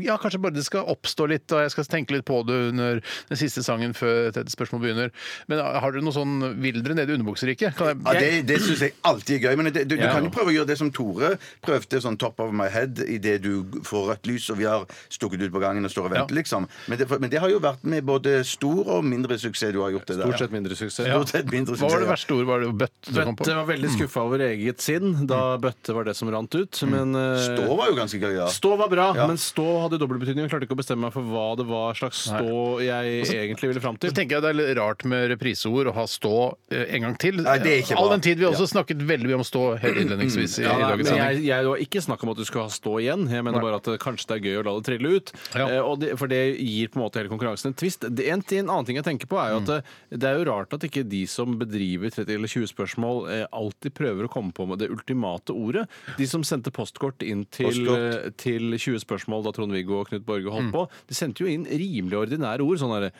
Speaker 2: Ja, kanskje bare det skal oppstå litt, og jeg skal tenke litt på det under den siste sangen før dette spørsmålet begynner. Men har dere noe sånn Vil dere ned i underbukseriket? Kan
Speaker 4: Ja,
Speaker 2: jeg
Speaker 4: det det syns jeg alltid er gøy. Men det, du, du kan jo prøve å gjøre det som Tore prøvde, sånn top of my head, idet du får rødt lys og vi har stukket ut på gangen og står og venter, liksom. Men det, men det har jo vært med både stor og mindre suksess du har gjort det der.
Speaker 3: Stort sett mindre suksess.
Speaker 4: Stort sett mindre
Speaker 2: Hva var
Speaker 4: suksess,
Speaker 2: det
Speaker 4: ja.
Speaker 2: verste ordet? Var det bøtt? du kom på?
Speaker 3: Bøtte var veldig skuffa over eget sinn da bøtte var det som rant ut. Men eh,
Speaker 4: Stå var jo ganske gøy, ja.
Speaker 3: Mm. stå var bra, men stå hadde dobbeltbetydning. Jeg klarte ikke å bestemme meg for hva det var slags stå jeg egentlig ville fram
Speaker 2: Så
Speaker 3: til.
Speaker 2: tenker jeg Det er litt rart med repriseord å ha stå eh, en gang til.
Speaker 4: Nei, det er ikke
Speaker 2: All
Speaker 4: bra.
Speaker 2: den tid vi har også snakket veldig mye om stå helt innledningsvis i,
Speaker 3: Ja,
Speaker 2: i
Speaker 3: nei,
Speaker 2: dagens
Speaker 3: men
Speaker 2: sending.
Speaker 3: jeg, jeg det var ikke snakk om at du skulle ha stå igjen. Jeg mener bare at det, kanskje det er gøy å la det trille ut.
Speaker 2: Ja.
Speaker 3: Eh, og det, for det gir på en måte hele konkurransen en twist. Det, en, ting- en annen ting jeg tenker på er jo at
Speaker 2: Mm.
Speaker 3: det, det er jo rart at ikke de som bedriver 30 eller 20 spørsmål, eh, alltid prøver å komme på med det ultimate ordet. De som sendte postkort inn til,
Speaker 4: Postkort.
Speaker 3: eh, til 20 spørsmål da Trond-Viggo og Knut Borge
Speaker 2: Mm.
Speaker 3: holdt på, de sendte jo inn rimelig ordinære ord. Sånn derre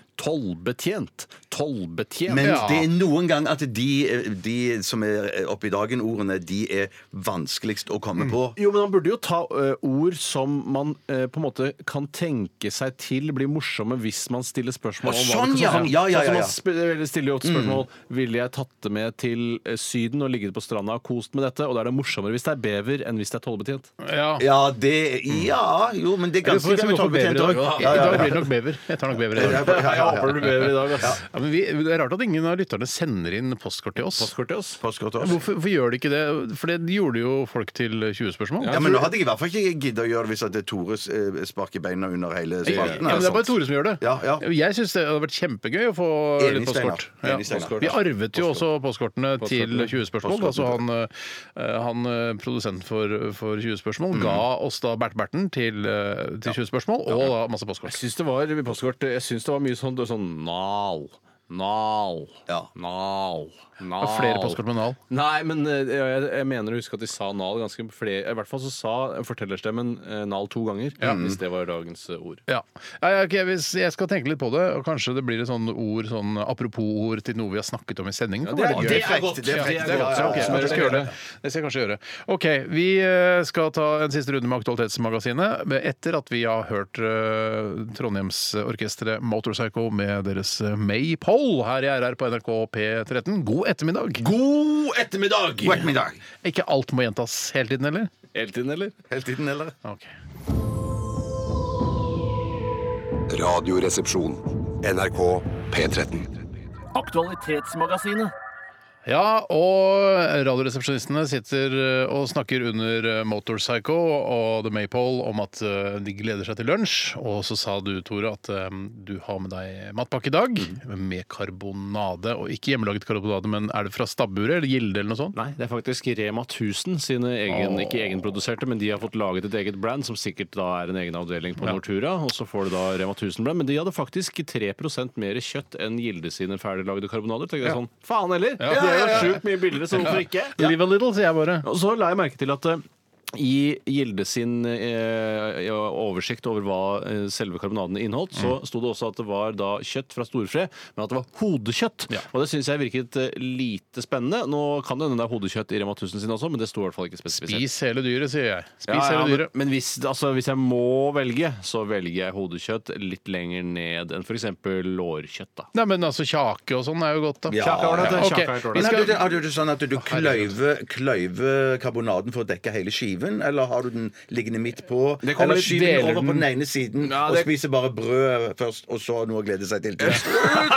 Speaker 3: tollbetjent. Tollbetjent.
Speaker 4: Men
Speaker 2: Ja.
Speaker 4: det er noen gang at de, de som er oppe i dagen, ordene, de er vanskeligst å
Speaker 2: Mm.
Speaker 4: komme på.
Speaker 3: Jo, men man burde jo ta ø, ord som man ø, på en måte kan tenke seg til blir morsomme hvis man stiller spørsmål om
Speaker 4: Å, sånn,
Speaker 3: hva-
Speaker 4: ja.
Speaker 3: sånn som-
Speaker 4: Ja, ja, ja,
Speaker 3: sånn som
Speaker 4: ja. Mm.
Speaker 3: man sp- stiller jo åtte spørsmål. Ville jeg tatt det med til ø, Syden og ligget på stranda og kost med dette? Og da er det morsommere hvis det er bever enn hvis det er tollbetjent.
Speaker 2: Ja.
Speaker 4: Ja, det Ja, jo, men det er
Speaker 2: Jeg får-
Speaker 4: ganske
Speaker 2: jeg skal gå for bever i dag.
Speaker 4: også.
Speaker 2: I
Speaker 4: Ja, ja,
Speaker 2: dag
Speaker 4: ja.
Speaker 2: blir det nok bever. Jeg tar nok bever i dag.
Speaker 4: ja, ja, ja.
Speaker 3: blir bever i dag, ass.
Speaker 2: Ja, men vi, det er rart at ingen av lytterne sender inn postkort til oss.
Speaker 3: Postkort til oss.
Speaker 4: Postkort også.
Speaker 2: Hvorfor, hvorfor gjør de ikke det? For det gjorde jo folk til 20 spørsmål.
Speaker 4: Ja, men nå hadde jeg i hvert fall ikke giddet å gjøre det hvis at det Tore eh, sparker beina under hele
Speaker 2: Ja,
Speaker 4: spalten.
Speaker 2: men det
Speaker 4: altså.
Speaker 2: er bare Tore som gjør det.
Speaker 4: Ja, ja.
Speaker 2: Jeg syns det hadde vært kjempegøy å få
Speaker 4: Enig,
Speaker 2: litt postkort.
Speaker 4: Steinar. Enig, Steinar.
Speaker 2: Vi arvet jo også postkortene til 20 spørsmål. Altså han, eh, han eh, produsenten for, for 20 spørsmål
Speaker 4: Mm.
Speaker 2: ga oss da Bert Berten til, eh, til 20 spørsmål, og da masse postkort.
Speaker 3: Syns det var i postkort, jeg syns det var mye sånn, sånn nal. Nal.
Speaker 4: Ja.
Speaker 3: Nal. Nal.
Speaker 2: Har flere postkort med nal.
Speaker 3: Nei, men eh, jeg, jeg mener å huske at de sa Nal ganske flere I hvert fall så sa fortellerstemmen eh, Nal to ganger, hvis det var dagens eh, ord.
Speaker 2: Ja. Nei, ok, hvis jeg skal tenke litt på det, og kanskje det blir et sånn ord, sånn apropos-ord til noe vi har snakket om i sendingen. Kan være litt gøy.
Speaker 4: det er godt. Det er
Speaker 2: Ja,
Speaker 4: frekt.
Speaker 2: det er godt.
Speaker 4: Ja,
Speaker 2: Ja, ok,
Speaker 4: ja, ja.
Speaker 2: kanskje jeg skal gjøre det. Det skal jeg kanskje gjøre. OK, vi eh, skal ta en siste runde med Aktualitetsmagasinet men etter at vi har hørt eh, Trondheimsorkesteret Motorcycle med deres eh, Maypole her i RR på NRK P13. God ettermiddag!
Speaker 3: God ettermiddag!
Speaker 4: God ettermiddag.
Speaker 2: Ikke alt må gjentas hele tiden, eller?
Speaker 3: Hele tiden, eller?
Speaker 4: Hele tiden, eller?
Speaker 2: Ok.
Speaker 1: Radioresepsjon. NRK P13.
Speaker 7: Aktualitetsmagasinet.
Speaker 2: Ja, og radioresepsjonistene sitter eh, og snakker under eh, Motorpsycho og The Maypole om at eh, de gleder seg til lunsj. Og så sa du, Tore, at eh, du har med deg matpakke i dag
Speaker 3: Mm.
Speaker 2: med karbonade. Og ikke hjemmelaget karbonade, men er det fra stabburet eller Gilde eller noe sånt?
Speaker 3: Nei, det er faktisk Rema 1000 sine egen, ikke egenproduserte, men de har fått laget et eget brand, som sikkert da er en egen avdeling på Nortura. Og så får du da Rema 1000-brand. Men de hadde faktisk 3 mer kjøtt enn Gilde sine ferdiglagde karbonader. Tenkte jeg sånn, faen heller! De er jo sjukt mye billigere, så hvorfor ikke?
Speaker 2: Live a little, sier jeg bare.
Speaker 3: Og så la jeg merke til at eh, i Gilde sin eh, ja, oversikt over hva eh, selve karbonadene inneholdt, så
Speaker 2: Mm.
Speaker 3: sto det også at det var da kjøtt fra storfe, men at det var hodekjøtt. Og det syns jeg virket eh, lite spennende. Nå kan det hende det er hodekjøtt i Rema 1000 sin også, men det sto i hvert fall ikke spesifisert.
Speaker 2: Spis hele dyret, sier jeg. Spis
Speaker 3: Ja, ja,
Speaker 2: hele
Speaker 3: men
Speaker 2: dyret.
Speaker 3: men hvis, altså, hvis jeg må velge, så velger jeg hodekjøtt litt lenger ned enn f.eks. lårkjøtt. da.
Speaker 2: Nei, men altså, kjake og sånn er jo godt, da.
Speaker 4: Ja. Kjake er ålreit,
Speaker 2: Ja,
Speaker 3: det.
Speaker 2: ok.
Speaker 3: Kjake er ålreit.
Speaker 2: Vi
Speaker 4: Men har
Speaker 2: skal
Speaker 4: du, det- har du det sånn at du kløyver, kløyver karbonaden for å dekke hele skiven, eller har du den liggende midt på?
Speaker 2: Det kommer
Speaker 4: Eller
Speaker 2: litt-
Speaker 4: skyver
Speaker 2: deler
Speaker 4: den over på
Speaker 2: den-
Speaker 4: den ene siden
Speaker 3: Ja,
Speaker 4: og
Speaker 3: det-
Speaker 4: spiser bare brød først, og så har noe å glede seg til? til.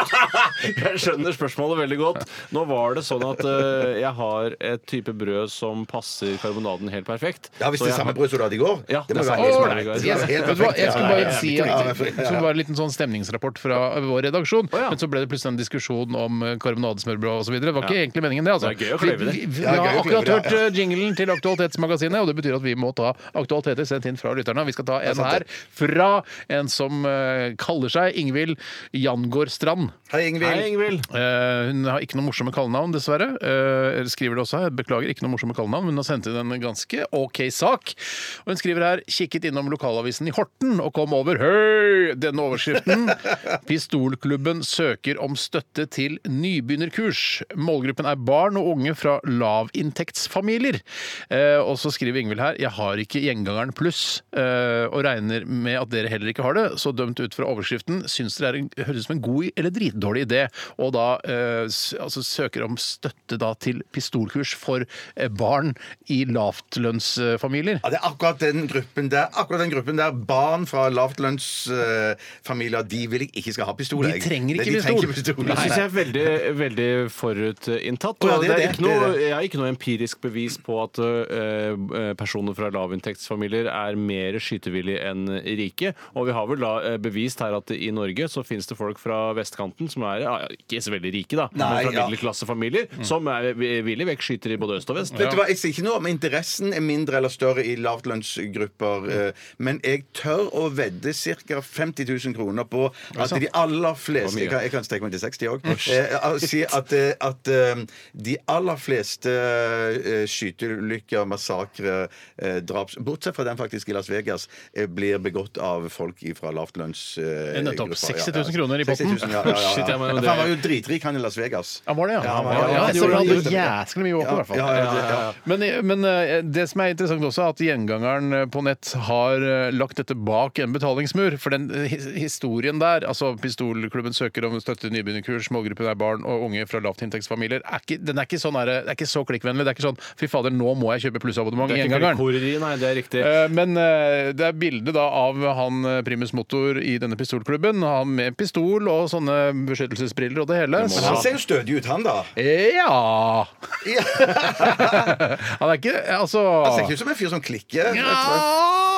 Speaker 3: Jeg skjønner spørsmålet veldig godt. Nå var det sånn at eh, jeg har et type brød som passer karbonaden helt perfekt.
Speaker 4: Ja, hvis
Speaker 3: Så
Speaker 4: det
Speaker 3: jeg
Speaker 4: er samme
Speaker 3: har-
Speaker 4: brød som du hadde i går?
Speaker 3: Ja,
Speaker 4: det
Speaker 3: det
Speaker 4: må
Speaker 3: er
Speaker 4: være
Speaker 3: samme
Speaker 4: helt
Speaker 3: brød.
Speaker 4: perfekt.
Speaker 3: Ålreit.
Speaker 4: Det er helt
Speaker 2: Vet du hva,
Speaker 4: perfekt,
Speaker 2: jeg
Speaker 4: ja.
Speaker 2: skulle bare si
Speaker 4: Ja,
Speaker 2: at
Speaker 4: ja, ja, ja.
Speaker 2: som var en liten sånn stemningsrapport fra vår redaksjon.
Speaker 3: ja.
Speaker 2: Men så ble det plutselig en diskusjon om eh, karbonadesmørbrød osv. Det var ikke egentlig meningen, det. altså.
Speaker 3: Det er gøy å kløyve det.
Speaker 2: Vi, vi, vi
Speaker 4: Ja,
Speaker 2: har
Speaker 4: gøy å kløyve
Speaker 2: akkurat
Speaker 4: det,
Speaker 2: hørt eh, jinglen til Aktualitetsmagasinet, og det betyr at vi må ta aktualiteter sendt inn fra lytterne. Vi skal ta en her fra en som eh, kaller seg Ingvild Jangård Strand.
Speaker 4: Hei, Ingvild.
Speaker 3: Hei, Ingvild.
Speaker 2: Eh, hun har ikke noe morsomme kallenavn, dessverre. Eh, eller skriver det også her. Beklager, ikke noe morsomme kallenavn, men hun har sendt inn en ganske OK sak. Og hun skriver her 'Kikket innom lokalavisen i Horten og kom over Høy! denne overskriften. 'Pistolklubben søker om støtte til nybegynnerkurs'. Målgruppen er barn og unge fra lavinntektsfamilier. Eh, og så skriver Ingvild her 'Jeg har ikke gjengangeren pluss', eh, og regner med at dere heller ikke har det, så dømt ut fra overskriften syns dere er en, høres ut som en god eller dritdårlig idé, og da eh, s- altså, søker om støtte da til pistolkurs for eh, barn i lavtlønnsfamilier.
Speaker 4: Ja, det er akkurat den gruppen der. Akkurat den gruppen der Barn fra lavtlønnsfamilier de vil jeg ikke skal ha pistol.
Speaker 2: De
Speaker 4: jeg.
Speaker 2: trenger ikke
Speaker 4: Nei, de trenger
Speaker 2: pistol.
Speaker 4: ikke
Speaker 3: Det syns jeg er veldig, veldig forutinntatt.
Speaker 4: Å, ja,
Speaker 3: og det
Speaker 4: det
Speaker 3: er
Speaker 4: er det,
Speaker 3: ikke
Speaker 4: det er
Speaker 3: noe,
Speaker 4: det.
Speaker 3: jeg har ikke noe empirisk bevis på at eh, personer fra lavinntektsfamilier er mer skytevillige enn rike. Og vi har vel da eh, bevist her at i Norge så finnes det folk fra vestkanten som er ja, ikke så veldig rike, da,
Speaker 4: Nei,
Speaker 3: men fra
Speaker 4: ja.
Speaker 3: middelklassefamilier, som er eh, villig vekk skyter i både øst og vest.
Speaker 4: Vet du hva, Jeg sier ikke noe om interessen er mindre eller større i lavtlønnsgrupper, eh, men jeg tør å vedde ca. 50 000 kroner på at de aller fleste
Speaker 3: Det var mye.
Speaker 4: Jeg kan- Jeg kan strekke meg til 60 òg. Si at, eh, at eh, de aller fleste eh, skyteulykker, massakre, eh, draps Bortsett fra den faktisk i Las Vegas, eh, blir begått av folk fra eh, lavtlønnsgrupper.
Speaker 2: Nettopp. 60 000 kroner i potten.
Speaker 4: Ja, ja,
Speaker 3: Shit,
Speaker 4: ja,
Speaker 3: jeg mener
Speaker 4: ja.
Speaker 3: det-
Speaker 4: Han var jo dritrik, han i Las Vegas.
Speaker 2: Han var det, ja.
Speaker 4: Ja, han var-
Speaker 2: ja,
Speaker 4: ja,
Speaker 2: jeg tror
Speaker 4: det gjorde
Speaker 2: han
Speaker 4: han.
Speaker 2: hadde jæsklig mye våpen, i hvert fall.
Speaker 4: ja, ja, ja.
Speaker 2: Men, men eh, det som er interessant også, er at gjengangeren eh, på nett har eh, lagt dette bak en betalingsmur. For den eh, his- historien der, altså pistolklubben søker om støtte til nybegynnerkurs, målgruppen er barn og unge fra lavtinntektsfamilier, er ikke, den er ikke, sånn, der, det er ikke så klikkvennlig. Det er ikke sånn fy fader, nå må jeg kjøpe plussabonnement
Speaker 3: Det
Speaker 2: i
Speaker 3: er ikke
Speaker 2: gjengangeren.
Speaker 3: koreri, nei, det er riktig.
Speaker 2: Eh, Men eh, det er bilde da av han eh, primus motor i denne pistolklubben. Han med pistol og sånne beskyttelsesbriller og det hele.
Speaker 4: Men
Speaker 2: Så-
Speaker 4: han ser jo stødig ut, han, da.
Speaker 2: ja Han er ikke Altså
Speaker 4: Han ser ikke ut som en fyr som klikker.
Speaker 2: Ja,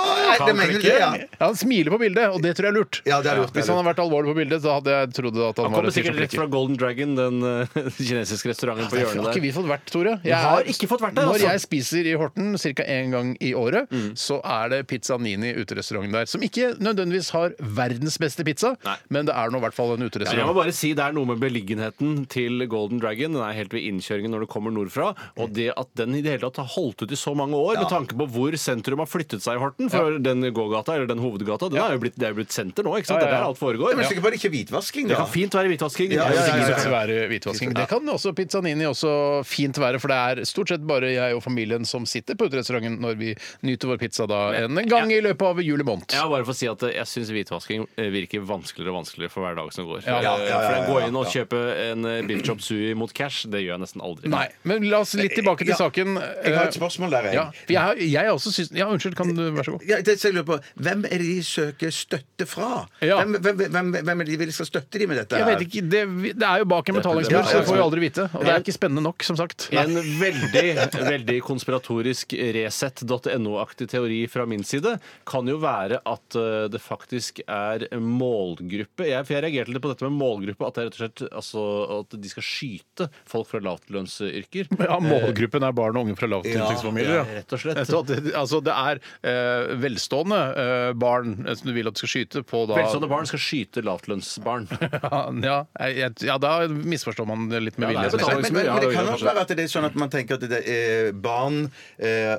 Speaker 4: Nei, det mener du, ja.
Speaker 2: Han smiler på bildet, og det tror jeg er lurt.
Speaker 4: Ja, det er lurt, det er
Speaker 2: Hvis han hadde vært alvorlig på bildet, så hadde jeg trodd at han,
Speaker 3: Han
Speaker 2: var
Speaker 3: kommer
Speaker 2: en fyr
Speaker 3: sikkert
Speaker 2: som
Speaker 3: rett fra
Speaker 2: drikker.
Speaker 3: Golden Dragon, den eh, kinesiske restauranten på
Speaker 2: Derfor
Speaker 3: hjørnet
Speaker 2: har ikke
Speaker 3: der.
Speaker 2: vi fått vært, Tore. Jeg
Speaker 3: har
Speaker 2: er-
Speaker 3: ikke fått vært der,
Speaker 2: Når
Speaker 3: altså. Mm.
Speaker 2: jeg spiser i Horten ca. én gang i året, så er det Pizza Nini uterestauranten der. Som ikke nødvendigvis har verdens beste pizza,
Speaker 3: Nei.
Speaker 2: men det er nå i hvert fall
Speaker 3: Ja,
Speaker 2: en
Speaker 3: jeg må
Speaker 2: uterestaurant.
Speaker 3: bare si Det er noe med beliggenheten til Golden Dragon. Den er helt ved innkjøringen når du kommer nordfra. Og det at den i det hele tatt har holdt ut i så mange år, med tanke på hvor sentrum har flyttet seg i Horten For den gågata, eller den hovedgata, den er jo blitt, det er jo blitt senter nå. ikke sant?
Speaker 2: Ja, ja,
Speaker 3: Det
Speaker 2: ja.
Speaker 3: er der alt foregår.
Speaker 4: Men sikkert bare ikke hvitvasking,
Speaker 3: Det
Speaker 4: da.
Speaker 3: kan fint være hvitvasking.
Speaker 4: Ja, ja, ja, ja, ja.
Speaker 2: Sikkert være hvitvasking. Det kan også Pizza Nini også fint være, for det er stort sett bare jeg og familien som sitter på uterestauranten når vi nyter vår pizza da en gang i løpet av juli måned.
Speaker 3: Ja, bare for å si at eh, Jeg syns hvitvasking eh, virker vanskeligere og vanskeligere for hver dag som går.
Speaker 2: Ja, ja,
Speaker 3: Eh,
Speaker 4: ja,
Speaker 3: For å
Speaker 4: ja, ja,
Speaker 3: Gå
Speaker 4: ja,
Speaker 3: inn og
Speaker 4: ja.
Speaker 3: kjøpe en eh, beef chop sui mot cash, det gjør jeg nesten aldri.
Speaker 2: Nei, men la oss litt tilbake til
Speaker 4: Ja.
Speaker 2: saken. eh,
Speaker 4: Jeg har et spørsmål der, jeg.
Speaker 2: Ja, for jeg, har- jeg også syns Ja, unnskyld, kan du være så god?
Speaker 4: Ja, det jeg lurer på, Hvem er det de søker støtte fra?
Speaker 2: Ja.
Speaker 4: Hvem, hvem, hvem, hvem er det de vil skal støtte de med dette?
Speaker 2: Jeg
Speaker 4: her?
Speaker 2: vet ikke, det, det er jo bak en betalingsmur,
Speaker 4: Ja, ja,
Speaker 2: så
Speaker 4: ja.
Speaker 2: det får vi aldri vite. Og det er ikke spennende nok, som sagt.
Speaker 3: En veldig veldig konspiratorisk resett.no-aktig teori fra min side kan jo være at eh, det faktisk er en målgruppe jeg, For jeg reagerte litt på dette med målgruppe, at det er rett og slett altså, at de skal skyte folk fra lavtlønnsyrker.
Speaker 2: Ja, Målgruppen er barn og unge fra lavinntektsfamilier.
Speaker 3: Ja, rett og slett.
Speaker 2: Så at det- Altså, det er eh, velstående eh, barn eh, som du vil at du skal skyte på da
Speaker 3: Velstående barn skal skyte lavtlønnsbarn.
Speaker 2: Ja, ja, jeg, ja, da misforstår man det litt med
Speaker 3: Ja,
Speaker 2: vilje.
Speaker 3: det er
Speaker 2: som jeg
Speaker 4: Men,
Speaker 2: sier.
Speaker 4: men, men, men det kan også være at det er sånn at man tenker at det er barn, eh,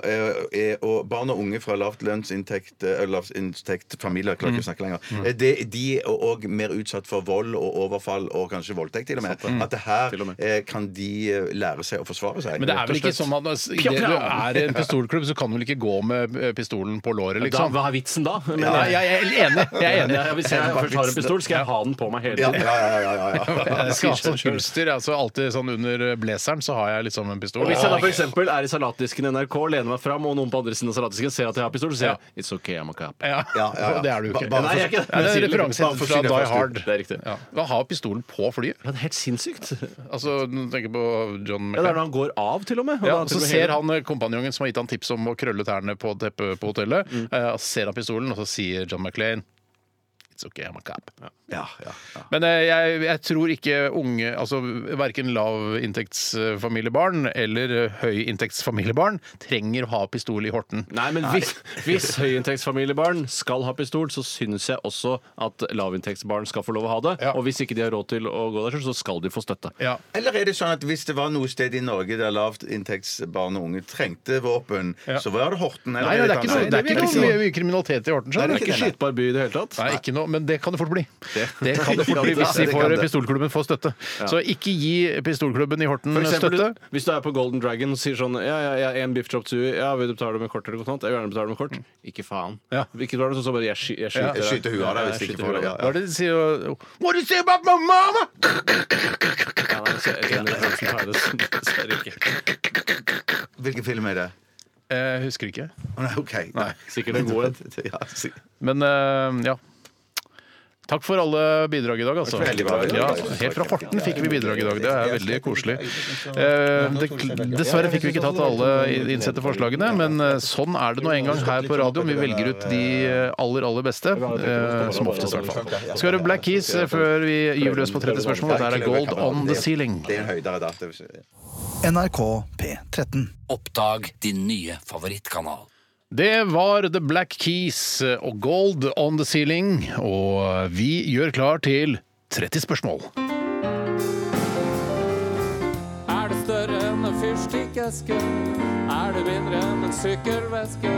Speaker 4: eh, og, barn og unge fra lavt lønnsinntekt eh, eller lavinntekt familier, jeg klarer
Speaker 2: Mm.
Speaker 4: ikke å snakke lenger, eh, det, de er òg mer utsatt for vold og overfall og kanskje voldtekt til og med. At det her eh, kan de eh, lære seg å forsvare seg.
Speaker 2: Men det er vel ikke sånn at altså, i det du er i en pistolklubb, så kan du vel ikke gå med eh, pistolen på låret,
Speaker 3: Da,
Speaker 2: liksom?
Speaker 3: hva er vitsen da? Men,
Speaker 2: Nei, jeg jeg er enig. Jeg er enig.
Speaker 3: Ja, hvis jeg først har en pistol, skal jeg ha den på meg hele
Speaker 4: ja,
Speaker 3: tiden.
Speaker 4: ja, ja, ja, ja, ja.
Speaker 2: Jeg skal ha sånn hylster. Altså alltid sånn under blazeren så har jeg liksom en pistol.
Speaker 3: Og hvis jeg da for eksempel er i salatdisken i NRK, lener meg fram, og noen på andre siden av salatdisken ser at jeg har pistol, så sier jeg It's okay, I'm a cop.
Speaker 2: Ja,
Speaker 4: Ja, ja, ja.
Speaker 2: Og det er du jo ikke.
Speaker 4: Bare- bare
Speaker 3: Nei, jeg er ikke det.
Speaker 2: Nei, det er
Speaker 3: Jeg
Speaker 2: en
Speaker 3: sier det.
Speaker 2: referanse
Speaker 4: Bare for
Speaker 2: fra
Speaker 4: å si det
Speaker 2: Die
Speaker 4: først.
Speaker 2: Hard.
Speaker 3: Det er riktig.
Speaker 2: Ja. Hva har pistolen på flyet?
Speaker 3: Ja, det er helt sinnssykt. Ja,
Speaker 2: Altså, nå tenker jeg på John
Speaker 3: det er når
Speaker 2: McClane.
Speaker 3: han går av, til og med. Og
Speaker 2: Ja,
Speaker 3: da
Speaker 2: og så
Speaker 3: til og med
Speaker 2: ser
Speaker 3: hele-
Speaker 2: han eh, kompanjongen som har gitt han tips om å krølle tærne på teppet på hotellet.
Speaker 3: Mm.
Speaker 2: eh, ser han pistolen, og så sier John McClane It's okay, I'm a cop.
Speaker 4: ja, ja, ja.
Speaker 2: Men eh, jeg, jeg tror ikke unge, altså verken lavinntektsfamiliebarn eller eh, høyinntektsfamiliebarn trenger å ha pistol i horten.
Speaker 3: Nei, men hvis, hvis høyinntektsfamiliebarn skal ha pistol, så syns jeg også at lavinntektsbarn skal få lov å ha det.
Speaker 2: Ja.
Speaker 3: Og hvis ikke de har råd til å gå der selv, så skal de få støtte.
Speaker 2: Ja.
Speaker 4: Eller er det sånn at hvis det var noe sted i Norge der lavinntektsbarn og unge trengte våpen, så var det Horten? eller
Speaker 2: Nei, nei, det er
Speaker 4: kan
Speaker 2: ikke noe,
Speaker 4: være-
Speaker 2: det er ikke
Speaker 4: Nei,
Speaker 2: noe mye, mye kriminalitet i Horten.
Speaker 3: Det
Speaker 2: skjønner
Speaker 3: er
Speaker 2: du.
Speaker 3: ikke en skytbar by i det hele tatt.
Speaker 2: Nei, ikke noe, men det kan det fort bli. Det, kan det fort bli
Speaker 4: Ja,
Speaker 2: Hvis de
Speaker 4: det kan
Speaker 2: får
Speaker 4: det.
Speaker 2: pistolklubben får støtte. Så ikke gi pistolklubben i Horten
Speaker 3: For eksempel,
Speaker 2: støtte.
Speaker 3: du- Hvis du er på Golden Dragon og sier sånn Ja, ja, ja en biff chop tui. Ja, vil du betale med kort eller kontant? Jeg vil gjerne betale med kort. Ikke faen.
Speaker 2: Ja.
Speaker 3: Ikke betale, så så sånn bare Jeg, sky, jeg skyter
Speaker 4: Jeg
Speaker 3: deg.
Speaker 4: skyter huet av deg hvis
Speaker 3: Jeg
Speaker 4: du ikke
Speaker 3: skyter
Speaker 4: får
Speaker 3: huet av
Speaker 4: det. Ja,
Speaker 3: deg.
Speaker 2: Hva er det de sier? jo? What do you say about my mama?
Speaker 3: Ja, nei, så jeg kjenner den som tar det, så dessverre ikke.
Speaker 4: Hvilken film er det?
Speaker 2: Eh, husker ikke.
Speaker 4: Å, Nei, OK. Nei.
Speaker 3: Sikkert en god en.
Speaker 4: Ja, sikkert.
Speaker 2: Men eh, ja. Takk for alle bidrag i dag, altså.
Speaker 4: Veldig bra bidrag.
Speaker 2: Ja, helt fra Horten fikk vi bidrag i dag. Det er veldig koselig. Eh, det, dessverre fikk vi ikke tatt alle innsendte forslagene, men eh, sånn er det nå en gang her på radioen. Vi velger ut de aller, aller beste. eh, som oftest, i hvert fall. Skal høre Black Keys eh, før vi gyver løs på 30 spørsmål. Dette her er Gold on the Ceiling.
Speaker 4: Det er en høydere data.
Speaker 5: NRK P13.
Speaker 6: Oppdag din nye favorittkanal.
Speaker 2: Det var The Black Keys og Gold on the Ceiling, og vi gjør klar til 30 spørsmål.
Speaker 9: Er det større enn en fyrstikkeske? Er det mindre enn en sykkelveske?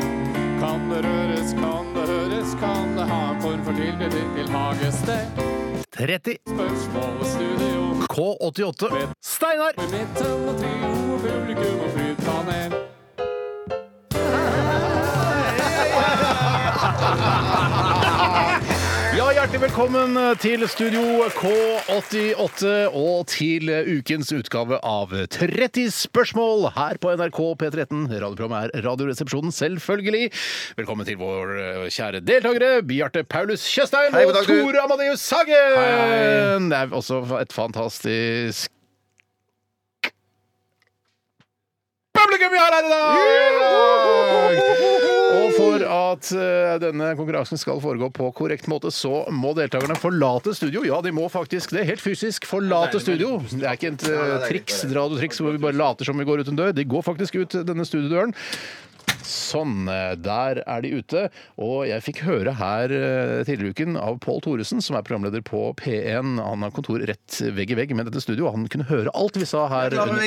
Speaker 9: Kan det røres, kan det høres, kan det ha en form for tilknytning til hagested?
Speaker 2: 30
Speaker 9: Spørsmål og studio
Speaker 2: K88 Steinar
Speaker 9: med midten og trio og publikum og flypanel.
Speaker 2: Ja, hjertelig velkommen eh, til studio K88 og til eh, ukens utgave av 30 spørsmål her på NRK P13. Radioprogrammet er Radioresepsjonen, selvfølgelig. Velkommen til vår eh, kjære deltakere, Bjarte Paulus Tjøstheim og Tore Amadeus Sagen! Det er også et fantastisk publikum vi har her i dag! Og for at eh, denne konkurransen skal foregå på korrekt måte, så må deltakerne forlate studio. Ja, de må faktisk det. Helt fysisk forlate studio. Det er ikke et eh, triks, radiotriks hvor vi bare later som vi går ut en dør. De går faktisk ut denne studiodøren. Sånn. eh, Der er de ute. Og jeg fikk høre her eh, tidligere i uken av Pål Thoresen, som er programleder på P1. Han har kontor rett vegg i vegg med dette studio. Han kunne høre alt vi sa her. under-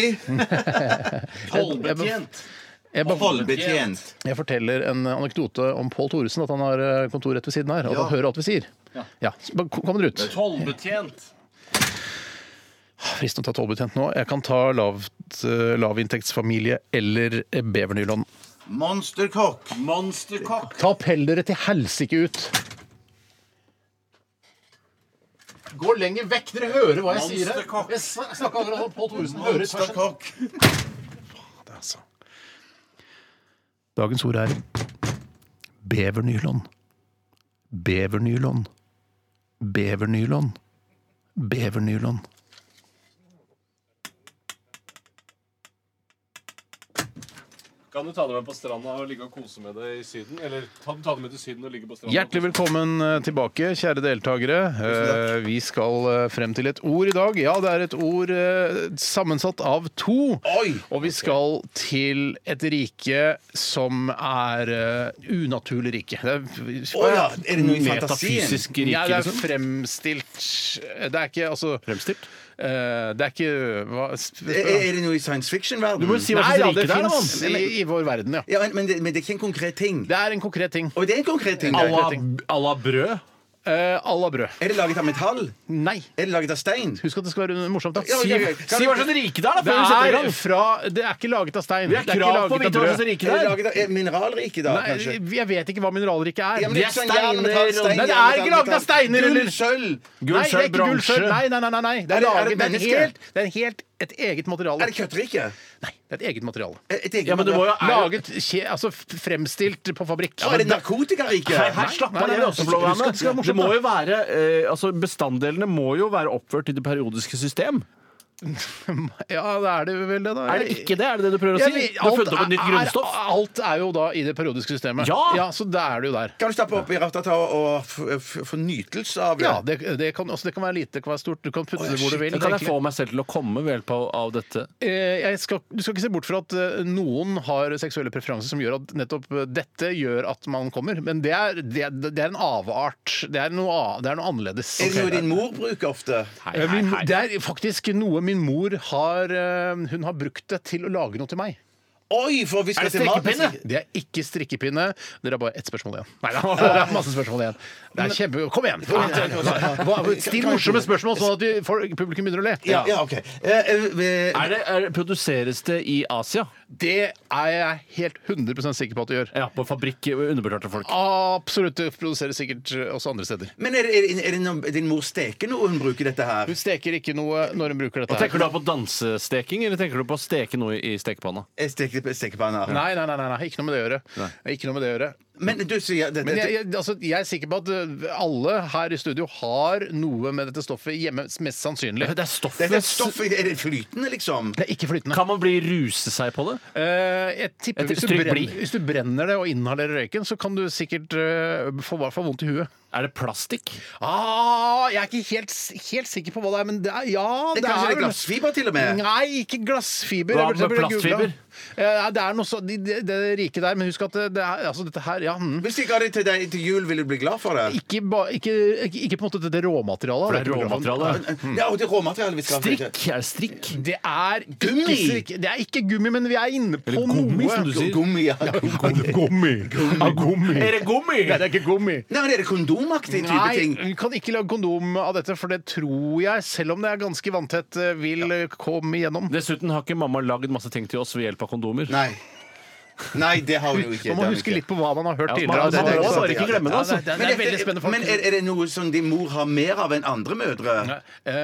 Speaker 4: Holdbetjent.
Speaker 2: Jeg bare-
Speaker 4: Holdbetjent.
Speaker 2: jeg forteller en anekdote om Pål Thoresen, at han har eh, kontor rett ved siden her. Og at han hører alt vi sier. Ja. så bare kom dere ut.
Speaker 8: Tollbetjent.
Speaker 2: Fristende å ta tollbetjent nå. Jeg kan ta lavt, eh, lavinntektsfamilie eller bevernylon.
Speaker 4: Monsterkokk.
Speaker 8: Monsterkokk.
Speaker 2: Ta pell dere til helsike ut! Gå lenger vekk! Dere hører hva jeg sier her. Jeg snakka akkurat om Pål Thoresen.
Speaker 4: Monsterkokk.
Speaker 2: Dagens ord er bevernylon. Bevernylon. Bevernylon. Bevernylon.
Speaker 8: Kan du ta det med på stranda og ligge og kose med det i Syden? Eller ta, ta det med til Syden og ligge på stranda?
Speaker 2: Hjertelig velkommen eh, tilbake, kjære deltakere. Eh, Vi skal eh, frem til et ord i dag. Ja, det er et ord eh, sammensatt av to. Og vi skal til et rike som er eh, unaturlig rike. Det er,
Speaker 4: Å ja, er det noe i fantasien?
Speaker 3: Metafysisk rike,
Speaker 2: ja, det er
Speaker 3: liksom?
Speaker 2: fremstilt Det er ikke altså
Speaker 3: Fremstilt?
Speaker 2: eh, Det er ikke hva,
Speaker 4: Er, er det noe i science fiction-verdenen?
Speaker 2: Du må si hva
Speaker 3: Nei,
Speaker 2: slags
Speaker 3: ja,
Speaker 2: rike
Speaker 3: det
Speaker 2: det
Speaker 3: er det,
Speaker 2: fins
Speaker 4: mann.
Speaker 2: i, i vår verden, ja.
Speaker 4: Ja, men, men, det, men det er ikke en konkret ting.
Speaker 2: Det er en konkret ting.
Speaker 4: Og det er en konkret ting.
Speaker 2: Alla-
Speaker 3: À la brød?
Speaker 2: Eh, à la brød.
Speaker 4: Er det laget av metall?
Speaker 2: Nei.
Speaker 4: Er det laget av stein?
Speaker 2: Husk at det skal være morsomt, da.
Speaker 4: Ja, ok, ok. Kan
Speaker 3: Si
Speaker 4: du-
Speaker 3: hva slags rike det er, da!
Speaker 2: Det
Speaker 3: Før vi setter i
Speaker 2: er,
Speaker 3: gang.
Speaker 2: fra, det er ikke laget av stein.
Speaker 3: Vi har
Speaker 2: det er ikke
Speaker 3: krav på å
Speaker 2: laget
Speaker 3: vite hva
Speaker 2: av brød.
Speaker 3: slags rike
Speaker 4: Er
Speaker 3: det
Speaker 4: det
Speaker 3: er.
Speaker 4: laget av er mineralrike, da,
Speaker 2: Nei,
Speaker 4: kanskje?
Speaker 2: jeg vet ikke hva mineralriket er.
Speaker 4: Ja, men
Speaker 2: det,
Speaker 4: ikke
Speaker 2: er
Speaker 4: sånn
Speaker 2: steiner.
Speaker 4: jern, metall, stein,
Speaker 2: Nei, det
Speaker 4: jern,
Speaker 2: er
Speaker 4: metall,
Speaker 2: ikke laget av
Speaker 4: metall.
Speaker 2: steiner!
Speaker 4: Gull,
Speaker 2: eller-
Speaker 4: sølv!
Speaker 2: Nei, det er ikke gull,
Speaker 3: bronse.
Speaker 2: sølv. Nei, nei, nei. nei, nei. Det
Speaker 4: Er
Speaker 2: er,
Speaker 4: det- er
Speaker 2: laget,
Speaker 4: det
Speaker 2: det er en
Speaker 4: menneske?
Speaker 2: helt, det er en helt et eget materiale.
Speaker 4: Er det kjøttrike?
Speaker 2: Nei, det er et eget materiale.
Speaker 4: Er- er det ikke-
Speaker 3: Ja, men det må jo er,
Speaker 2: Laget, kje, altså f- fremstilt på fabrikk.
Speaker 4: Er det narkotikarike?
Speaker 3: Nei, her slapp
Speaker 2: nei,
Speaker 3: av,
Speaker 2: nei,
Speaker 3: det er også
Speaker 2: husk-
Speaker 3: blå
Speaker 2: husk at det
Speaker 3: vannet.
Speaker 2: skal være morsomt,
Speaker 3: Det må
Speaker 2: da.
Speaker 3: jo være eh, Altså, bestanddelene må jo være oppført i det periodiske system.
Speaker 2: Ja, da er det vel det, da.
Speaker 3: Er det ikke det? Er det det du prøver å
Speaker 2: Ja,
Speaker 3: si?
Speaker 2: men
Speaker 3: Du har funnet opp et nytt
Speaker 2: er-
Speaker 3: grunnstoff?
Speaker 2: Er, alt er jo da i det periodiske systemet.
Speaker 3: Ja!
Speaker 2: Så da er det jo der.
Speaker 4: Kan du stappe opp i ratata og, og f- f- få nytelse av det?
Speaker 2: Ja, det, det, kan, også, det kan være lite, det kan være stort. Du kan putte det hvor du vil.
Speaker 3: Kan jeg
Speaker 2: egentlig.
Speaker 3: få meg selv til å komme ved hjelp av, av dette?
Speaker 2: Eh, jeg skal, du skal ikke se bort fra at eh, noen har seksuelle preferanser som gjør at nettopp eh, dette gjør at man kommer, men det er, det, er- det er en avart. Det er noe, a- det er noe annerledes.
Speaker 4: Er det noe din mor bruker ofte?
Speaker 2: Eh, min, det er faktisk noe min mor har eh, Hun har brukt det til å lage noe til meg.
Speaker 4: Oi, for vi skal til mat-
Speaker 2: Det er ikke strikkepinne. Dere har bare ett spørsmål igjen. Nei, det er masse spørsmål igjen. Det er kjempe... Kom igjen! Hva- Still morsomme spørsmål, sånn at vi- folk- publikum begynner å le.
Speaker 4: Ja, ja, ok. Eh, eh, vi-
Speaker 3: Er det, er, produseres det i Asia?
Speaker 2: Det er jeg helt 100 sikker på at det gjør.
Speaker 3: Ja, på fabrikk underbetalte folk.
Speaker 2: Absolutt. Det produseres sikkert også andre steder.
Speaker 4: Men er det, er det, er det noe, din mor steker noe hun bruker dette her?
Speaker 2: Hun steker ikke noe når hun bruker dette.
Speaker 3: Og Tenker du da på dansesteking, eller tenker du på å steke noe i stekepanna?
Speaker 4: Jeg Eh, steker, stekepanna.
Speaker 2: Nei, nei, nei, nei, nei, ikke noe med det å gjøre. Ikke noe med det å gjøre.
Speaker 4: Men du sier det, det,
Speaker 2: Men jeg, jeg, altså, jeg er sikker på at uh, alle her i studio har noe med dette stoffet hjemme, mest sannsynlig.
Speaker 3: Det er stoff.
Speaker 4: dette er stoff Er det flytende, liksom?
Speaker 2: Det er ikke flytende.
Speaker 3: Kan man bli ruse seg på det?
Speaker 2: Eh, jeg tipper
Speaker 3: Et
Speaker 2: hvis du,
Speaker 3: stryk
Speaker 2: brenner,
Speaker 3: bli.
Speaker 2: hvis du brenner det og inhalerer røyken, så kan du sikkert eh, få i hvert fall vondt i huet.
Speaker 3: Er det plastikk?
Speaker 2: Ah, jeg er ikke helt, s- helt sikker på hva det er, men det er, ja
Speaker 4: Det er kanskje det er
Speaker 2: vel-
Speaker 4: glassfiber, til og med?
Speaker 2: Nei, ikke glassfiber.
Speaker 3: Hva
Speaker 2: Jeg burde- jeg
Speaker 3: med
Speaker 2: burde googlet.
Speaker 3: plastfiber?
Speaker 2: Eh, nei, Det er noe så, de, de, det er rike der, men husk at det det er altså dette her ja, hm.
Speaker 4: Hvis de ga det til deg til jul, vil du bli glad for det?
Speaker 2: ikke, ba, ikke, ikke, ikke på en måte dette råmaterialet.
Speaker 3: For det er
Speaker 2: Ikke på grunn av-
Speaker 3: råmateriale.
Speaker 4: Ja, og det er råmaterialet vi skal
Speaker 3: Strikk? Er det strikk?
Speaker 2: Det er ikke
Speaker 4: Gummi!
Speaker 2: strikk- Det er ikke gummi, men vi er inne på
Speaker 3: Eller gummi,
Speaker 2: noe.
Speaker 3: som du sier.
Speaker 4: Gummi, ja.
Speaker 2: Gummi.
Speaker 3: Er det gummi?
Speaker 2: Nei, det er ikke gummi.
Speaker 4: Nei, men Er det kondomaktig type ting?
Speaker 2: Nei, vi kan ikke lage kondom av dette, for det tror jeg, selv om det er ganske vanntett, eh, vil eh, komme igjennom.
Speaker 3: Dessuten har ikke mamma lagd masse ting til oss ved hjelp av kondomer.
Speaker 4: Nei. Nei, det har hun jo ikke.
Speaker 2: Man må huske litt på hva man har hørt
Speaker 3: Ja, man-
Speaker 2: tidligere.
Speaker 4: man må
Speaker 2: sant,
Speaker 4: bare ikke glemme det,
Speaker 2: Ja,
Speaker 3: altså.
Speaker 2: det, det, det er veldig spennende.
Speaker 4: Men er, er det noe som din mor har mer av enn andre mødre?
Speaker 2: Eh,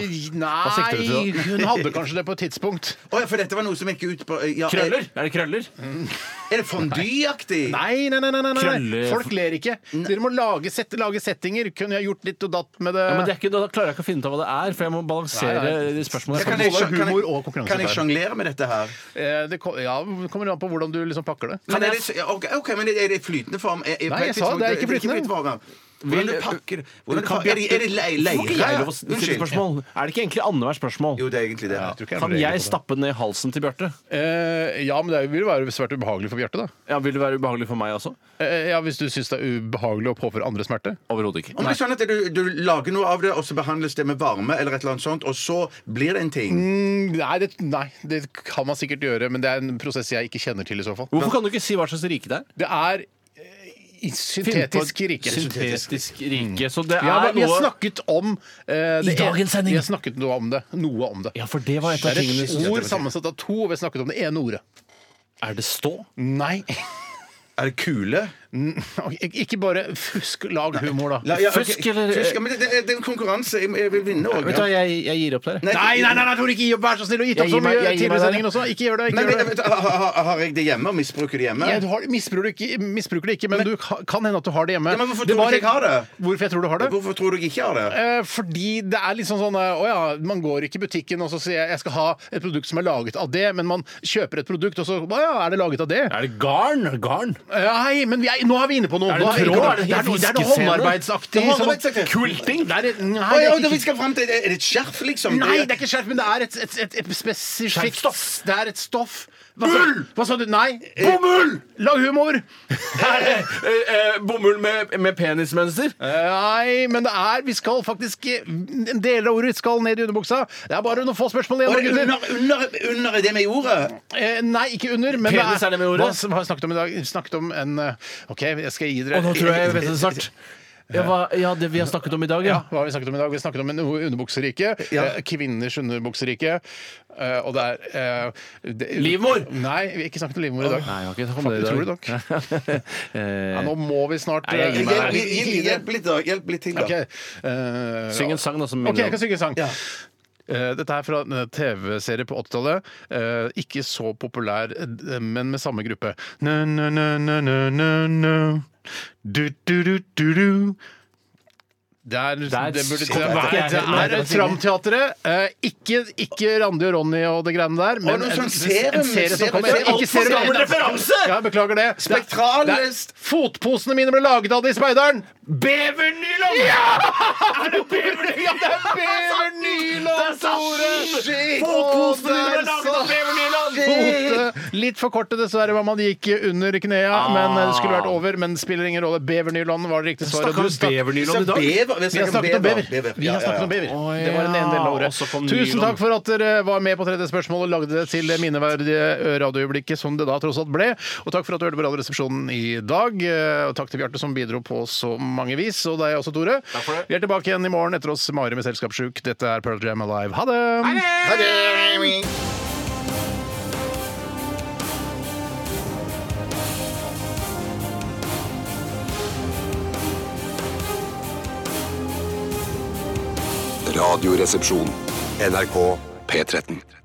Speaker 3: sikter du
Speaker 2: nei,
Speaker 3: til da?
Speaker 2: hun hadde kanskje det på et tidspunkt.
Speaker 4: Å ja, for dette var noe som gikk ut på eh, ja,
Speaker 3: Krøller? Er det krøller?
Speaker 4: Er, er det fondyaktig?
Speaker 2: Nei, nei, nei, nei, nei, nei.
Speaker 3: Krølle-
Speaker 2: Folk ler ikke. Dere må lage, sette, lage settinger. Kunne jeg gjort litt og datt med det?
Speaker 3: Ja, men det er ikke, da klarer jeg ikke å finne ut av hva det er, for jeg må balansere
Speaker 2: Nei, nei.
Speaker 3: de spørsmålene.
Speaker 4: Kan
Speaker 3: jeg
Speaker 4: jeg,
Speaker 3: får.
Speaker 2: Både
Speaker 4: kan
Speaker 2: humor og
Speaker 4: jeg,
Speaker 2: konkurranse
Speaker 4: kan jeg
Speaker 2: der.
Speaker 4: sjonglere med dette her?
Speaker 2: Eh, det ko- ja, kommer det an på hvordan du liksom pakker det.
Speaker 4: Men er det, ok, ok, men er det i flytende form? Er, er
Speaker 2: Nei,
Speaker 4: på et
Speaker 2: jeg sa det, det er ikke
Speaker 4: tidspunkt-
Speaker 2: flytende.
Speaker 4: form. Hvordan du pakker hvordan du
Speaker 3: Kan
Speaker 4: pakker- Er det, er det lei- leire?
Speaker 3: Får ikke jeg lov å stille spørsmål? Er det ikke egentlig annethvert spørsmål?
Speaker 4: Jo, det er egentlig det.
Speaker 2: Jeg tror ikke det er
Speaker 3: Kan
Speaker 2: noen regler
Speaker 3: jeg
Speaker 2: på det.
Speaker 3: stappe den ned halsen til Bjarte?
Speaker 2: Eh, ja, men det vil jo være svært ubehagelig for Bjarte, da.
Speaker 3: Ja, Vil det være ubehagelig for meg også?
Speaker 2: Eh, ja, Hvis du syns det er ubehagelig å påføre andre smerte.
Speaker 3: Overhodet ikke.
Speaker 4: Om det er sånn at du, du lager noe av det, og så behandles det med varme, eller et eller annet sånt, og så blir det en ting.
Speaker 2: Mm. Nei det, nei, det kan man sikkert gjøre, men det er en prosess jeg ikke kjenner til i så fall.
Speaker 3: Hvorfor kan du ikke si hva slags rike det er?
Speaker 2: Det er eh, i syntetisk rike. Mm.
Speaker 3: Syntetisk rike. Så det
Speaker 2: Ja,
Speaker 3: er
Speaker 2: men vi har
Speaker 3: noe
Speaker 2: snakket om eh, det
Speaker 3: I dagens
Speaker 2: ene-
Speaker 3: sending.
Speaker 2: Vi har snakket noe om det. Noe om det.
Speaker 3: Ja, for det var et
Speaker 2: Det
Speaker 3: av
Speaker 2: er
Speaker 3: tingene
Speaker 2: et ord sammensatt av to, og vi har snakket om det ene ordet.
Speaker 3: Er det stå?
Speaker 2: Nei.
Speaker 4: Er det kule?
Speaker 2: Ikke bare fusk, lag humor, da.
Speaker 4: La- ja, ok.
Speaker 3: Fusk, eller-
Speaker 4: Fusk, ja, men det, det, det er en konkurranse. Jeg, jeg vil vinne òg.
Speaker 3: Vet du hva, jeg, jeg gir opp der. jeg.
Speaker 2: Nei, nei, nei, nei, Tore, ikke gi opp! Vær så snill, og gitt opp
Speaker 3: Jeg gir
Speaker 2: så
Speaker 3: meg-
Speaker 2: mye
Speaker 3: jeg gir
Speaker 2: tidligere i
Speaker 3: meg der,
Speaker 2: sendingen også. Ikke gjør det. ikke
Speaker 4: Nei,
Speaker 2: gjør
Speaker 4: men,
Speaker 2: det.
Speaker 4: vet du, har, har- har jeg det hjemme, og misbruker det hjemme?
Speaker 2: Ja, du har, misbruker, det ikke, misbruker det ikke, men du ka- kan hende at du har det hjemme.
Speaker 4: Ja, men hvorfor
Speaker 2: det
Speaker 4: tror du ikke jeg har det?
Speaker 2: Hvorfor jeg tror du har det?
Speaker 4: Hvorfor tror du jeg ikke har det?
Speaker 2: Eh, Fordi det er litt sånn sånn eh, Å ja, man går ikke i butikken og så sier jeg jeg skal ha et produkt som er laget av det, men man kjøper et produkt, og så Å ja, er det laget av det? Eh,
Speaker 3: Er det garn? Garn?
Speaker 2: Nei, men vi er, nå er vi inne på noe.
Speaker 3: Er det
Speaker 2: Nå
Speaker 3: tråd?
Speaker 2: inne på
Speaker 3: Er det
Speaker 2: det er noe, det er noe
Speaker 3: fiskescene?
Speaker 2: håndarbeidsaktig.
Speaker 4: Det er håndarbeidsaktig.
Speaker 2: Kulting? Det er, nei,
Speaker 4: Å,
Speaker 2: det
Speaker 4: ja,
Speaker 2: er
Speaker 4: det, vi
Speaker 2: ikke
Speaker 4: skal frem til, er det et skjerf, liksom?
Speaker 2: Nei, det er ikke skjerf, men det er et, et, et, et spesifikt stoff. Det er et stoff. Hva sa-
Speaker 3: Ull!
Speaker 2: Hva sa du? Nei. eh,
Speaker 3: Bomull!
Speaker 2: Lag humor!
Speaker 3: Bomull med, med penismønster?
Speaker 2: Nei, men det er Vi skal faktisk En del av ordet skal ned i underbuksa. Det er bare noen få spørsmål
Speaker 4: Og
Speaker 2: igjen.
Speaker 4: det er
Speaker 2: gutter.
Speaker 4: under, under, under er det med jordet?
Speaker 2: Eh, nei, ikke under. Men
Speaker 3: Penis er det med ordet.
Speaker 2: Hva s- hva har jeg snakket om i dag? Snakket om en eh, OK, jeg skal gi dere
Speaker 3: Og nå tror jeg jeg vet det snart. Ja, hva, ja, det vi har snakket om i dag, ja.
Speaker 2: Ja, hva har vi snakket om i dag? Vi har snakket om en underbukserike. eh, Kvinners underbukserike. eh, og det er eh, det,
Speaker 3: Livmor!
Speaker 2: Nei, vi har ikke snakket om livmor i dag.
Speaker 3: Nei, jeg har ikke
Speaker 2: Faktisk, tror du nok.
Speaker 3: Eh,
Speaker 2: Ja, nå må vi snart
Speaker 3: Nei, jeg gir meg.
Speaker 2: eh,
Speaker 4: Hjelp, hjelp, hjelp litt, da. Hjelp litt til, da.
Speaker 2: Ok, eh,
Speaker 3: Syng en sang, da, som
Speaker 2: Ok, jeg
Speaker 3: minner
Speaker 2: kan
Speaker 3: om
Speaker 2: synge en sang. Eh, Dette er fra en TV-serie på 80-tallet. eh, Ikke så populær, eh, men med samme gruppe. Na, na, na, na, na, na, na. Du, du, du, du, du. Det er, liksom- det burde,
Speaker 3: så-
Speaker 2: det
Speaker 3: Nei, nei,
Speaker 2: er, det er Tramteatret. Eh, Ikke, ikke Randi og Ronny og det greiene der, men
Speaker 4: noe
Speaker 2: en,
Speaker 4: sånn
Speaker 2: en
Speaker 4: serum-
Speaker 2: serie som
Speaker 4: serum-
Speaker 2: kommer.
Speaker 4: serum-
Speaker 2: Ikke
Speaker 4: Altfor gammel
Speaker 2: serum-
Speaker 3: referanse!
Speaker 2: Ja, beklager det. Det er-
Speaker 4: Spektral-
Speaker 2: det er- Fotposene mine ble laget av det i speideren!
Speaker 3: Bevernylon!
Speaker 2: Er det bevernylon? Ja, det er bevernylon, Tore! Shit!
Speaker 3: Fotposene
Speaker 2: Å,
Speaker 3: mine
Speaker 2: det er
Speaker 3: laget av
Speaker 2: så- Fote. Litt for korte, dessverre, hva man gikk under knea. Men det skulle vært over, men spiller ingen rolle. Bevernylon var det riktige svaret.
Speaker 3: Snakka
Speaker 2: Du
Speaker 3: om
Speaker 2: stakk-
Speaker 3: bevernylon i dag.
Speaker 4: Bever,
Speaker 2: Vi har snakket om bever. Vi har snakket om bever.
Speaker 3: Å,
Speaker 2: Det var den ene delen av
Speaker 3: ja. Og
Speaker 2: året.
Speaker 3: så kom
Speaker 2: Tusen
Speaker 3: nylon.
Speaker 2: takk for at dere var med på tredje spørsmål og lagde det til det minneverdige radioøyeblikket som det da tross alt ble. Og takk for at du hørte på Radioresepsjonen i dag. Eh, Og takk til Bjarte som bidro på så mange vis. Og deg også, Tore. Vi er tilbake igjen i morgen etter oss Mari med Selskapssjuk. Dette er Pearl Jam Alive. Ha det!
Speaker 1: Radioresepsjon. NRK P13.